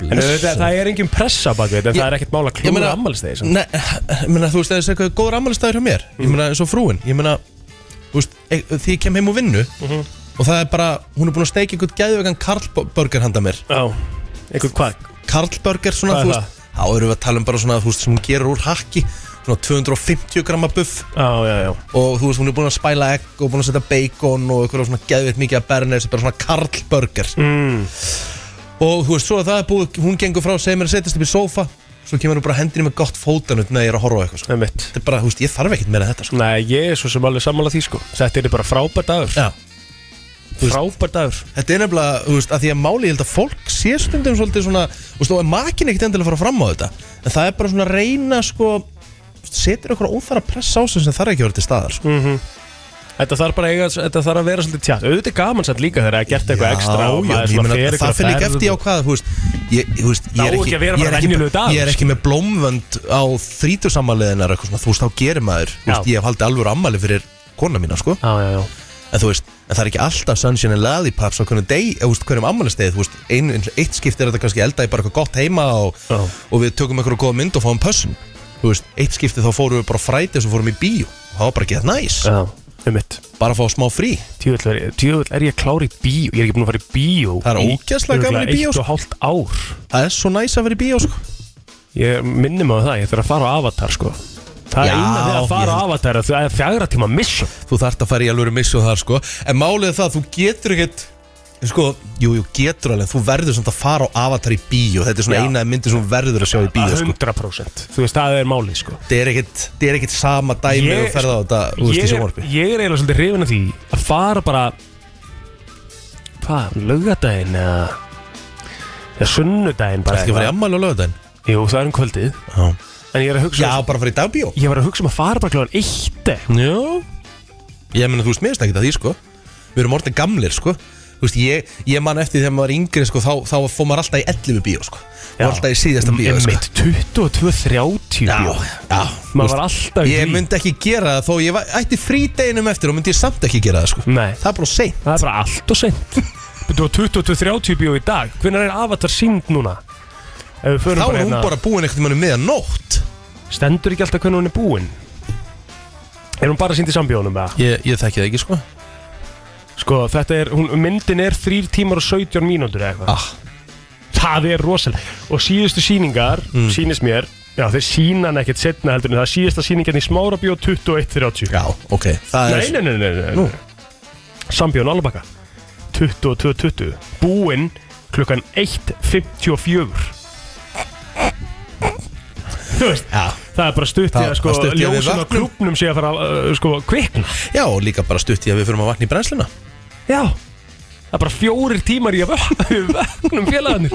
S3: En auðvitað, það er engin pressa bak við þetta, en það er ekkert mála
S2: Ég
S3: klúra
S2: meina,
S3: ammælstegi
S2: Nei, ég meina, þú veist, það er eitthvað góður ammælistæður hjá mér
S3: Mm.
S2: Ég meina, eins og frúin Ég meina, þú veist, e- því ég kem heim og vinnu
S3: Mhm.
S2: Og það er bara, hún er búin að steikja einhvern gæðvegan karlbörger handa mér
S3: Já, einhvern hvað,
S2: Karlbörger, svona,
S3: Hvað er
S2: þú veist Þá erum við að tala um bara svona, þú veist, sem hún gerur úr hakki Svona 250 gramma buff
S3: Já, já, já
S2: Og þú veist, hún er búin að spæla egg Og búin að setja bacon og eitthvað svona gæðveit mikið að berna Þessi bara svona karlbörger
S3: mm.
S2: Og þú veist, svo að það er búið, hún gengur frá Segir mér að setjast upp í sófa Svo kemur hún bara hendur í mig gott fótanut Nei, ég er að horfa á eitthvað, sko.
S3: Einmitt.
S2: Þetta er bara, þú veist, ég þarf ekkert meira en þetta, sko.
S3: Nei, ég er svo sem alveg sammála því sko Þetta er bara frábær dagur
S2: Já.
S3: Frábær dagur
S2: Þetta er nefnilega, þú veist, að því að máli ég held að fólk sé stundum svolítið svona, þú veist, og makin ekkert endilega að fara fram á þetta, en það er bara svona að reyna, sko, þú veist, setur okkur óþara press á sig sem þarf ekki að vera til staðar,
S3: Mm.
S2: sko.
S3: Þetta þarf bara að eiga, þetta þarf að vera svolítið tjátt Auðvitað er gaman samt líka þegar það er gert eitthvað
S2: Já,
S3: ekstra og
S2: já,
S3: maður er
S2: ég
S3: svona
S2: meina,
S3: fer
S2: það
S3: eitthvað
S2: finn ekki
S3: ferð
S2: eftir ég á
S3: og-
S2: hvað, þú veist, ég, þú veist, ég er
S3: Það á
S2: ekki,
S3: ekki að vera
S2: ég er
S3: bara
S2: ekki,
S3: venjulegur dagur, sko.
S2: ég er ekki með blómvönd á þrítusammaliðinar eitthvað svona, þú veist, þá gerir maður, þú veist,
S3: Já.
S2: ég hef haldið alvöru ammali fyrir kona mína, sko,
S3: Já, já, já
S2: en þú veist, en það er ekki alltaf sunshine and lollipops á hvernig deg, eða, þú veist, hverjum ammælistegi, þú veist, ein, eitt skipt er þetta kannski elda í bara eitthvað gott heima og,
S3: Já.
S2: og við tökum eitthvað góða mynd og fáum pössun, þú veist, eitt skipti þá fórum við bara frætið og svo fórum við í bíó og það var bara ekki það næs,
S3: Já, um mitt
S2: bara að fá smá frí
S3: Tjóðvill er, tjóðvill er ég klár í bíó Ég er ekki búin að fara í bíó
S2: Það er
S3: í
S2: ógeðslega gaman í
S3: örugglega
S2: bíó, sko.
S3: Eitt og hálft ár
S2: það er svo næs að vera í bíó, sko
S3: Ég minni mig á það, ég þarf að fara á Avatar sko Það
S2: Já,
S3: er eina þegar að fara
S2: ég-
S3: á Avatar Það er fjagra tíma mission
S2: þú þarft að fara í alveg missu þar, sko en málið er það, að þú getur ekkert sko, jú, jú, getur alveg, þú verður samt að fara á avatar í bíó, þetta er svona
S3: Já.
S2: eina myndi sem þú verður að sjá í bíó, sko
S3: 100% Þú veist, það er málið sko
S2: þetta er ekkert, þetta er ekkert sama dæmi
S3: Ég-
S2: og ferða á þetta, þú veist, í
S3: ég,
S2: sjónvarpi
S3: er- ég er eiginlega svolítið hrifin af því að fara bara hvað, lögadaginn eða eða sunnudaginn bara
S2: Það er ekki að fara í ammæli á lögadaginn
S3: í Jú, það er um kvöldið
S2: Já,
S3: en ég er að hugsa
S2: já bara að fara í dagbíó
S3: ég var að hugsa um að fara bara kláðan eitt
S2: Já Ég meina þú veist, mér veist ekki það því sko Við erum orðið gamlir sko þú veist, ég, ég man eftir þegar maður var yngri sko, þá, þá fór maður alltaf í 11 bíó sko. og alltaf í síðasta bíó sko.
S3: Einmitt, 22-30
S2: já,
S3: bíó
S2: já
S3: Maður var alltaf í
S2: ég
S3: því.
S2: myndi ekki gera það þó ég var- ætti frídeginum eftir og myndi ég samt ekki gera það sko.
S3: Nei.
S2: það er bara sein
S3: Það er bara allt og seint Þú var 22-30 bíó í dag Hvernig er Avatar sínd núna? Ef við förum
S2: þá er hún
S3: hérna-
S2: bara búin einhvern um veginn meðan nótt
S3: Stendur ekki alltaf hvernig hún er búin Er hún bara sínd í sambíónum eða?
S2: ég, ég þekki það ekki sko
S3: Sko þetta er, hún, myndin er 3 tímar og 17 mínútur eða eitthvað
S2: ah,
S3: Það er rosalega Og síðustu síningar,
S2: Mm.
S3: sýnist mér Já þeir sína hann ekkert setna heldur en Það er síðasta sýningan í smára bíó 21-30
S2: já, ok það
S3: Nei, nei, nei, nei, nei, nei. Sambjón Alabaka 22.20 Búinn klukkan 1.54 Þú veist,
S2: Já.
S3: það er bara stutt í
S2: Það-
S3: að sko
S2: það stutt í að við
S3: ljósin á
S2: vaknum.
S3: klubnum sé að fara að uh, sko kvikna
S2: já, og líka bara stutt í að við fyrir að vakna í brennsluna
S3: Já Það er bara fjórir tímar í að vakna við vaknum félagarnir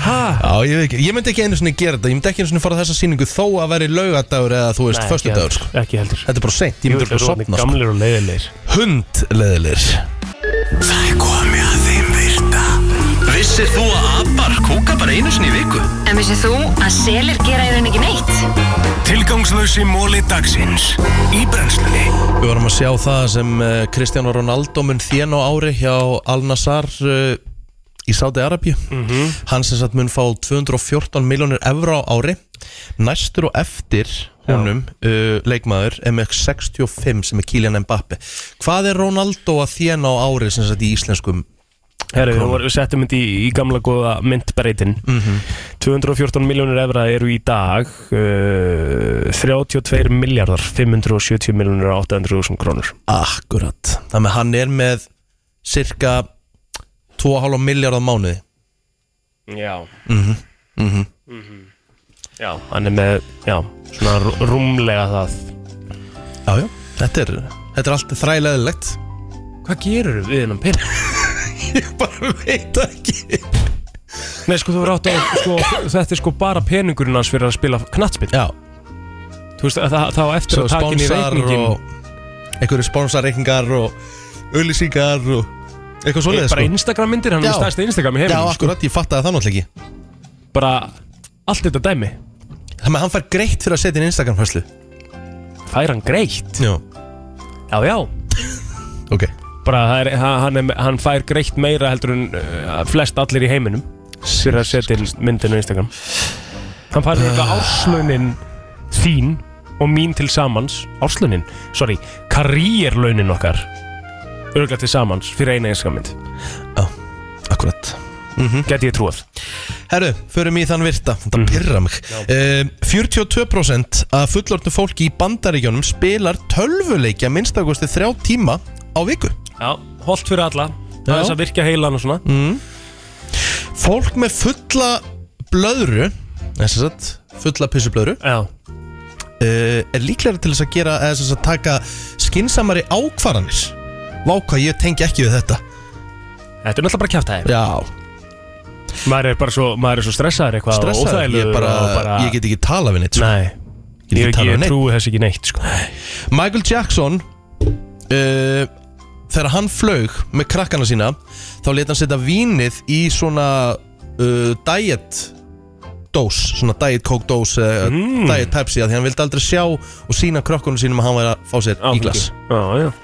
S3: Ha,
S2: Já, ég veit ekki, ég myndi ekki einu svona gera þetta Ég myndi ekki einu svona fara á þessa síningu þó að veri laugadagur eða þú veist,
S3: Nei, ekki
S2: föstudagur sko.
S3: heldur, Ekki heldur
S2: Þetta er bara seint, ég myndi
S3: Jú,
S2: bara
S3: þeir eru orðnir
S2: sopna sko.
S3: Gamlir og leiðilegir
S2: Hundleðilir
S1: Það er komið að þeim virta Vissir þú að abar kúka bara einu sinni í viku?
S5: En vissið þú að selir gera í rauninni ekki neitt?
S1: Tilgangslösi móli dagsins Í brennslunni
S2: Við varum að sjá það sem uh, Kristján Ronaldo mun þén á ári hjá Al-Nassar uh, í Saudi Arabíu
S3: Mhm.
S2: Hann sem sagt mun fá 214 miljónir evra á ári Næstur og eftir honum, uh, leikmaður, MX65 sem er Kylian Mbappe Hvað er Ronaldo að þén á ári sem sagt í íslenskum
S3: Herru, við vorum- við settum þetta í, í gamla góða myndbreytin 214 miljónir evra eru í dag uh, 32 miljardar 570 miljónir og 800.000 krónur
S2: Akkurat Þannig að hann er með cirka 2,5 miljard á mánuði
S3: Já mm -hmm. Já, hann er með já, svona rú- rúmlega það
S2: Já, já Þetta er, þetta er allt þræleðilegt
S3: Hvað gerur við þennan penning?
S2: Ég bara veit ekki
S3: Nei, sko, þú verður átt á sko, þetta er sko bara peningurinn hans fyrir að spila knattspill
S2: Já,
S3: Þú veist, það, það á eftir
S2: svo
S3: að taka inn í
S2: sponsar
S3: reikningin
S2: og einhverju sponsorreikningar og öllísingar og eitthvað svoleiðið
S3: Bara Instagram myndir, hann er
S2: Já.
S3: stærsti Instagram í
S2: Já,
S3: heiminum sko.
S2: akkurat, ég fattaði það náttúrulega ekki
S3: Bara allt þetta dæmi
S2: Þannig að hann fær greitt fyrir að setja inn Instagram-fæslu
S3: Fær hann greitt?
S2: Já,
S3: Já, já
S2: ok
S3: Bara það er, ha- hann, er, hann fær greitt meira heldur en uh, flest allir í heiminum fyrir að setja inn myndinu á Instagram Hann fær líka árslaunin þín og mín til samans Árslaunin, sorry, karrierlaunin okkar örgulega til samans fyrir eina Instagrammynd
S2: Akkurat
S3: Gæti ég trúað
S2: Herru, förum í þann virta, þetta
S3: Mhm.
S2: pyrra mig uh, 42% af fullortnu fólki í bandaríkjónum spilar tölvuleikja minnstakosti þrjá tíma á viku
S3: Já, holdt fyrir alla Það
S2: Já.
S3: er þess að virka heilan og svona
S2: Fólk með fulla blöðru þess að sagt, fulla pissublöðru
S3: Já,
S2: uh, er líklega til þess að gera eða þess að taka skinsamari ákvarðanir Vá hvað ég tengi ekki við þetta
S3: þetta er náttúrulega bara kjáftæði
S2: Já,
S3: Maður er bara svo, maður er svo stressaður eitthvað og
S2: stressaður, ég,
S3: óþægilegur
S2: bara,
S3: og bara
S2: ég get ekki tala við neitt sko.
S3: Nei,
S2: Ég
S3: ég,
S2: get ekki
S3: ég,
S2: talað við neitt
S3: trúi þess ekki neitt sko.
S2: Michael Jackson uh, þegar hann flög með krakkana sína þá let hann setja vínið í svona uh, diet dós, svona diet coke dós uh, diet pepsi, að því hann vildi aldrei sjá og sína krökkunum sínum að hann væri að fá sér í glas
S3: Já, já.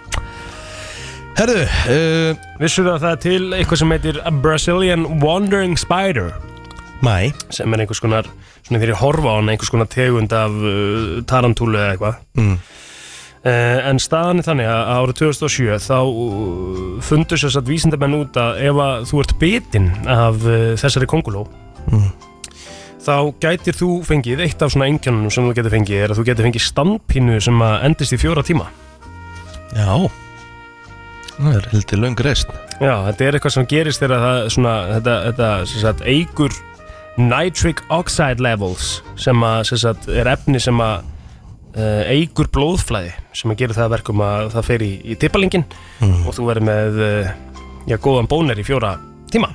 S2: Herðu, uh,
S3: Vissur það að það er til eitthvað sem heitir a Brazilian Wandering Spider
S2: mæ
S3: sem er einhvers konar, svona þegar ég horfa á hann einhvers konar tegund af uh, tarantúlu eða eitthvað
S2: Mm.
S3: Eh, en staðan er þannig að árið 2007 þá uh, fundur sér satt vísindamenn út að ef að þú ert bitinn af uh, þessari konguló Mm. þá gætir þú fengið eitt af svona engjónunum sem þú getur fengið er að þú getur fengið standpínu sem að endist í fjóra tíma
S2: Já Það er heldur löng reist
S3: Já, þetta er eitthvað sem gerist þegar það svona, þetta, þetta sem sagt, eigur nitric oxide levels sem að, sem sagt, er efni sem að uh, eigur blóðflæði sem að gera það að verkum að það fer í, í tippalingin og þú verður með uh, já, góðan bónir í fjóra tíma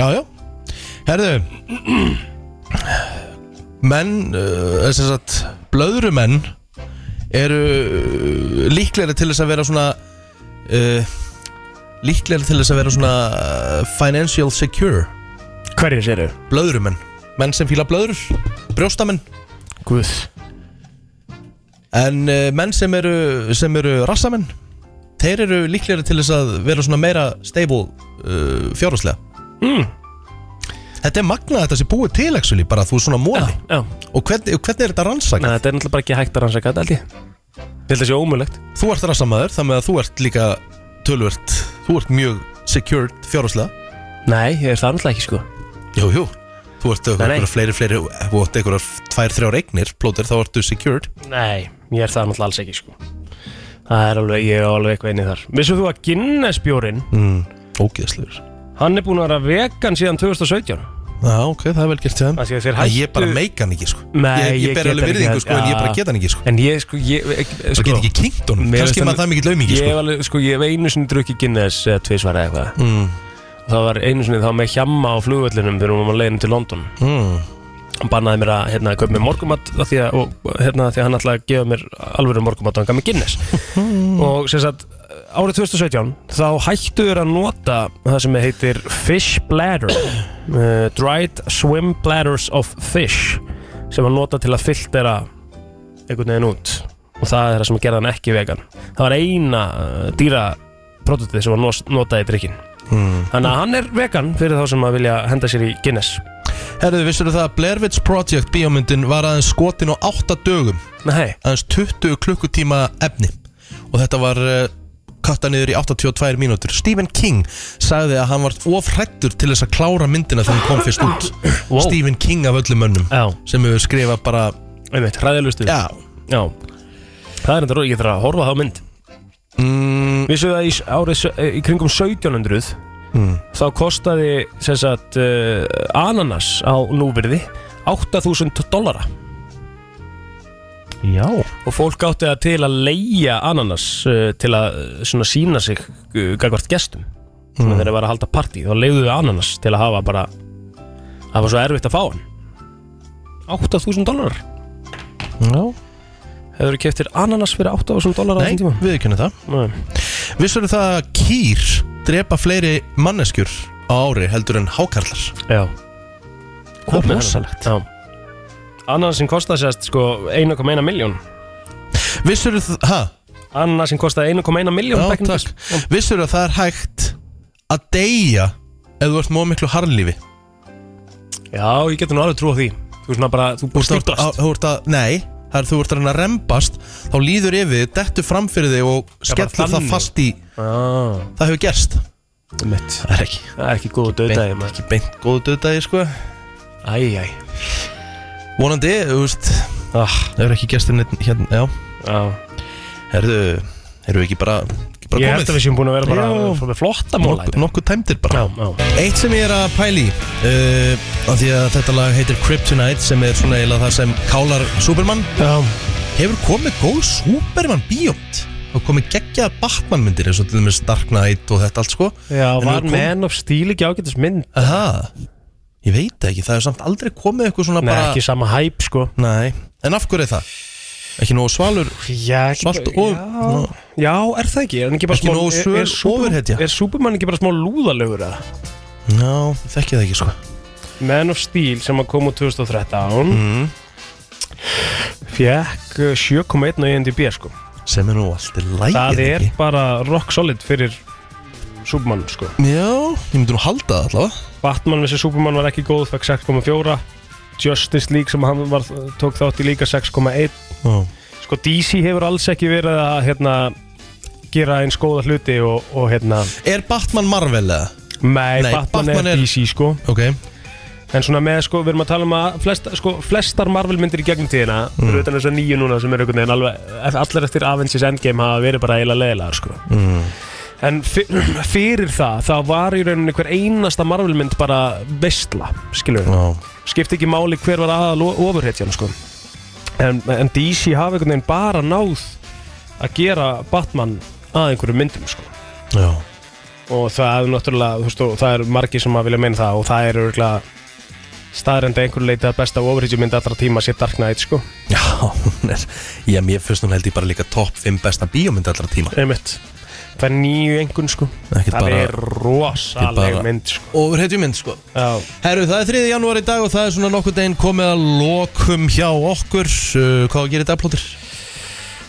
S2: Já, já Herðu Menn, uh, þess að blöðrumenn eh, eru uh, líklegri til þess að vera svona uh, líklega til þess að vera svona uh, financial secure
S3: Hverjir séru?
S2: blöðrumenn, menn sem fíla blöður brjóstamenn
S3: Guð
S2: en uh, menn sem eru, sem eru rassamenn þeir eru líklega til þess að vera svona meira stable uh, fjárháslega mm. Þetta er magnað að þetta sé búið til actually, bara þú svona móli
S3: Já,
S2: og hvernig, hvernig er þetta rannsakað?
S3: Nei, þetta er náttúrulega bara ekki hægt að rannsaka þetta held ég Ég held að það sé ómulegt
S2: Þú ert rassamæður, þannig að þú ert líka tölvört, þú ert mjög secured fjárháslega.
S3: Nei, ég er það náttúrulega ekki sko
S2: Jú, jú. Þú ert
S3: Nei, nei.
S2: einhverja fleiri, fleiri, ef þú ert einhverja tvær, þrjár eignir, plótir, þá ertu secured.
S3: Nei, ég er það náttúrulega alls ekki sko Það er alveg, ég er alveg eitthvað inn í þar Vissum þú að Guinness bjórin
S2: Mm. Ógeðslegur.
S3: Hann er búin að vera vegan síðan 2017
S2: Já, ok, það er vel gert til þeim.
S3: Af því að þeir
S2: En Ég
S3: hættu-
S2: bara meika hann ekki, sko.
S3: Nei,
S2: ég, ég,
S3: ég
S2: ber
S3: get
S2: alveg
S3: hann
S2: virðingu,
S3: ekki,
S2: sko, en ég bara
S3: já.
S2: get hann ekki, sko.
S3: En ég sko, ég, ég sko,
S2: Ég get ekki kynkt honum.
S3: Mér
S2: Kannski
S3: finnst
S2: maður
S3: hann-
S2: það mikill laumingi,
S3: Ég hef
S2: sko.
S3: alveg, sko, ég hef einu sinni drukkið Guinness eða tvisvar eða eitthvað
S2: Mm.
S3: Það var einu sinni þá með hjamma á flugvöllinum þegar hún var leiðin til London
S2: Mm.
S3: Hann bannaði mér að, hérna, kaupa mér morgumat af því að, og hérna, af því að hann ætlaði að gefa mér alvöru morgumat og hann gaf mér Guinness
S2: Mm.
S3: Og sem sagt, árið 2017 þá hættu þér að nota það sem heitir fish bladder uh, Dried swim bladders of fish sem að nota til að filtera einhvern veginn út og það er það sem gerði hann ekki vegan það var eina uh, dýra sem var nos- notað í drikkin
S2: Mm.
S3: Þannig að hann er vegan fyrir þá sem að vilja henda sér í Guinness
S2: Herðu, vissur það að Blair Witch Project bíómyndin var aðeins skotin á 8 dögum,
S3: Nei,
S2: aðeins 20 klukkutíma efni og þetta var uh, katta niður í 82 mínútur. Stephen King sagði að hann var of hrættur til þess að klára myndina þegar hann kom fyrst út.
S3: wow.
S2: Stephen King af öllum mönnum
S3: Já,
S2: sem hefur skrifað bara,
S3: einmitt, hræðilustu
S2: já,
S3: Já Það er þetta róið, ég þarf að horfa á þá mynd
S2: mm,
S3: Vissu það í s- árið, s- eh, í kringum 1700
S2: mm.
S3: Þá kostaði sem sagt uh, ananas á núbyrði 8000 dollara
S7: Já
S3: Og fólk átti það til að leia ananas uh, til að eh, svona sína sig uh, gagvart gestum Svona þegar þeir var að halda partí Þá leiðu þau ananas til að hafa bara Það var svo erfitt að fá hann 8000 dollara
S2: já.
S3: Hefur þú keftir ananas fyrir 8000 dólar á
S2: Nei,
S3: þessum tíma?
S2: við erum það
S3: Nei.
S2: Vissur það að kýr drepa fleiri manneskjur á ári heldur en hákarlar
S3: Já.
S2: Hvað
S3: Það er
S2: rosalegt.
S3: Já. Ananasin kostaði sérst sko 1,1 miljón.
S2: Vissur það, ha,
S3: Ananasin kostaði 1,1 miljón.
S2: já takk Vissur það að það er hægt að deyja ef þú ert móð miklu harnlífi
S3: Já, ég getur nú alveg trú á því. Þú svona bara, þú búið
S2: ert að,
S3: stýpast.
S2: þú ert að, nei það er þú ert að reyna að rembast þá líður yfir þig, dettur fram fyrir þig og
S3: bara
S2: skellur það
S3: þannig.
S2: fast í
S3: Já,
S2: það hefur gerst
S3: mitt.
S2: það er ekki,
S3: Það er ekki góð döðdæði maður.
S2: ekki beint góðu döðdagi sko
S3: Æ, æ.
S2: vonandi, þú veist,
S3: Ah,
S2: það hefur ekki gerst hérna, hérna já,
S3: já.
S2: herðu, erum við ekki bara, ekki bara
S3: Ég held að við séum búin að vera bara
S2: Já.
S3: frá með flotta móla.
S2: Nokku, nokkuð tæmdir bara
S3: Já, já.
S2: Eitt sem ég er að pæli uh, af Því að þetta lag heitir Kryptonite sem er svona eiginlega það sem kálar Superman
S3: Já.
S2: Hefur komið góð Superman bíótt og komið geggjað Batman myndir eins og til dæmis Dark Knight og þetta allt sko
S3: Já,
S2: En
S3: var
S2: nú kom-
S3: Man of Steel ekki ágættis mynd?
S2: Aha, ég veit ekki, það er samt aldrei komið eitthvað svona
S3: Nei,
S2: bara
S3: ekki sama hæp sko.
S2: Nei, en af hverju er það? Ekki nógu svalur,
S3: Já, ekki
S2: svalt og Ná,
S3: Já, er það ekki? Er hann ekki bara
S2: Ekki
S3: smá
S2: nógu
S3: er-
S2: svör-
S3: er Superman-
S2: ofurhetja?
S3: Er Superman ekki bara smá lúðalögur eða?
S2: ná, þekki það ekki sko
S3: Man of Steel sem að koma úr 2013
S2: mm.
S3: Fekk uh, 7,1 á IMDb sko
S2: Sem er nú allt í lægið
S3: Það er bara rock solid fyrir Superman sko
S2: Já, ég myndi nú halda það allavega
S3: Batman vs. Superman var ekki góð, fekk 6,4 Justice League sem hann var, tók þátt í líka 6,1
S2: Ó.
S3: Sko DC hefur alls ekki verið að hérna gera eins góða hluti og, og hérna
S2: Er Batman Marvel eða?
S3: Nei,
S2: Nei,
S3: Batman,
S2: Batman er-
S3: er DC sko
S2: Ok,
S3: En svona með, sko, við erum að tala um að flest, sko, flestar Marvel-myndir í gegnum tíðina mm. eru utan þess að nýju núna sem eru einhvern veginn alveg allar eftir Avengers Endgame hafa verið bara eiginlega leðilegar, sko mm. En fyr, fyrir það, þá var í rauninni hver einasta Marvel-mynd bara veistla, skilur við
S2: já
S3: Skipti ekki máli hver var aðal ofurhetjan, sko en, en DC hafa einhvern veginn bara náð að gera Batman að einhverjum myndum, sko
S2: Já,
S3: og það er náttúrulega þú veist, og það er margir sem að vilja meina það og það er örgulega staðrenda einhverju leiti að besta ofurhýtjumynd allra tíma sé Dark Knight sko
S2: já, hún er Já, mér finnst hún held ég bara líka topp 5 besta bíómynd allra tíma
S3: einmitt Það er nýju engun sko
S8: Ekkert
S3: Það
S8: bara-
S3: er rosaleg
S8: bara-
S3: mynd sko
S2: Og hreitjum mynd sko
S3: Já,
S2: Herru, það er 3. janúar í dag og það er svona nokkur deginn komið að lokum hjá okkur uh, Hvað gerir þetta plótir?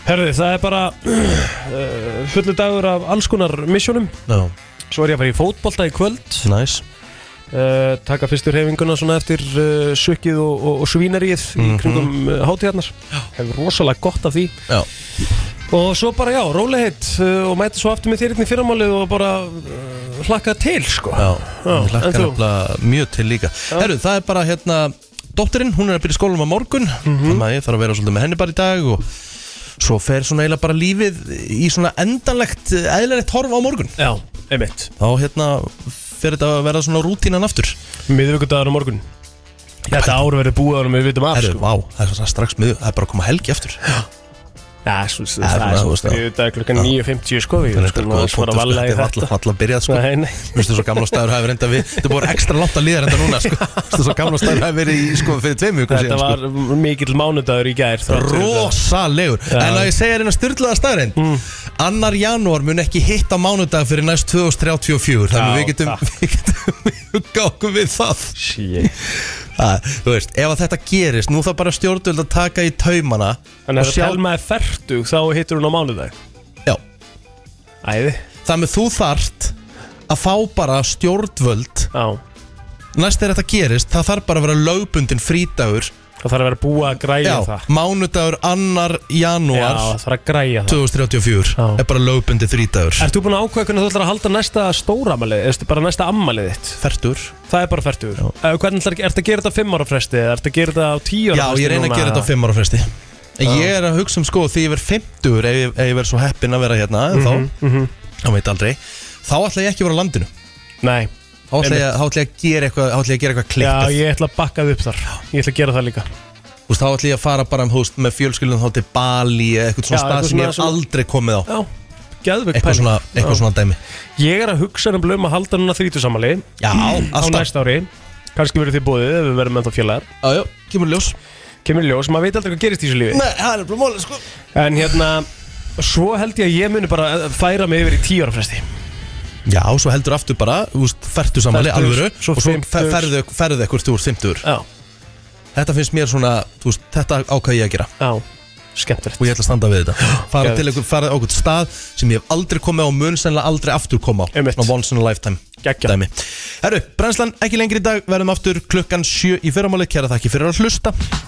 S3: Herðu, það er bara uh, fullu dagur af alls konar misjónum
S2: Já,
S3: Svo er ég að fara í fótbolta í kvöld
S2: næs
S3: uh, Taka fyrstur hefinguna svona eftir uh, sukkið og, og, og svínaríð í kringum uh, hátíðarnar Hefur rosalega gott af því
S2: Já.
S3: Og svo bara já, rólegheit uh, og mæta svo aftur með þér hérna í fyrramálið og bara uh, hlakka til sko
S2: Já,
S3: en
S2: ég hlakka
S3: þú?
S2: nefnilega mjög til líka Herru, það er bara hérna Dóttirinn, hún er að byrja í skólanum á morgun
S3: Mhm.
S2: Þannig að ég þarf að vera svolítið með henni bara í dag og svo fer svona eiginlega bara lífið í svona endanlegt eðlilegt horf á morgun
S3: Já, einmitt
S2: Þá hérna fer þetta að vera svona rútínan aftur
S3: Miðvíkudagur á morgun Þetta ár verður búið ánum við vitum af
S2: Herru,
S3: sko
S2: vá, það er svona strax miður Það er bara að koma helgi aftur
S3: Já, svo, svo,
S2: Það er
S3: það
S2: svona,
S3: er
S2: þú
S3: svo
S2: veist, já.
S3: þriðjudag klukkan 9.50 sko Við
S2: Þannig að þetta er
S3: skulum
S2: góða
S3: aðeins fara
S2: punktur sko,
S3: að valla
S2: Þetta
S3: í
S2: er
S3: þetta
S2: alltaf alltaf byrjað sko
S3: Nei, nei
S2: Vistu svo gamla staður hafi reynda við Þetta er búið ekstra langt að líða reynda núna sko Vistu svo gamla staður hafi verið í sko fyrir tveim vikum
S3: Þetta
S2: síðan,
S3: var mikill mánudagur í gær þrátt fyrir þetta.
S2: Rósalegur En að ég segja hérna styrlaða staðrind
S3: Mm.
S2: Annar janúar mun ekki hitta mánudag fyrir næst 2034 Þannig
S3: Já,
S2: við getum Við getum hugga okkur við það
S3: Shit.
S2: að, Þú veist, ef að þetta gerist Nú þarf bara stjórnvöld að taka í taumana
S3: Þannig að
S2: og
S3: það telma er færtug þá hittur hún á mánudag
S2: Já,
S3: Æði
S2: þannig þú þarft að fá bara stjórnvöld
S3: Já
S2: Næst þegar þetta gerist, það þarf bara að vera lögbundin frídagur
S3: Það þarf að vera búið að græja
S2: Já,
S3: það
S2: mánudagur annar
S3: Já,
S2: janúar
S3: það þarf að græja það
S2: 2034
S3: Já.
S2: er bara lögbundið þrítagur
S3: Ert þú búin að ákveða hvernig þú ætlar að halda næsta stóramalið, eða bara næsta ammalið þitt?
S2: Fertur
S3: Það er bara færtugur. Hvernig ætlar, ert að gera þetta á fimm ára fresti, eða ert að gera þetta á tíu ára
S2: Já,
S3: fresti?
S2: ég reyna að
S3: núna?
S2: gera þetta á 5 ára fresti En ég er að hugsa um sko því ég verð 50 ef, ég- ef ég verð svo heppin að vera hérna mm
S3: Mhm,
S2: þá, þá veit aldrei Þá ætla ég ekki að vera á landinu
S3: Nei,
S2: Þá ætla ég, þá ætla ég að gera eitthvað Þá ætla ég að gera eitthvað
S3: já,
S2: klikkað
S3: ég ætla að bakka þið upp þar. Ég ætla að gera það líka.
S2: Þú veist, Þá ætla ég að fara bara um, þú veist, með fjölskyldun þá til Bali eða eitthvað svona
S3: Já,
S2: stað
S3: eitthvað
S2: sem ég hef
S3: svona-
S2: aldrei komið á
S3: Já, geðvögg
S2: Eitthvað svona, eitthvað svona dæmi
S3: Ég er að hugsa um um að halda núna þrítusamali
S2: Já,
S3: á
S2: alltaf
S3: næsta ári Kanski verður þið búið ef við verðum ennþá félagar
S2: Já, já, kemur ljós
S3: Kemur í ljós, maður veit aldrei hvað gerist í þessu lífi
S2: Nei, það er bara máli sko
S3: En hérna, svo held ég að ég muni bara færa mig yfir í tíu ára fresti
S2: Já, svo heldur aftur bara, þú veist, fertu samanlega
S3: Fertugs,
S2: alvöru
S3: svo
S2: og svo fer-
S3: fimmtugs.
S2: ferðu, ferðu ekkert úr 50
S3: Já,
S2: Þetta finnst mér svona, þú veist, þetta ákvæði ég að gera
S3: já, skemmtilegt
S2: og ég ætla að standa við þetta fara
S3: Geðveikt.
S2: til einhver, fara á einhvern stað sem ég hef aldrei komið á og mun sennilega aldrei aftur koma á
S3: Einmitt.
S2: svona once in a lifetime
S3: Geggjað.
S2: dæmi Herru, brennslan ekki lengri í dag verðum aftur klukkan 7 í fyrramáli kæra þakki fyrir að hlusta